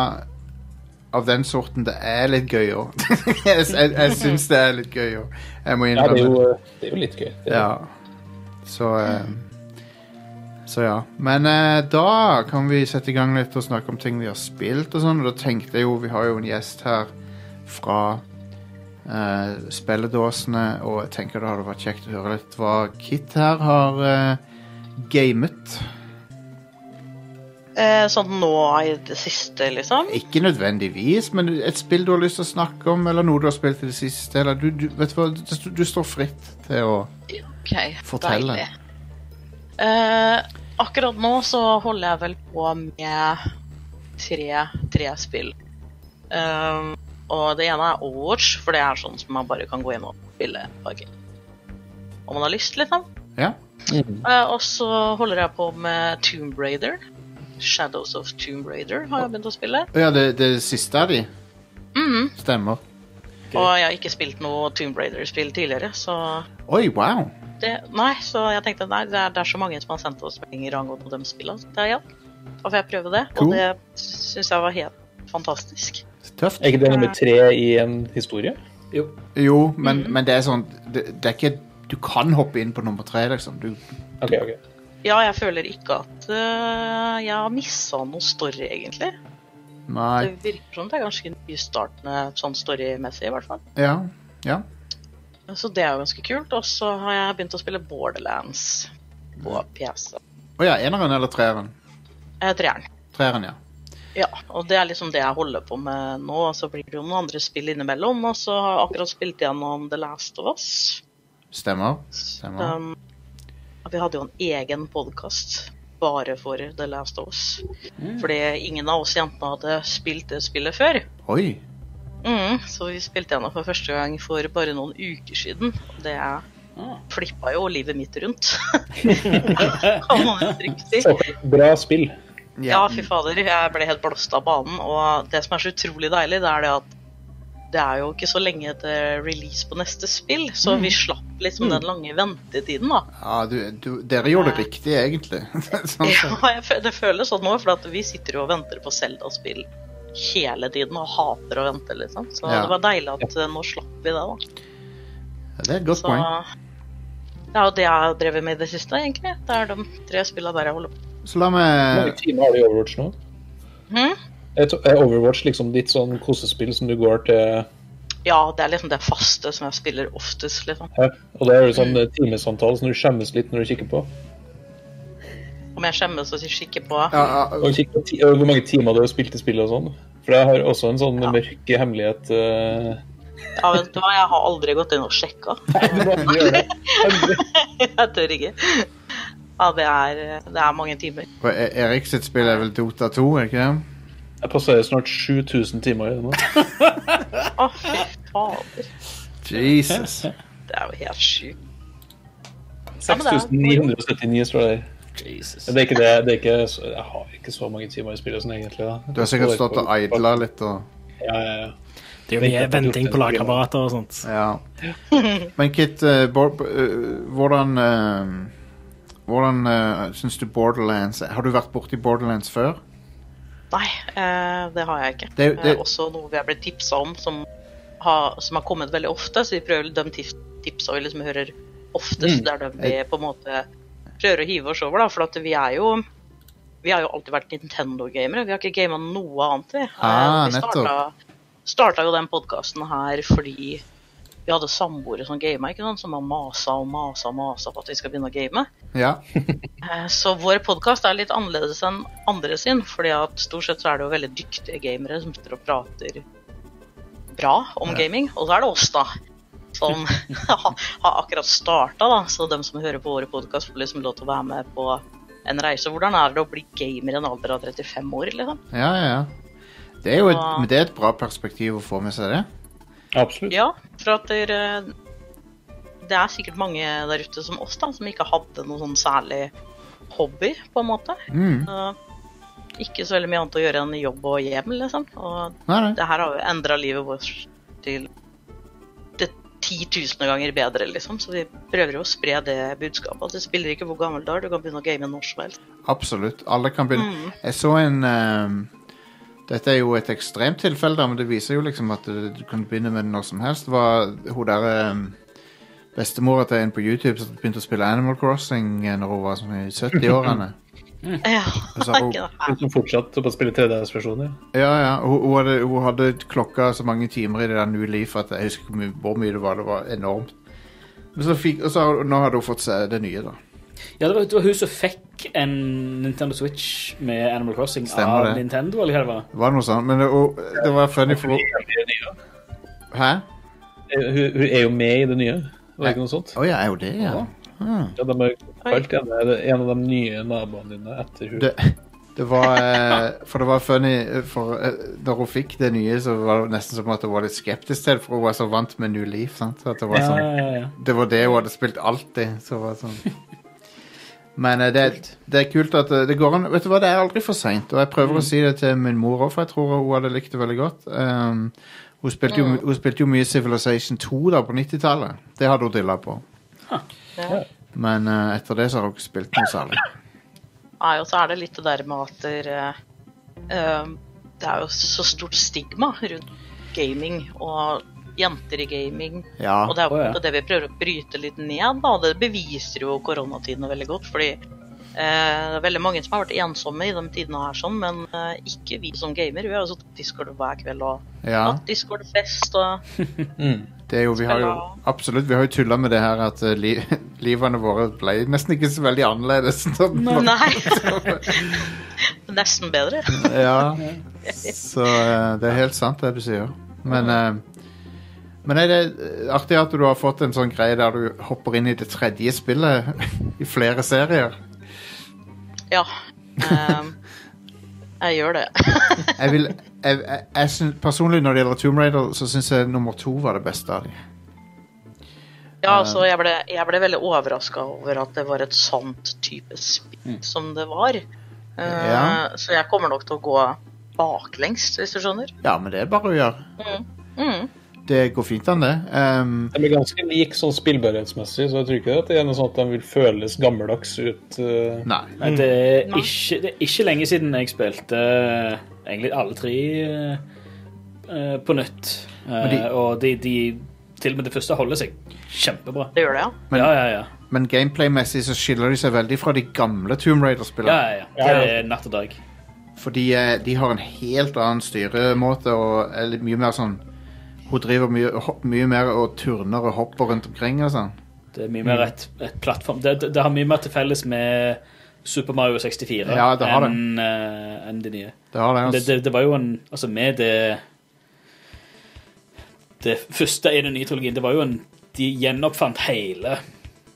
A: av den sorten, det er litt gøy òg. jeg jeg, jeg syns det er litt gøy òg. Jeg må
E: Ja, det er
A: innrømme
E: jo, det er jo litt gøy.
A: eh,
E: Det er-
A: Ja. Så eh, Så ja. Men eh, da kan vi sette i gang litt og snakke om ting vi har spilt og sånn. Og da tenkte jeg jo Vi har jo en gjest her fra eh, spilledåsene, og jeg tenker det hadde vært kjekt å høre litt hva Kit her har eh, gamet.
F: Eh, sånn nå i det siste, liksom.
A: Ikke nødvendigvis, men et spill du har lyst til å snakke om, eller noe du har spilt i det siste, eller du, du vet du hva, du, du står fritt til å
F: Ok,
A: Fortell det.
F: deilig. Eh, akkurat nå så holder jeg vel på med tre, tre spill. Eh, og det ene er Overwatch, for det er sånn som man bare kan gå inn og spille et par games. Om man har lyst, liksom.
A: Ja.
F: Eh, og så holder jeg på med Tomb Raider. Shadows of Tomb Raider har jeg begynt å spille.
A: Å Ja, det, det siste av de
F: Mm-hmm.
A: stemmer.
F: Og jeg har ikke spilt noe Tomb Raider-spill tidligere, så
A: Oi, wow.
F: det, nei, så jeg tenkte nei, det er, det er så mange som har sendt oss meldinger angående de spillene. Så det er ja. Da får jeg prøve det.
A: Cool.
F: Og det syns jeg var helt fantastisk.
A: Tøft.
E: Er ikke det nummer tre i en historie?
A: Jo, men,
F: Mm-hmm.
A: men det er sånn det, det er ikke Du kan hoppe inn på nummer tre, liksom. Du,
E: Ok, ok.
F: Ja, jeg føler ikke at øh, jeg har missa noe story, egentlig. Det
A: nei.
F: virker som det er ganske nystartende sånn storymessig, i hvert fall.
A: Ja. ja.
F: Så det er jo ganske kult. Og så har jeg begynt å spille Borderlands på PC.
A: Å ja, eneren eller treeren?
F: Eh, Treeren.
A: Treeren, ja.
F: Ja, og det er liksom det jeg holder på med nå. og Så blir det jo noen andre spill innimellom. Og så har jeg akkurat spilt gjennom The Last of Us.
A: Stemmer. Stemmer.
F: Um, vi hadde jo en egen podkast bare for The Last of Us. Fordi ingen av oss jentene hadde spilt det spillet før.
A: Oi.
F: Mm, så vi spilte gjennom for første gang for bare noen uker siden. Og det flippa jo livet mitt rundt. kan man jo trygt si.
E: Så, bra spill.
F: Ja, fy fader. Jeg ble helt blåst av banen. Og det som er så utrolig deilig, det er det at det er jo ikke så lenge til release på neste spill, så vi slapp liksom den lange ventetiden, da.
A: Ja, du, du, dere gjorde det riktig, egentlig. sånn
F: Ja,
A: sett.
F: jeg, fø- det føles sånn nå, for at vi sitter jo og venter på Zelda-spill hele tiden og hater å vente, liksom. Så
A: Ja.
F: det var deilig at eh, nå slapp vi det, da.
A: Ja, det er et godt
F: Så
A: poeng.
F: det er jo det jeg har drevet med i det siste, egentlig. Det er de tre spillene der jeg holder på.
A: Så la
E: Hvor mange
A: meg
E: timer har du i Overwatch nå?
F: Mhm.
E: Er to- Er Overwatch liksom ditt sånn kosespill som du går til
F: Ja, det er liksom det faste som jeg spiller oftest, liksom.
E: her? Og det er jo sånn eh, timesantall som du skjemmes litt når du kikker på?
F: Om jeg skjemmes og kikker på.
A: ja, ja,
E: Og kikker på ti og hvor mange timer du har spilt i spillet og sånn? For jeg har også en sånn mørk hemmelighet eh,
F: Ja, vet du hva, jeg har aldri gått inn og sjekka.
E: men aldri gjør det. Aldri.
F: Jeg tør ikke. Ja, det er, det er mange timer.
A: for E- Erik sitt spill er vel Dota 2, er ikke det?
E: Jeg passerer snart 7000 timer i det nå.
F: Å, fy fader.
A: Jesus.
F: Det er jo helt sjukt.
E: 6979 står det der.
C: Jesus.
E: Det er ikke det. det er ikke, så- jeg har ikke så mange timer i spillet sånn egentlig. da.
A: Du har sikkert stått og idla litt og
E: Ja, ja, ja.
D: Det er jo mye venting på lagkammerater og sånt.
A: Ja. Men Kit, eh, Bor- eh, hvordan eh, Hvordan uh, syns du Borderlands er? Har du vært borti Borderlands før?
F: Nei, eh, det har jeg ikke. Det,
A: Det- det-
F: er også noe vi har blitt tipsa om som har, som har kommet veldig ofte. Så vi prøver de tips- tipsa vi liksom hører oftest,
E: Mm.
F: der de vi på en måte prøver å hive oss over. da, For at vi er jo vi har jo alltid vært Nintendo-gamere. Vi har ikke gama noe annet, vi. Eh,
A: Ah,
F: vi starta, starta jo den podkasten her fordi vi hadde samboere som gama, ikke sant? som har masa og masa og masa på at vi skal begynne å game.
A: Ja.
F: Eh, Så vår podkast er litt annerledes enn andre sin, fordi at stort sett så er det jo veldig dyktige gamere som sitter og prater bra om gaming, og så er det oss, da. Som har akkurat starta, da. Så dem som hører på våre podkast, får liksom lov til å være med på en reise. Hvordan er det å bli gamer i en alder av 35 år, liksom?
A: Ja, ja, ja. Det er jo et,
F: Ja.
A: men det er et bra perspektiv å få med seg det.
E: Absolutt.
F: Ja, for at der, eh, det er sikkert mange der ute som oss, da, som ikke hadde noe sånn særlig hobby, på en måte.
A: Mm.
F: Så Ikke så veldig mye annet å gjøre enn jobb og hjem, liksom. Og
A: Nei, nei.
F: det her har jo endra livet vårt til det titusener ganger bedre, liksom. Så vi prøver jo å spre det budskapet. At det spiller ikke hvor gammel du er, du kan begynne å game når som helst.
A: Absolutt. Alle kan begynne. Jeg så en ehm, Dette er jo et ekstremt tilfelle, da, men det viser jo liksom at eh, du kan begynne med det når som helst. Det var hun der ehm, bestemora til en på YouTube som begynte å spille Animal Crossing eh, når hun var sånn i 70-årene.
F: Ja,
A: altså, Og så
F: det
A: har hun-
F: er ikke det
E: Hun
F: her.
E: som fortsatte å spille 3DS-versjoner.
A: Ja, ja. Hun, hun, hadde, hun hadde klokka så mange timer i det der New Leaf at jeg husker ikke hvor mye- hvor mye det var. Det var enormt. Men så fikk, og så har, nå hadde hun fått se det nye, da.
C: Ja, det var, det var hun som fikk en Nintendo Switch med Animal Crossing
A: Stemmer
C: av
A: det.
C: Nintendo, eller hva det var.
A: Det var noe sånt. Men det, og, det var funny for hun Hæ?
E: Hun, hun er jo med i det nye. Var det ikke noe sånt?
A: Å ja, er hun det, ja? Hmm.
E: Ja, de har kalt henne en av de nye naboene dine etter hun.
A: Det, det var eh, For det var funny eh, For eh, når hun fikk det nye, så var det nesten som at hun var litt skeptisk til det, for hun var så vant med New Leaf. Sant? At det, var
C: Ja,
A: sånn,
C: ja, ja.
A: det var det hun hadde spilt alltid. Så det var sånn. Men eh, det, det er kult at eh, det går an Vet du hva, det er aldri for seint. Og jeg prøver å si det til min mor òg, for jeg tror hun hadde likt det veldig godt. Um, hun spilte,
F: Mm.
A: jo, hun spilte jo mye Civilization 2 da på 90-tallet. Det hadde hun dilla på.
F: Ja.
A: Men eh, etter det så har hun ikke spilt noe særlig.
F: Nei, og så er det litt det der med at der, eh, eh, det er jo så stort stigma rundt gaming og jenter i gaming.
A: Ja.
F: Og det er jo
C: Å,
F: på
C: ja.
F: en måte det vi prøver å bryte litt ned, da. Det beviser jo koronatidene veldig godt. Fordi eh, det er veldig mange som har vært ensomme i de tidene her, sånn, men eh, ikke vi som gamer. Vi har jo sittet på Discord hver kveld og
A: ja.
F: hatt Discord-fest og
A: Det er jo, vi har jo,
F: Spiller-
A: absolutt, vi har jo tulla med det her at eh, li, livene våre ble nesten ikke så veldig annerledes.
F: Nei! Nesten bedre.
A: ja. Så eh, det er helt sant, det du sier. Men, eh, men er det eh, artig at du har fått en sånn greie der du hopper inn i det tredje spillet i flere serier.
F: Ja. eh, jeg gjør det.
A: Jeg vil, jeg, jeg, jeg syns- personlig, når det gjelder Tomb Raider, så syns jeg nummer to var det beste av dem.
F: Ja,
A: Eh.
F: altså, jeg ble, jeg ble veldig overraska over at det var et sånt type spill som det var. Eh,
A: Mm. Ja.
F: Så jeg kommer nok til å gå baklengs, hvis du skjønner.
A: Ja, men det er bare å gjøre.
F: Mm.
A: det går fint an, det. Ehm,
E: De er ganske like sånn spillbarhetsmessig, så jeg tror ikke at det er noe sånn at de vil føles gammeldags ut. eh.
A: nei.
C: Nei, det, er ikke, det er ikke lenge siden jeg spilte eh, egentlig alle tre eh, eh, på nytt. Eh,
A: de-
C: og de, de Til og med det første holder seg kjempebra.
F: Det gjør det, ja.
A: Men-
C: ja, ja, ja.
A: Men gameplay-messig så skiller de seg veldig fra de gamle Tomb
C: ja,
A: Raider-spillene.
C: ja, ja. Det er natt og dag.
A: Fordi eh, de har en helt annen styremåte og er litt mye mer sånn Hun driver mye, hopp, mye mer og turner og hopper rundt omkring og sånn.
C: Det er mye mer et, et plattform det, det, det har mye mer til felles med Super Mario 64
A: Ja, det har det.
C: enn eh, enn det nye.
A: Det har det,
C: Det,
A: altså.
C: det, det var jo en Altså, med det Det første i den nye trilogien, det var jo en De gjenoppfant hele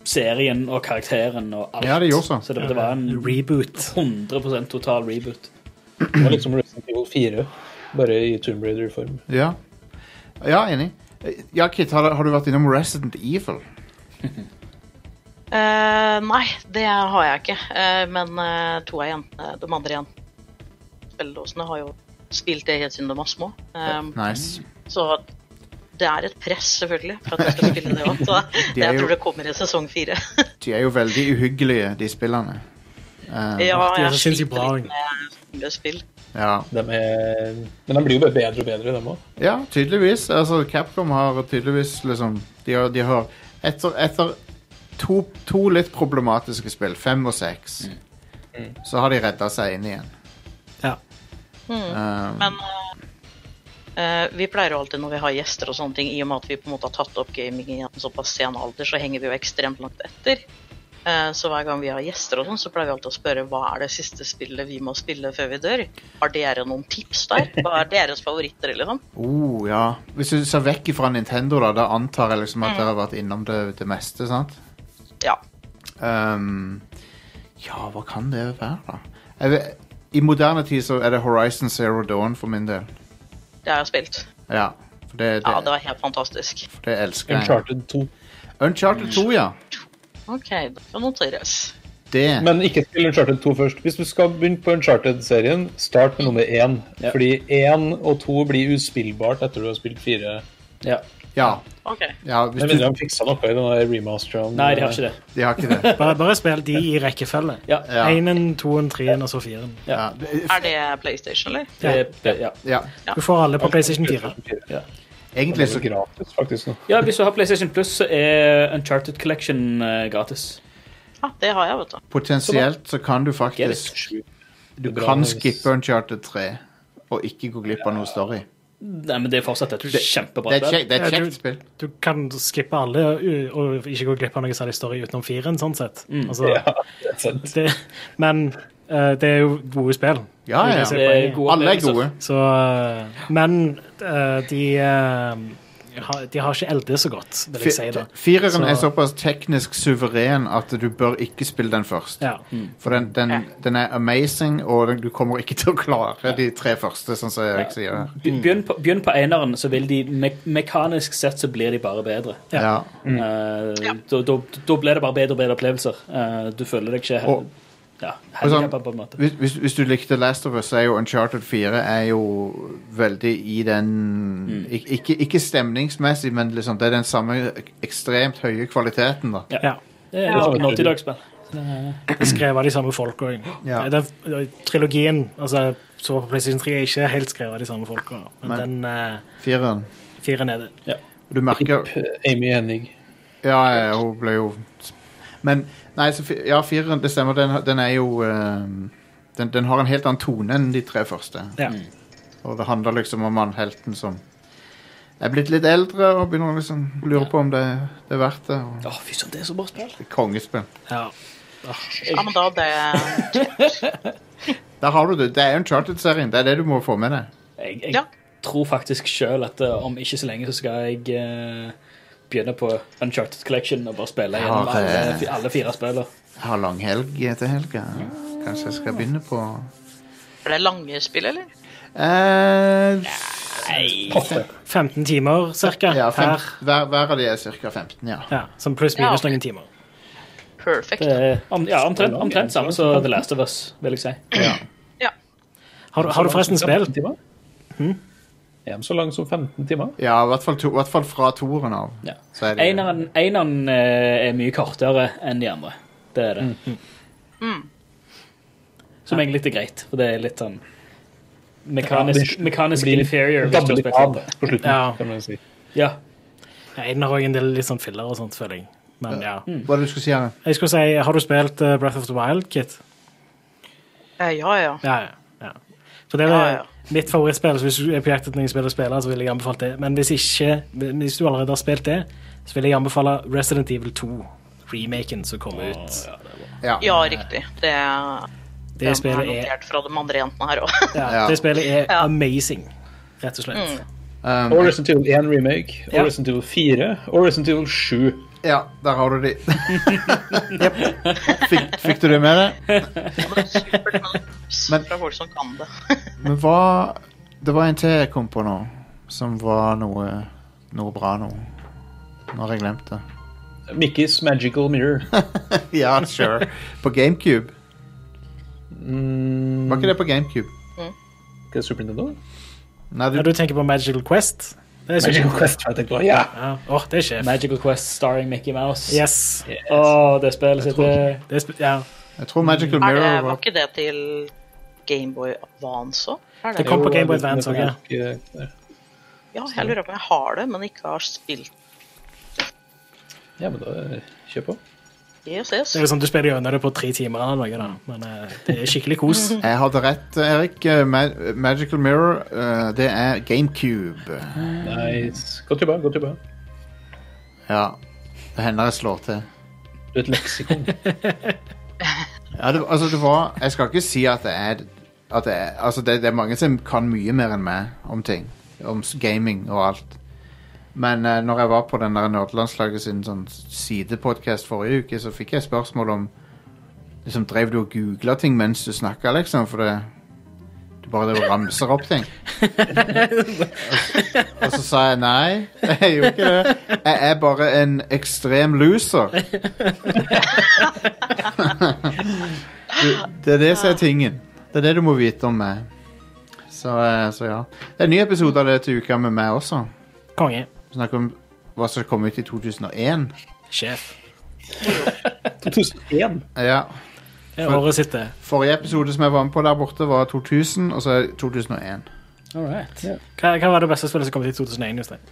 C: serien og karakteren og alt.
A: Ja, det gjorde så.
C: så det, det var en
D: Reboot.
C: 100 total reboot.
E: Det var liksom Resident Evil 4, bare i Tomb Raider-form.
A: Ja, ja enig. Eh, Ja, Kit, har, har du vært innom Resident Evil?
F: Eh, nei, det har jeg ikke. Eh, men eh, to av jentene, de andre jentene spilledåsene har jo spilt det helt siden de var små. Eh,
A: Nice.
C: Mm.
F: Så det er et press, selvfølgelig, for at jeg skal spille det òg. Så
A: De er
F: jeg
A: jo-
F: tror det kommer i sesong fire.
A: De er jo veldig uhyggelige, de spillene. Eh,
F: ja,
D: de er
F: jeg
D: så sinnssykt
F: sliter
D: bra,
F: litt med med spill.
A: ja.
E: De er... Men de blir jo bare bedre og bedre, dem òg.
A: Ja, tydeligvis. Altså, Capcom har tydeligvis liksom De har, de har etter, etter to, to litt problematiske spill, fem og seks, så har de redda seg inn igjen.
D: Ja.
A: Um,
F: Mm. Men eh, eh, vi pleier jo alltid når vi har gjester og sånne ting, i og med at vi på en måte har tatt opp gaming i en såpass sen alder, så henger vi jo ekstremt langt etter. Eh, så hver gang vi har gjester og sånn, så pleier vi alltid å spørre hva er det siste spillet vi må spille før vi dør? Har dere noen tips der? Hva er deres favoritter, liksom?
A: oh, ja. Hvis du ser vekk fra Nintendo, da, da antar jeg liksom
F: Mm.
A: at dere har vært innom det, det meste, sant?
F: Ja.
A: Um, ja, hva kan det være, da? Jeg vet, I moderne tid så er det Horizon Zero Dawn for min del.
F: Det har jeg spilt.
A: Ja. For det, det,
F: Ja, det var helt fantastisk.
A: for det elsker jeg.
E: Uncharted 2.
A: Uncharted 2, ja.
F: OK, det kan noteres.
A: Det.
E: Men ikke spill Uncharted 2 først. Hvis du skal begynne på Uncharted-serien, start med nummer én. Fordi én og to blir uspillbart etter du har spilt fire.
C: Ja.
A: Ja.
F: OK.
A: ja hvis
E: Jeg
A: du,
E: mener de fiksa noe i den remasteren.
C: Nei, de har ikke det.
A: de har ikke det.
D: Bare, bare spill de i rekkefølge.
C: Ja.
A: Ja.
D: Einen, toen, treen og så firen.
A: Ja.
F: Er det PlayStation, eller?
C: Det, det, ja.
A: ja.
D: Du får alle på PlayStation 4.
E: Det
A: Egentlig
E: er
A: så
E: så gratis, faktisk. nå.
C: ja, hvis du har PlayStation Plus, så er Uncharted Collection eh, gratis.
F: Ja, det har jeg, vet du.
A: potensielt så kan du faktisk
E: Sjukt.
A: Du
E: bra
A: kan
E: hvis-
A: skippe Uncharted 3 og ikke gå glipp av noe story.
C: Nei, men det er fortsatt et
A: Det
C: kjempebra
A: er et kjekt, det er et
D: Ja, du-
A: kjekt spill.
D: Du kan skippe alle u- og ikke gå glipp av noe særlig story utenom firen, sånn sett. Altså,
E: Ja, det er sant.
D: det, men eh, det er jo gode spill.
A: Ja,
D: Det er
A: ja.
D: det som
C: Det er gode
A: Alle er
C: opplevelser.
A: gode.
D: Så, eh, men eh, de, eh, har- de har ikke eldet så godt, vil jeg si. da.
A: Fi- Fireren
D: Så-
A: er såpass teknisk suveren at du bør ikke spille den først.
D: Ja.
A: For den, den, den er amazing, og den, du kommer ikke til å klare de tre første, sånn som Erik sier. her.
C: Be- Begynn på, begynn på eneren, så vil de me mekanisk sett så blir de bare bedre.
D: Ja.
A: Ja.
C: Eh, da, da, da blir det bare bedre og bedre opplevelser. Eh, du føler deg ikke
A: Og-
C: ja,
A: og sånn-
C: handikappa, på en måte.
A: Hvis, hvis, hvis du likte Last of Us, så er jo Uncharted 4 er jo veldig i den ik ikke, ikke stemningsmessig, men liksom, det er den samme ekstremt høye kvaliteten, da.
D: Ja.
C: Det er jo
E: Ja.
C: ja. dagsspill.
D: Det er skrevet av de samme folk òg.
A: Ja.
D: Trilogien altså, så på PlayStation 3 er ikke helt skrevet av de samme folka, men
A: Nei.
D: den eh,
A: Fireren.
D: firen er det.
A: Du merker
E: Amy Hennig.
A: Ja, ja, hun ble jo Men Nei, så fi- ja, fireren, det stemmer, den, den er jo eh, den, den har en helt annen tone enn de tre første. Mm.
D: Ja.
A: Og det handler liksom om han helten som er blitt litt eldre og begynner å liksom lure på om det, det er verdt det. Og
C: Å, fy søren, det er så bra spill.
A: det er kongespill.
D: Ja.
F: Ja, men da det
A: Der har du det. Det er Uncharted-serien. Det er det du må få med deg.
C: Jeg, jeg
F: Ja.
C: tror faktisk sjøl at eh, om ikke så lenge så skal jeg eh, begynne på Uncharted Collection og bare spille gjennom
A: Har, eh,
C: alle, alle fire spillene.
A: Jeg har lang helg etter helga. Kanskje jeg skal begynne på
F: Er det lange spill, eller?
A: eh,
E: Passe.
D: 15 timer cirka
A: ja, fem,
D: her.
A: hver, hver av de er ca. 15, ja.
D: Ja, som pluss minus
F: Ja.
D: noen timer.
F: Perfect.
C: Det er om, ja, omtrent, omtrent samme som The Last of Us, vil jeg si.
F: Ja.
D: Har, du- har du forresten spilt?
E: Timer? Er de så lang som 15 timer?
A: Ja, i hvert fall, to, i hvert fall fra toeren av.
C: Ja.
A: Så er det-
C: Eineren, eineren eh, er mye kortere enn de andre. Det er det. Som egentlig er greit, for det er litt sånn mekanisk,
E: Ja, det-
C: mekanisk
E: blir
C: inferior. hvis du
E: Dabler
C: spiller
E: litt av
C: det.
E: på slutten,
D: Ja.
E: kan man si.
C: Ja.
D: En har også en del litt sånn filler og sånt, føler jeg. Men ja.
A: Hva er det du skulle si, Anne?
D: Jeg skulle si, har du spilt eh, Breath of the Wild, Kit?
F: Eh, ja, ja.
D: Ja, ja. ja. For det er
F: Ja, ja.
D: mitt favorittspill, så hvis du er på jakt etter noen spill å spille, så vil jeg anbefale det. Men hvis ikke, hvis du allerede har spilt det, så vil jeg anbefale Resident Evil 2, remaken som kom ut.
A: Ja.
F: Ja, riktig. Det,
D: Det
F: den er
D: spillet er,
F: notert fra de andre jentene her òg.
D: E. ja, det spillet er
F: Ja. Mm.
D: amazing, rett og slett.
A: Um,
E: Og Resident Evil 1 remake, og
D: Ja.
E: Resident Evil 4, og Resident Evil 7.
A: ja, der har du de. fikk, fikk du det med deg?
F: Supert med tips
A: Men-
F: fra folk som kan det.
A: Men hva Det var en til jeg kom på nå, som var noe, noe bra nå. Nå har jeg glemt det.
E: Mickey's Magical Mirror.
A: Ja, sure. På GameCube.
E: Mm,
A: Var ikke det på GameCube?
E: ikke det Super Nintendo?
A: Nei, du,
D: Ja, du tenker på Magical Quest? Det er så
E: Magical Quest, jeg tenkte på. Ja!
D: Ja. Åh, det er sjef.
C: Magical Quest starring Mickey Mouse. Å,
D: Yes.
C: det spillet sitt er-
D: Det er sp ja.
A: jeg tror Magical
F: Er det,
A: Mirror
F: var
A: var
F: ikke det til Gameboy Advance òg?
D: Det kom på
E: Jo,
D: Game Boy
E: det- det-
D: Advance også,
E: ja.
F: Ja, jeg lurer på om jeg har det, men ikke har spilt
E: Ja, men da eh, kjør på.
F: det. Så jeg
D: Det er jo sånn du spiller gjennom det på tre timer eller noe, da. Men eh, det er skikkelig kos.
A: Jeg hadde rett, Erik. Eh, Ma- Magical Mirror, eh, det er GameCube.
E: Nice. Godt jobba. godt jobba.
A: Ja. Det hender jeg slår til.
E: Du er et leksikon.
A: Ja, det, altså, det var Jeg skal ikke si at det er at det er, altså det, det er mange som kan mye mer enn meg om ting. Om s- gaming og alt. Men eh, når jeg var på den der Nerdelandslaget sin sånn sidepodkast forrige uke, så fikk jeg spørsmål om liksom, Drev du og googla ting mens du snakka, liksom? For det du bare drev og ramser opp ting. og, så, og så sa jeg nei. Jeg gjorde ikke det. Jeg er bare en ekstrem loser. Det er det som er tingen. Det er det du må vite om meg. Så, eh, så ja. Det er en ny episode av det til uka med meg også.
D: Konge.
A: Snakk om hva som kom ut i 2001.
D: Sjef.
E: 2001.
A: Ja.
D: Det er året sitt, det.
A: Forrige episode som jeg var med på der borte, var 2000, og så er det 2001.
C: All right.
D: Hva, hva var det beste spillet som kom ut i 2001? Jostein?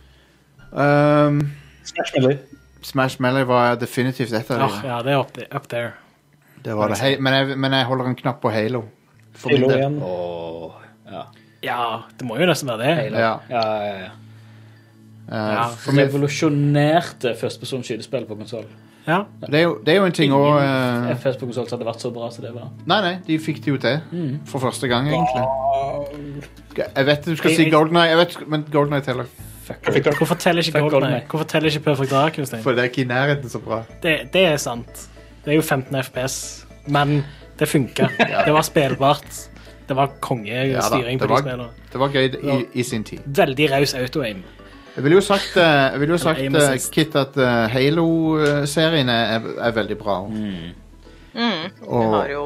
A: Um,
E: Smash-melder.
A: Smash Melee var definitivt et av
D: Åh,
A: dem.
D: ja, det er up, up there.
A: Det var det. Hei, men, jeg, men jeg holder en knapp på Halo. For min
E: Halo
A: del.
E: 1.
A: Ah.
D: Ja, det må jo nesten være det.
C: Halo.
A: Ja.
C: Ja, ja, ja.
A: Eh,
D: Ja.
A: for min,
C: Revolusjonerte førsteperson skytespill på konsoll.
D: Ja.
A: det, er jo, det er jo en ting òg eh,
C: FS på konsoll hadde vært så bra som det var.
A: Nei, nei, de fikk det jo til. For første gang, egentlig. Jeg vet du skal si Golden Eye, jeg vet, men Golden Eye teller.
E: Perfekt. da.
D: Hvorfor teller ikke
C: Fuck
D: Golden
C: GoldenEye.
D: Hvorfor teller ikke Perfect Dark? Jostein?
A: For det er ikke i nærheten så bra.
D: Det, det er sant. Det er jo 15 FPS, men det funka. Det var spillbart. Det var kongestyring
A: det,
D: på de
A: var,
D: spillene.
A: det var gøy i, i sin tid.
D: Veldig raus auto-aim.
A: Jeg ville jo sagt, eh, jeg ville jo sagt
D: aim assist.
A: eh, Kit, at eh, Halo-serien er, er veldig bra.
F: Vi Mm. har
A: Og,
F: jo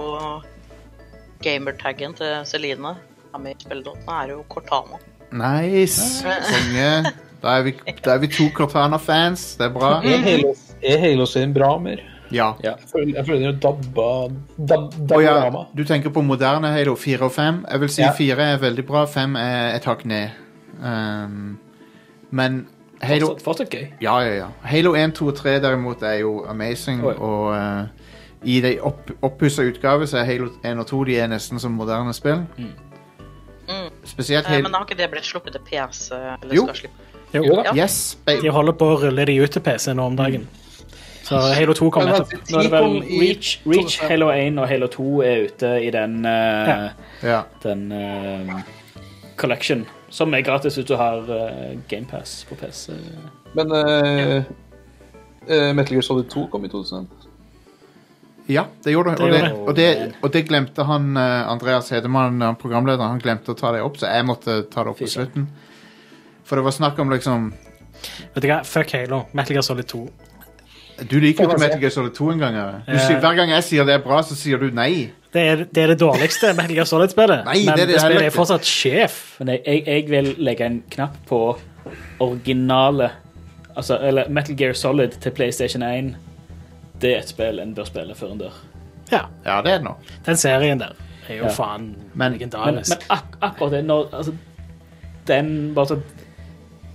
F: gamertaggen til Celine. Her med i spilledåten er jo Cortana.
A: nice! Konge. Da er vi, da er vi to Cortana-fans. Det er bra.
E: Er Halo- Er Halo-serien bra mer?
A: Ja.
E: Jeg føler jeg føler den er dabba dab,
A: Og ja,
E: Daborama.
A: du tenker på moderne Halo 4 og 5. Jeg vil si
E: Ja.
A: 4 er veldig bra, 5 er et hakk ned. Um, men Halo
C: Fortsatt, fortsatt gøy.
A: Ja, ja, ja. Halo 1, 2 og 3 derimot er jo amazing,
C: Oi.
A: og eh, i de opp, opppussa utgave så er Halo 1 og 2 de er nesten som moderne spill.
F: Mm.
A: Spesielt
F: Eh, Men
A: Halo
F: har ikke det blitt sluppet til PC? Eller
A: Jo.
F: skal slippe?
E: Jo da.
F: Ja.
A: Yes! ba-
D: De holder på å rulle de ut til PC nå om dagen. Så
A: Mm.
D: Halo 2 kom nettopp.
C: Nå er det vel
A: Ti kom i-
C: Reach, Reach Halo 1 og Halo 2 er ute i den, eh,
D: Ja.
A: Ja.
C: den eh, collection, som er gratis hvis du har eh, GamePass på PC.
E: Men eh, eh, Metal Gear Solid 2 kom i 2001.
A: ja, det gjorde det. Og
D: gjorde
A: det, og det, og det glemte han eh, Andreas Hedemann, han programlederen, han glemte å ta det opp, så jeg måtte ta det opp på
C: søren.
A: slutten. For det var snakk om liksom
D: Vet du hva? Fuck Halo. Metal Gear Solid 2.
A: Du liker jo ikke Metal Gear Solid 2 engang. Are. Du
D: Ja.
A: sier- Hver gang jeg sier det er bra, så sier du nei.
D: Det er det, er det dårligste med Helga Solid-spillet.
A: Nei,
D: Men
A: det er
D: det,
A: det
D: spillet
A: helvete.
D: er fortsatt sjef.
C: Men jeg, jeg, jeg vil legge en knapp på originale altså, Eller Metal Gear Solid til PlayStation 1. Det er et spill en bør spille før en dør.
D: Ja,
A: Ja, det er det nå.
D: Den serien der er jo
C: Ja.
D: faen
A: Men-
C: Men,
D: legendarisk.
C: men ak akkurat det når, altså, den, bare sånn,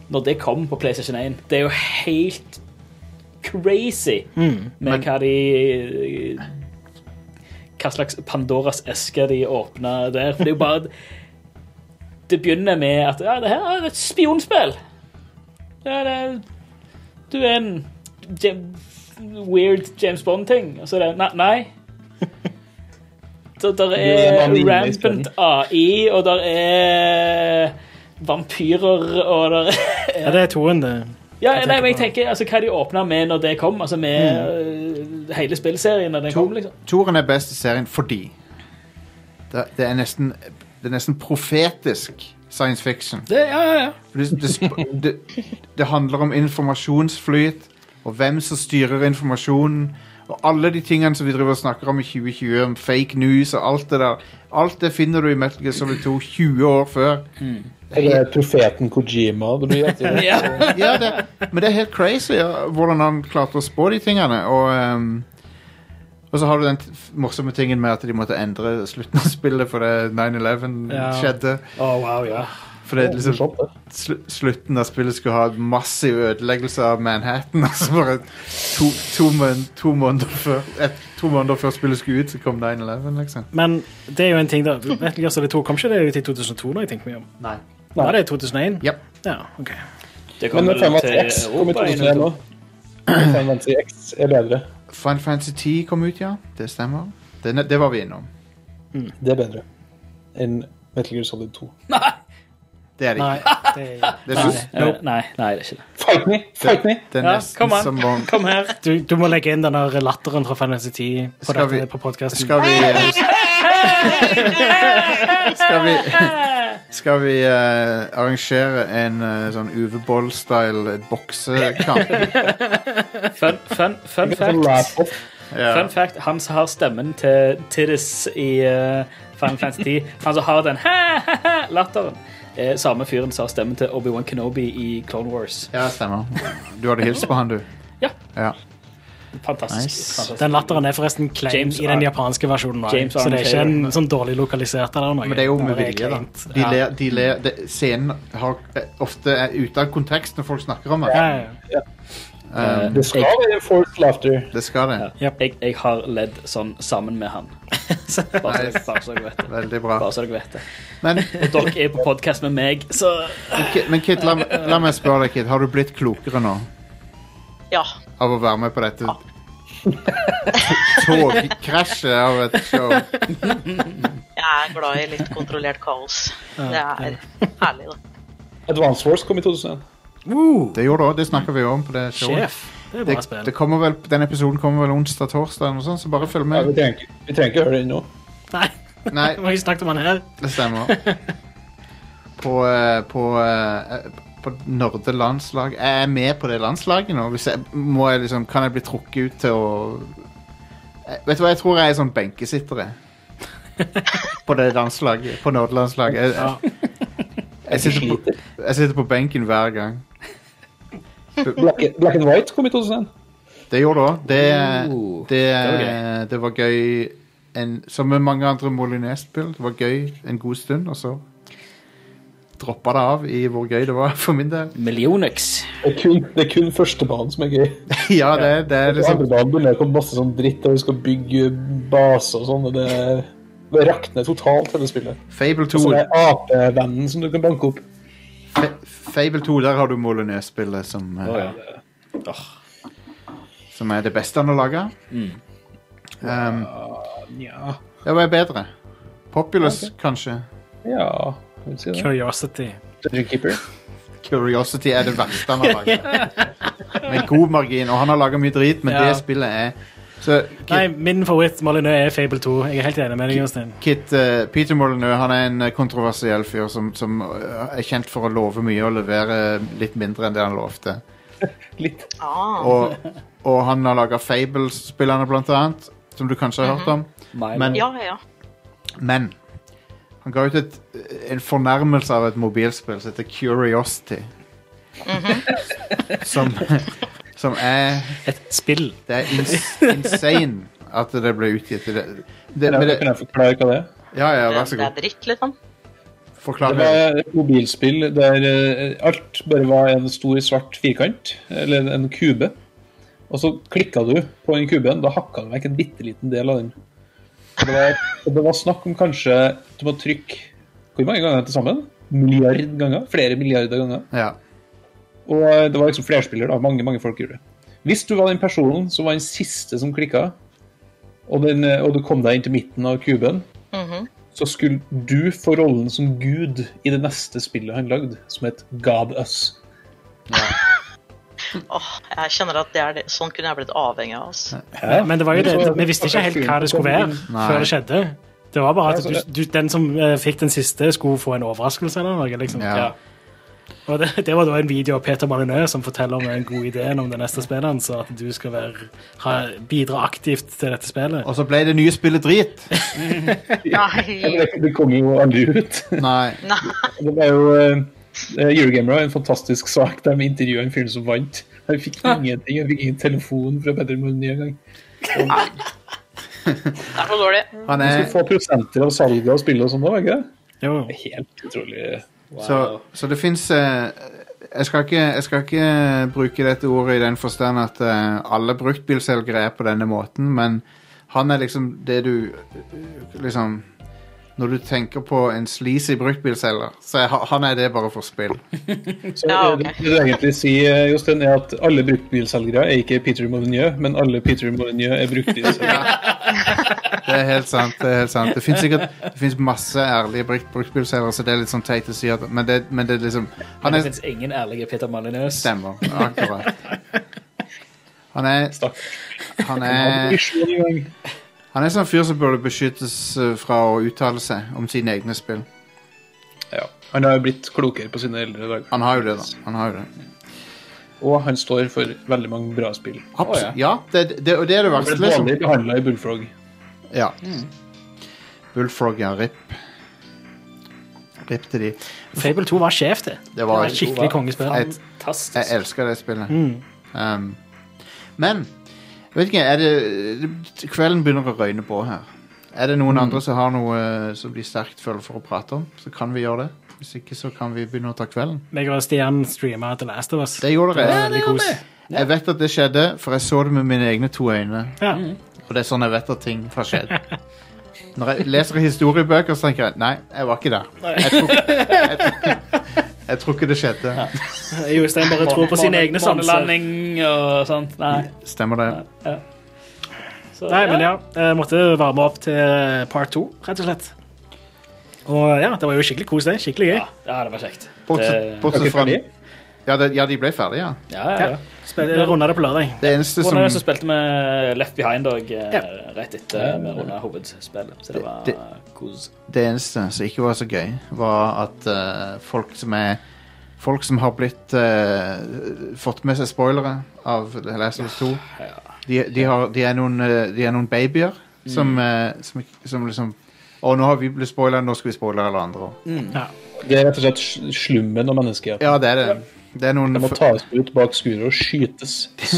C: når det kom på PlayStation 1, det er jo helt crazy med hva de Hva slags Pandoras eske de åpna der. For det er jo bare Det begynner med at ja, det her er et spionspill. Ja, det er, du er en Jam- weird James Bond-ting. Og så er det Nei. nei. Så der
E: en
C: er
E: vanlig
C: rampant AI, og der er vampyrer, og der
A: eh,
C: er
D: ja, det er toen, det.
C: ja,
D: Jeg
C: nei, men jeg
D: tenker
C: tenker altså, hva de åpna med når det kom, altså med øh, hele spillserien når den kom, liksom.
A: Toren er best i serien fordi det, det, er nesten, det er nesten profetisk science fiction.
C: Det, ja, ja, ja.
A: For Det, det, sp- det, det handler om informasjonsflyt, og hvem som styrer informasjonen. Og alle de tingene som vi driver og snakker om i 2020, om fake news og alt det der. Alt det finner du i Metal Gear Solid 2 20 år før.
E: Eller profeten Kojima. Det blir etter det.
A: ja, det, men det er helt crazy ja, hvordan han klarte å spå de tingene. Og, ehm, og så har du den t- f- morsomme tingen med at de måtte endre slutten av spillet fordi 9-11
D: Ja.
A: skjedde.
D: Å, wow, ja.
A: Fordi liksom,
E: Morsomt, det.
A: slu, slutten av spillet skulle ha massiv ødeleggelse av Manhattan. Altså bare to, to, mån- to, måneder før, et, to måneder før spillet skulle ut, så kom 9-11, liksom.
D: Men det er jo en ting, da. Metal Gear Solid 2 kom ikke det ut i 2002, når jeg tenker meg om?
A: Nei.
D: Var det i 2001?
A: Ja.
D: Ja, ok.
C: Det kom
E: Men
C: vel til
E: 580X kom i
C: Europa i
E: 2001 òg. 580X er bedre.
A: Final Fantasy 10 kom ut, ja. Det stemmer. Det, det var vi innom.
E: Det er bedre enn Metal Gear Solid 2.
A: Det er det
D: Nei,
A: ikke.
D: det er,
A: Det er, det,
C: Eh, Nei, nei, det er ikke det.
E: Fight me! Fight me!
A: det er
C: Ja,
A: nesten
C: kom an.
A: som om
C: Kom her.
D: du, du må legge inn den der latteren fra Fantasy 10 på,
A: Skal
D: dette-
A: vi-
D: på podkasten.
A: Skal vi Skal vi, skal vi eh, arrangere en eh, sånn Uwe Boll-style boksekamp?
C: Fun, fun, fun
E: Sånn
C: fact.
E: laugh off.
A: Ja.
C: Fun fact, han som har stemmen til Tiddes i eh, Final Fantasy 10, han som har den latteren, er samme fyren som har stemmen til Obi-Wan Kenobi i Clone Wars.
A: ja, stemmer. Du hadde hilst på han, du?
C: Ja.
A: ja.
C: Fantastisk.
A: Nice.
C: fantastisk.
D: Den latteren er forresten klein
C: James
D: i den
C: Ar-
D: japanske versjonen. også.
C: James
D: så det er ikke
C: Arnett.
D: en sånn dårlig lokalisert eller noe.
A: Men det er jo med
D: Bare
A: vilje, da.
D: kleint.
A: De
D: Ja.
A: ler, de ler, det- scenen har, eh, ofte er ute av kontekst når folk snakker om
D: Ja,
A: det.
D: ja, ja.
A: Um,
E: Eh, Det skal være forced laughter.
A: det skal det.
C: Jeg, jeg har ledd sånn sammen med han. Bare så, bare så dere vet det.
A: Veldig bra.
C: Bare så dere vet det.
A: Men,
C: Dere er på podkast med meg, så
A: Ki- men Kit, la, meg- la meg spørre deg, Kit. Har du blitt klokere nå
F: Ja.
A: av å være med på dette togkrasjet av et show?
F: Jeg er glad i litt kontrollert kaos. Det er herlig, da.
E: Advance Wars kom i 2001.
A: Det gjorde det òg. Det snakker vi om på det showet.
D: Sjef. Det er bra
A: Det,
D: spill.
A: det kommer vel, den episoden kommer vel onsdag-torsdag, eller noe sånt, så bare følg
E: Ja, vi,
A: med.
E: trenger, ikke- vi trenger ikke høre det ennå.
D: Nei,
A: Nei,
D: vi har ikke snakket om han her.
A: det stemmer. På, eh, på, eh, på Nordelandslag Jeg er med på det landslaget nå. Hvis jeg, må jeg liksom, kan jeg bli trukket ut til å Eh, Vet du hva, jeg tror jeg er sånn benkesitter, jeg. På det landslaget. På Nordelandslaget. Jeg, jeg, jeg, sitter på, jeg sitter på benken hver gang.
E: Black, Black and White kom i 2001.
A: Det gjorde det òg. Det,
C: Oh,
A: det,
C: var
A: det, var gøy en, Som med mange andre Molinet-spill. Det var gøy en god stund, og så droppa det av i hvor gøy det var for min del.
C: Millionix.
E: Det er kun, det er kun førstebanen som er gøy.
A: ja, det, det er
E: På
A: liksom
E: Andrebanen begynner det å komme masse sånn dritt der vi skal bygge base og sånn. og Det, det rakner totalt, hele spillet.
A: Fable 2.
E: Og så er Altså, det apevennen som du kan banke opp.
A: Fa Fable 2, der har du Molinet-spillet som eh, Som er det beste han har laga. Um,
E: Ja,
A: det var bedre. Populous, kanskje.
E: ja jeg vil si det.
D: Curiosity.
E: Dungeon Keeper.
A: Curiosity er det verste han har laga. Med god margin. Og han har laga mye drit, men
D: Ja.
A: det spillet er Så
D: Nei, min favoritt Molyneux er Fable 2. Jeg er helt enig med deg, Jostein.
A: Kit, eh, Peter Molyneux han er en eh, kontroversiell fyr som, som eh, er kjent for å love mye og levere litt mindre enn det han lovte.
E: Litt.
F: Ah,
A: Og, og han har laga Fable-spillerne, blant annet, som du kanskje har hørt om. Men,
F: ja, ja.
A: men han ga ut et, en fornærmelse av et mobilspill som heter Curiosity. som, som er
D: Et spill.
A: Det er ins insane at det ble utgitt. Det, det,
E: Kan
A: men
E: jeg,
A: det,
E: kan jeg forklare hva det er?
A: ja, ja,
F: Det,
A: vær så
F: det er
A: god.
F: dritt, liksom.
A: Forklar
E: Det
A: det.
E: var et mobilspill der eh, alt bare var en stor svart firkant, eller en kube. Og så klikka du på den kuben, da hakka du vekk en bitte liten del av den. Og Det var, og det var snakk om kanskje du må trykke Hvor mange ganger til sammen? Milliard ganger? Flere milliarder ganger.
A: Ja.
E: Og eh, det var liksom flerspiller, da. Mange, mange folk gjorde det. Hvis du var den personen som var den siste som klikka, og, den, eh, og du kom deg inn til midten av kuben, så skulle du få rollen som gud i det neste spillet han lagde, som het God Us.
F: Åh, jeg kjenner at det er det. sånn kunne jeg blitt avhengig av. Altså.
D: Men det var jo det, vi visste ikke helt hva det skulle være
A: Nei.
D: før det skjedde. Det var bare at
E: Ja, så
D: du,
E: det-
D: du, den som eh, fikk den siste, skulle få en overraskelse eller noe. liksom.
A: Ja.
D: Og det, det var da en video av Peter Malinø som forteller om den gode ideen om det neste spillet hans, og at du skal være, ha, bidra aktivt til dette spillet.
A: Og så ble det nye spillet drit.
F: Nei.
E: Det kom jo aldri ut.
A: Nei.
E: Det var jo eh, Eurogamer har en fantastisk sak der med intervjuet en fyr som vant. Han fikk ingenting, han fikk ingen telefon fra Petter Molyneux engang.
F: Det er for dårlig.
A: Han
E: Han
A: er,
E: skulle få prosenter av salget av spillet og sånn, da, var ikke det?
D: Jo.
E: Det er Helt utrolig.
A: så, så det fins jeg, skal ikke- jeg skal ikke bruke dette ordet i den forstand at eh, alle bruktbilselgere er på denne måten, men han er liksom det du eh, Liksom Når du tenker på en sleazy bruktbilselger, så er ha- han er det bare for spill.
E: Så
F: Ja, ok.
E: det du egentlig sier, Jostein, er at alle bruktbilselgere er ikke Peter Molyneux, men alle Peter Molyneux er bruktbilselgere.
A: Det er helt sant. Det er helt sant. Det finnes sikkert det finnes masse ærlige brukt, bruktbilselgere, så det er litt sånn teit å si at Men det, men det er liksom Han
C: Det
A: er
C: fins ingen ærlige Peter Malinøs.
A: Stemmer. Akkurat. Han er
E: Stakkars.
A: Han
E: Han
A: er
E: blir slått i gang.
A: Han er sånn fyr som burde beskyttes eh, fra å uttale seg om sine egne spill.
E: Ja. Han har jo blitt klokere på sine eldre dager.
A: Han har jo det, da. Han har jo det.
E: Og han står for veldig mange bra spill.
A: Abs ja, det, det, og det er det
E: Han
A: verste,
E: ble
A: liksom.
E: dårlig behandla i Bullfrog.
A: Ja. Bullfrog, ja. Rip. Rip til de.
D: Fable 2 var sjef, det.
A: Det
D: Det
A: var
D: var et skikkelig kongespill.
A: et Jeg
C: Fantastisk.
A: elsker det spillet. Um, men jeg vet ikke, er det, kvelden begynner å røyne på her. Er det noen andre som har noe eh, som de sterkt føler for å prate om, så kan vi gjøre det. Hvis ikke, så kan vi begynne å ta kvelden.
D: Meg og Stian streama The Last of Us.
A: Det gjorde
D: var
A: dere. eh,
D: veldig kos.
A: Jeg vet at det skjedde, for jeg så det med mine egne to øyne.
D: Ja.
A: Og det er sånn jeg vet at ting har skjedd. Når jeg leser historiebøker, så tenker jeg nei, jeg var ikke der. Jeg tror, jeg, tror- jeg tror ikke det skjedde.
D: Jostein bare tror på sine egne sanser.
C: Månelanding og sånt. Nei.
A: Stemmer det?
C: Så,
D: Nei, men ja. Jeg måtte varme opp til part to, rett og slett. Og ja, det var jo skikkelig kos, det. Skikkelig gøy.
C: Ja, ja, det var kjekt.
A: Bortsett,
C: Det-
A: bortsett
E: Dere
A: fra
E: ferdige?
A: ja, det, ja, de ble ferdige, ja.
C: Ja, ja, ja.
D: Spil- Jeg runda det på lørdag.
A: Det eneste som
C: Rune så spilte vi Left Behind og eh, rett etter vi runda hovedspillet. Så det var
A: Det-
C: kos.
A: Det eneste som ikke var så gøy, var at eh, folk som er Folk som har blitt eh, fått med seg spoilere av The Last of Us 2, de, de, har, de, er noen, eh, de er noen babyer som, eh, som, ikke- som liksom Å, nå har vi blitt spoila, nå skal vi spoile alle andre òg.
E: Det er rett og slett sl- slummen av menneskeheten.
A: Ja, det er det. Det er noen
E: De må
A: f-
E: tas ut bak skuret og skytes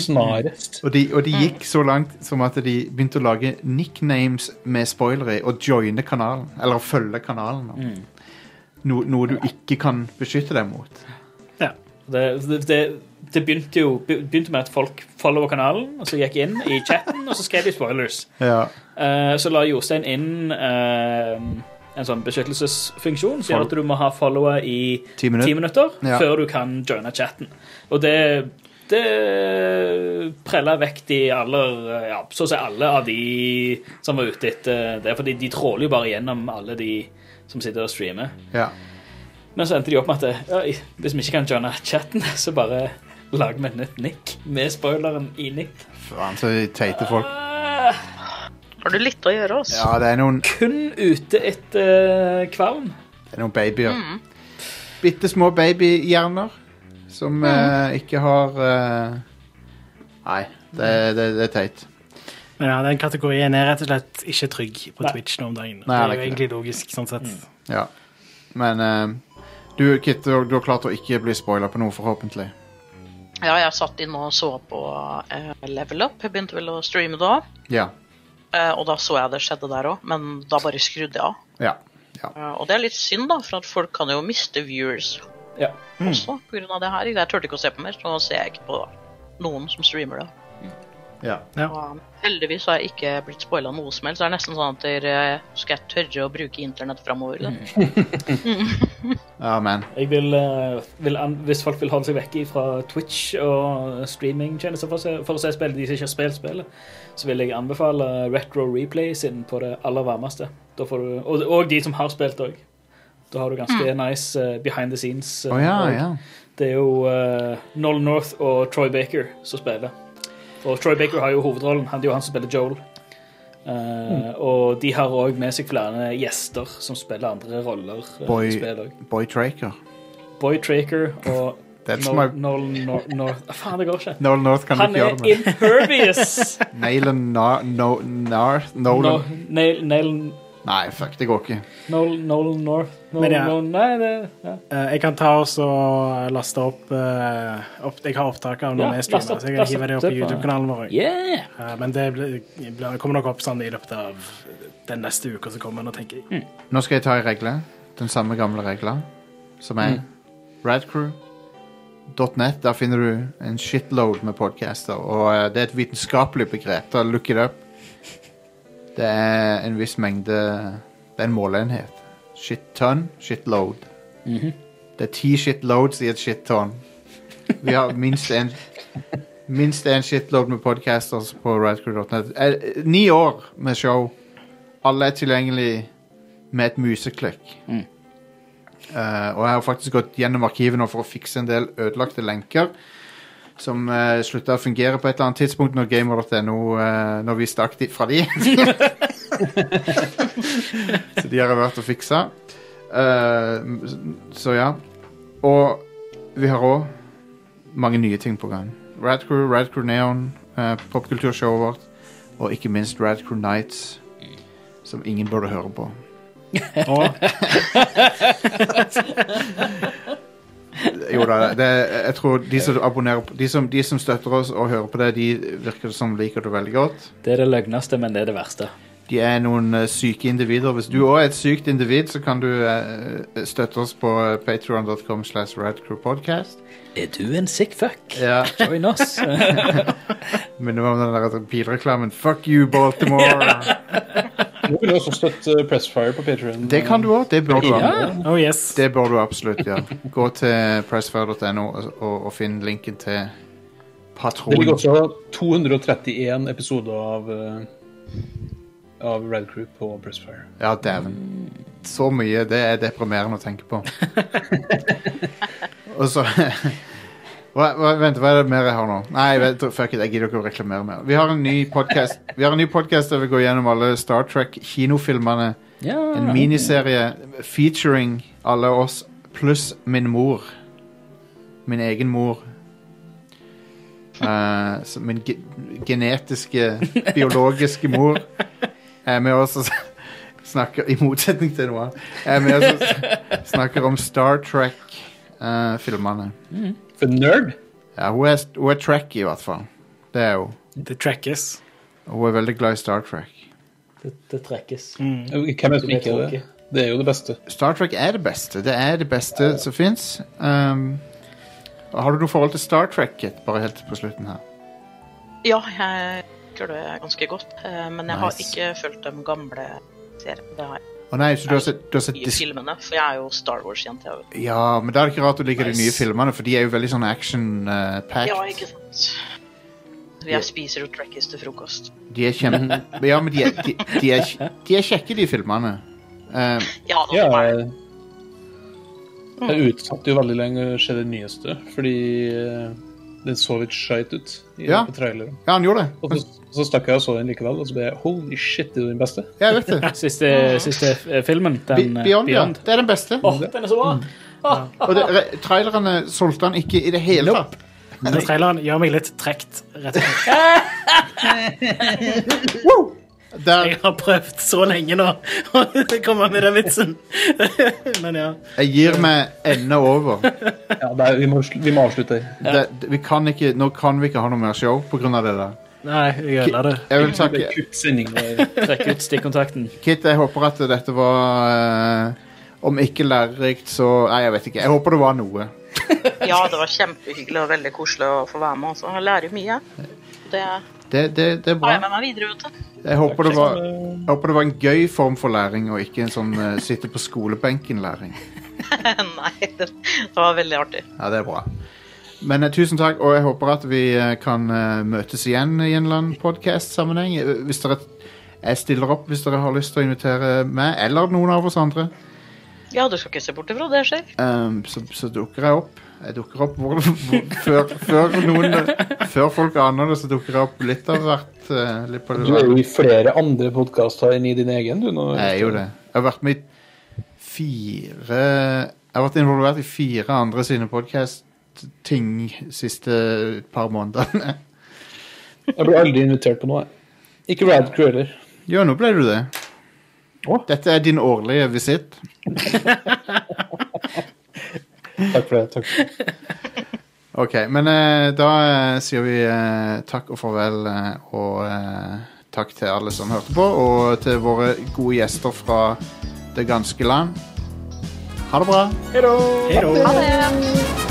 E: snarest.
A: og de, og de gikk så langt som at de begynte å lage nicknames med spoilere i og joine kanalen. Eller følge kanalen. da. No, noe du ikke kan beskytte deg mot.
C: Det, det, det, det begynte jo begynte med at folk follower kanalen, og så gikk inn i chatten, og så skrev de spoilers.
A: Ja.
C: Eh, så la Jostein inn eh, en sånn beskyttelsesfunksjon som gjør at du må ha follower i
A: Ti minutter.
C: ti minutter
A: Ja.
C: før du kan joine chatten. Og det det prella vekk de aller, ja, så å si alle av de som var ute etter det. For de tråler jo bare gjennom alle de som sitter og streamer.
A: ja.
C: Men så endte de opp med at ja, hvis vi ikke kan joine chatten, så bare lager vi et nytt nick med spoileren i nick.
A: Faen, så teite folk.
C: Eh,
F: Har du litt å gjøre, altså?
A: Ja, det er noen,
C: kun ute etter kvalm.
A: det er noen babyer. Bitte små babyhjerner Som eh, ikke har eh, Nei, det, det, det er teit.
D: Men ja, den kategorien er rett og slett ikke trygg på
C: Nei.
D: Twitch nå om dagen.
A: Nei,
D: det
A: det
D: er
A: er
D: jo
A: ikke
D: egentlig logisk, sånn sett.
A: Ja. Men eh, du, Kit, du, har- du har klart å ikke bli spoila på noe, forhåpentlig.
F: Ja, jeg satt inn og så på eh, Level Up. Jeg begynte vel å streame da.
A: Ja.
F: Eh, og da så jeg det skjedde der òg, men da bare skrudde jeg av.
A: Ja. ja.
F: Eh, og det er litt synd, da, for at folk kan jo miste viewers
C: Ja.
F: også på grunn av det her. Jeg turte ikke å se på mer, så nå ser jeg ikke på noen som streamer det.
A: ja.
F: Og um, heldigvis har jeg ikke blitt spoila noe som helst. Det er nesten sånn at dere skal jeg tørre å bruke internett framover.
A: Amen.
C: Jeg vil, eh, vil an hvis folk vil holde seg vekk fra Twitch og streamingtjenester for, å se- for å se spill, de som ikke har spilt spillet, så vil jeg anbefale Retro Replay sin på det aller varmeste. Da får du, og, og de som har spilt òg. Da har du ganske nice eh, behind the scenes. eh,
A: Å ja,
C: og
A: ja.
C: Det er jo eh, Noel North og Troy Baker som spiller. Og Troy Baker har jo hovedrollen. Han, det er jo han som spiller Joel. Eh,
A: Mm.
C: Og de har òg med seg flere gjester som spiller andre roller. eh,
A: Boy-
C: i spill også.
A: Boy Traker.
C: Boy Traker og
A: That's
C: Noel
A: my-
C: Noel Nor- North Ah, Faen, det går ikke.
A: Nolan North kan du
C: Han
A: ikke
C: er
A: gjøre det med.
C: impervious!
A: Nailen Nar... No, Nar...
C: No,
A: Nolan
C: Nail, Nail,
A: Nei, fuck, det går ikke.
C: Noel, Noel North Noel,
D: Men ja.
C: Noel, Nei, det ja.
D: Eh, jeg kan ta og så laste opp, eh, opp Jeg har opptak av
C: Ja,
D: når vi
C: last
D: streamer,
C: opp,
D: så jeg kan
C: last
D: hive det
C: opp,
D: opp i
C: det er bra.
D: YouTube-kanalen vår.
C: Yeah!
D: Eh, men det blir, blir, kommer nok opp sånn i løpet av den neste uka som kommer. Nå tenker jeg.
A: Nå skal jeg ta en regle. Den samme gamle regla. Som er radcrew.net. Der finner du en shitload med podcaster. Og eh, det er et vitenskapelig begrep. Da look it up. Det er en viss mengde Det er en måleenhet. Shit ton, shitload. Det er ti shitloads i et shitton. Vi har minst en Minst en shitload med podcaster på radcrew.net. Eh, Ni år med show. Alle er tilgjengelige med et museklikk. Eh, og jeg har faktisk gått gjennom arkivet nå for å fikse en del ødelagte lenker som uh, slutta å fungere på et eller annet tidspunkt når gamer.no eh, Når vi stakk de fra de. så de har jeg vært og fiksa. Eh, så ja. Og vi har òg mange nye ting på gang. Radcrew, Radcrew Neon, eh, popkulturshowet vårt, og ikke minst Radcrew Nights, som ingen burde høre på.
D: Og
A: Jo da, det, jeg tror de som, abonnerer, på- de, som, de som støtter oss og hører på det, de virker som liker det veldig godt.
G: Det er det løgneste, men det er det verste.
A: De er noen eh, syke individer. Hvis du òg er et sykt individ, så kan du eh, støtte oss på patreon.com slash radcrewpodcast.
G: Er du en sick fuck?
A: Ja,
G: Join oss.
A: Minner meg om den der bilreklamen. Fuck you, Baltimore!
E: Nå vil jeg også støtte eh, Pressfire på Patreon.
A: Det kan du òg. Det bør du ha.
D: oh yes.
A: Det bør du absolutt gjøre. Gå til pressfire.no og, og, og finn linken til
E: Det ligger
A: patron.
E: også 231 episoder av, eh, av Red Crew på Pressfire.
A: Ja, dæven. Så mye. Det er deprimerende å tenke på. Og så hva, hva, Vent, hva er det mer jeg har nå? Nei, vent, fuck it, jeg gidder ikke å reklamere mer. Vi har en ny podcast Vi har en ny podcast der vi går gjennom alle Star Trek-kinofilmene.
G: Ja.
A: En miniserie featuring alle oss pluss min mor. Min egen mor. Eh, så min ge genetiske, biologiske mor er med oss og snakker I motsetning til noe annet. Er med oss og snakker om Star Trek-filmene.
E: For nerd?
A: ja, hun er, hun er Trek, i hvert fall. Det er hun.
D: Det trackes.
A: Og Hun er veldig glad i Star Trek.
G: Det, det trekkes.
E: Hvem er Mm. det som ikke er det? Det er jo det beste.
A: Star Trek er det beste. Det er det beste som fins. Um, har du noe forhold til Star Trek, Kit? Bare helt på slutten her.
F: Ja, jeg liker det ganske godt, eh, men jeg har
A: Nice.
F: ikke fulgt de gamle seriene. Det har jeg
A: Å nei, så du har sett, du har sett
F: i
A: dis
F: filmene, for jeg er jo Star Wars-jente. jeg vet.
A: Ja, men da er det ikke rart du liker
G: Nice.
A: de nye filmene, for de er jo veldig sånn action-packed.
F: Ja, ikke sant? Jeg spiser jo Trekkies til frokost.
A: de er kjempe... Ja, men de er, de, de er, de er kjekke, de filmene. Um,
F: Ja, da,
E: Ja,
F: er det.
E: jeg, jeg utsatte jo veldig lenge å se det nyeste, fordi eh, den så litt skeit ut i,
A: Ja.
E: på traileren.
A: ja, han gjorde det.
E: Og så, så stakk jeg og så den likevel, og så ble jeg holy shit, det er jo den beste.
A: Ja, Jeg vet det.
G: Siste, siste eh, filmen,
A: Be
G: den eh,
C: uh,
A: Beyond, ja. Det er den beste.
G: Åh, den er så bra!
A: Og det, re- trailerne solgte han ikke i det hele tatt.
D: Den traileren gjør meg litt trekt. Rett og slett.
A: Der,
D: Jeg har prøvd så lenge nå å komme med den vitsen. Men ja.
A: jeg gir meg ende over.
E: Ja, det er, vi, må, sl- vi må avslutte her.
A: Det, det- vi kan ikke, nå kan vi ikke ha noe mer show pga. det der.
D: Nei, jeg ødela det.
A: Jeg vil
E: Det
A: takke
E: er kutt sending. der.
G: Trekk ut stikkontakten.
A: Kit, jeg håper at dette var eh, Om ikke lærerikt, så Nei, jeg vet ikke. Jeg håper det var noe.
F: Ja, det var kjempehyggelig og veldig koselig å få være med. Også. Jeg lærer jo mye. Det
A: Det, det, det er
F: har
A: bra.
F: jeg med meg videre ut. da.
A: Jeg håper det var, jeg håper det var en gøy form for læring, og ikke en sånn eh, sitte på skolebenken-læring.
F: Nei, det, det var veldig artig.
A: Ja, det er bra. Men eh, tusen takk, og jeg håper at vi eh, kan eh, møtes igjen i en eller annen podcast-sammenheng. Eh, Hvis dere jeg stiller opp hvis dere har lyst til å invitere meg eller noen av oss andre.
F: Ja, du skal ikke se bort ifra det skjer.
A: Ehm, så, så dukker jeg opp. Jeg dukker opp hvor, hvor, før, før, noen, før folk aner det, så dukker jeg opp litt av hvert. eh, litt på det
E: Du er jo i flere andre podkaster enn i din egen, du. Nå.
A: Jeg er jo det. Jeg har vært med i fire Jeg har vært involvert i fire andre sine podcast-ting siste par månedene.
E: Jeg blir aldri invitert på noe. jeg. Ikke Rad Crew heller.
A: Jo, nå ble du det.
E: Å?
A: Dette er din årlige visitt.
E: Takk for det. Takk. for det.
A: Ok, men eh, da eh, sier vi eh, takk og farvel, eh, og eh, takk til alle som hørte på, og til våre gode gjester fra det ganske land. Ha det bra.
D: Hei da.
F: Ha det.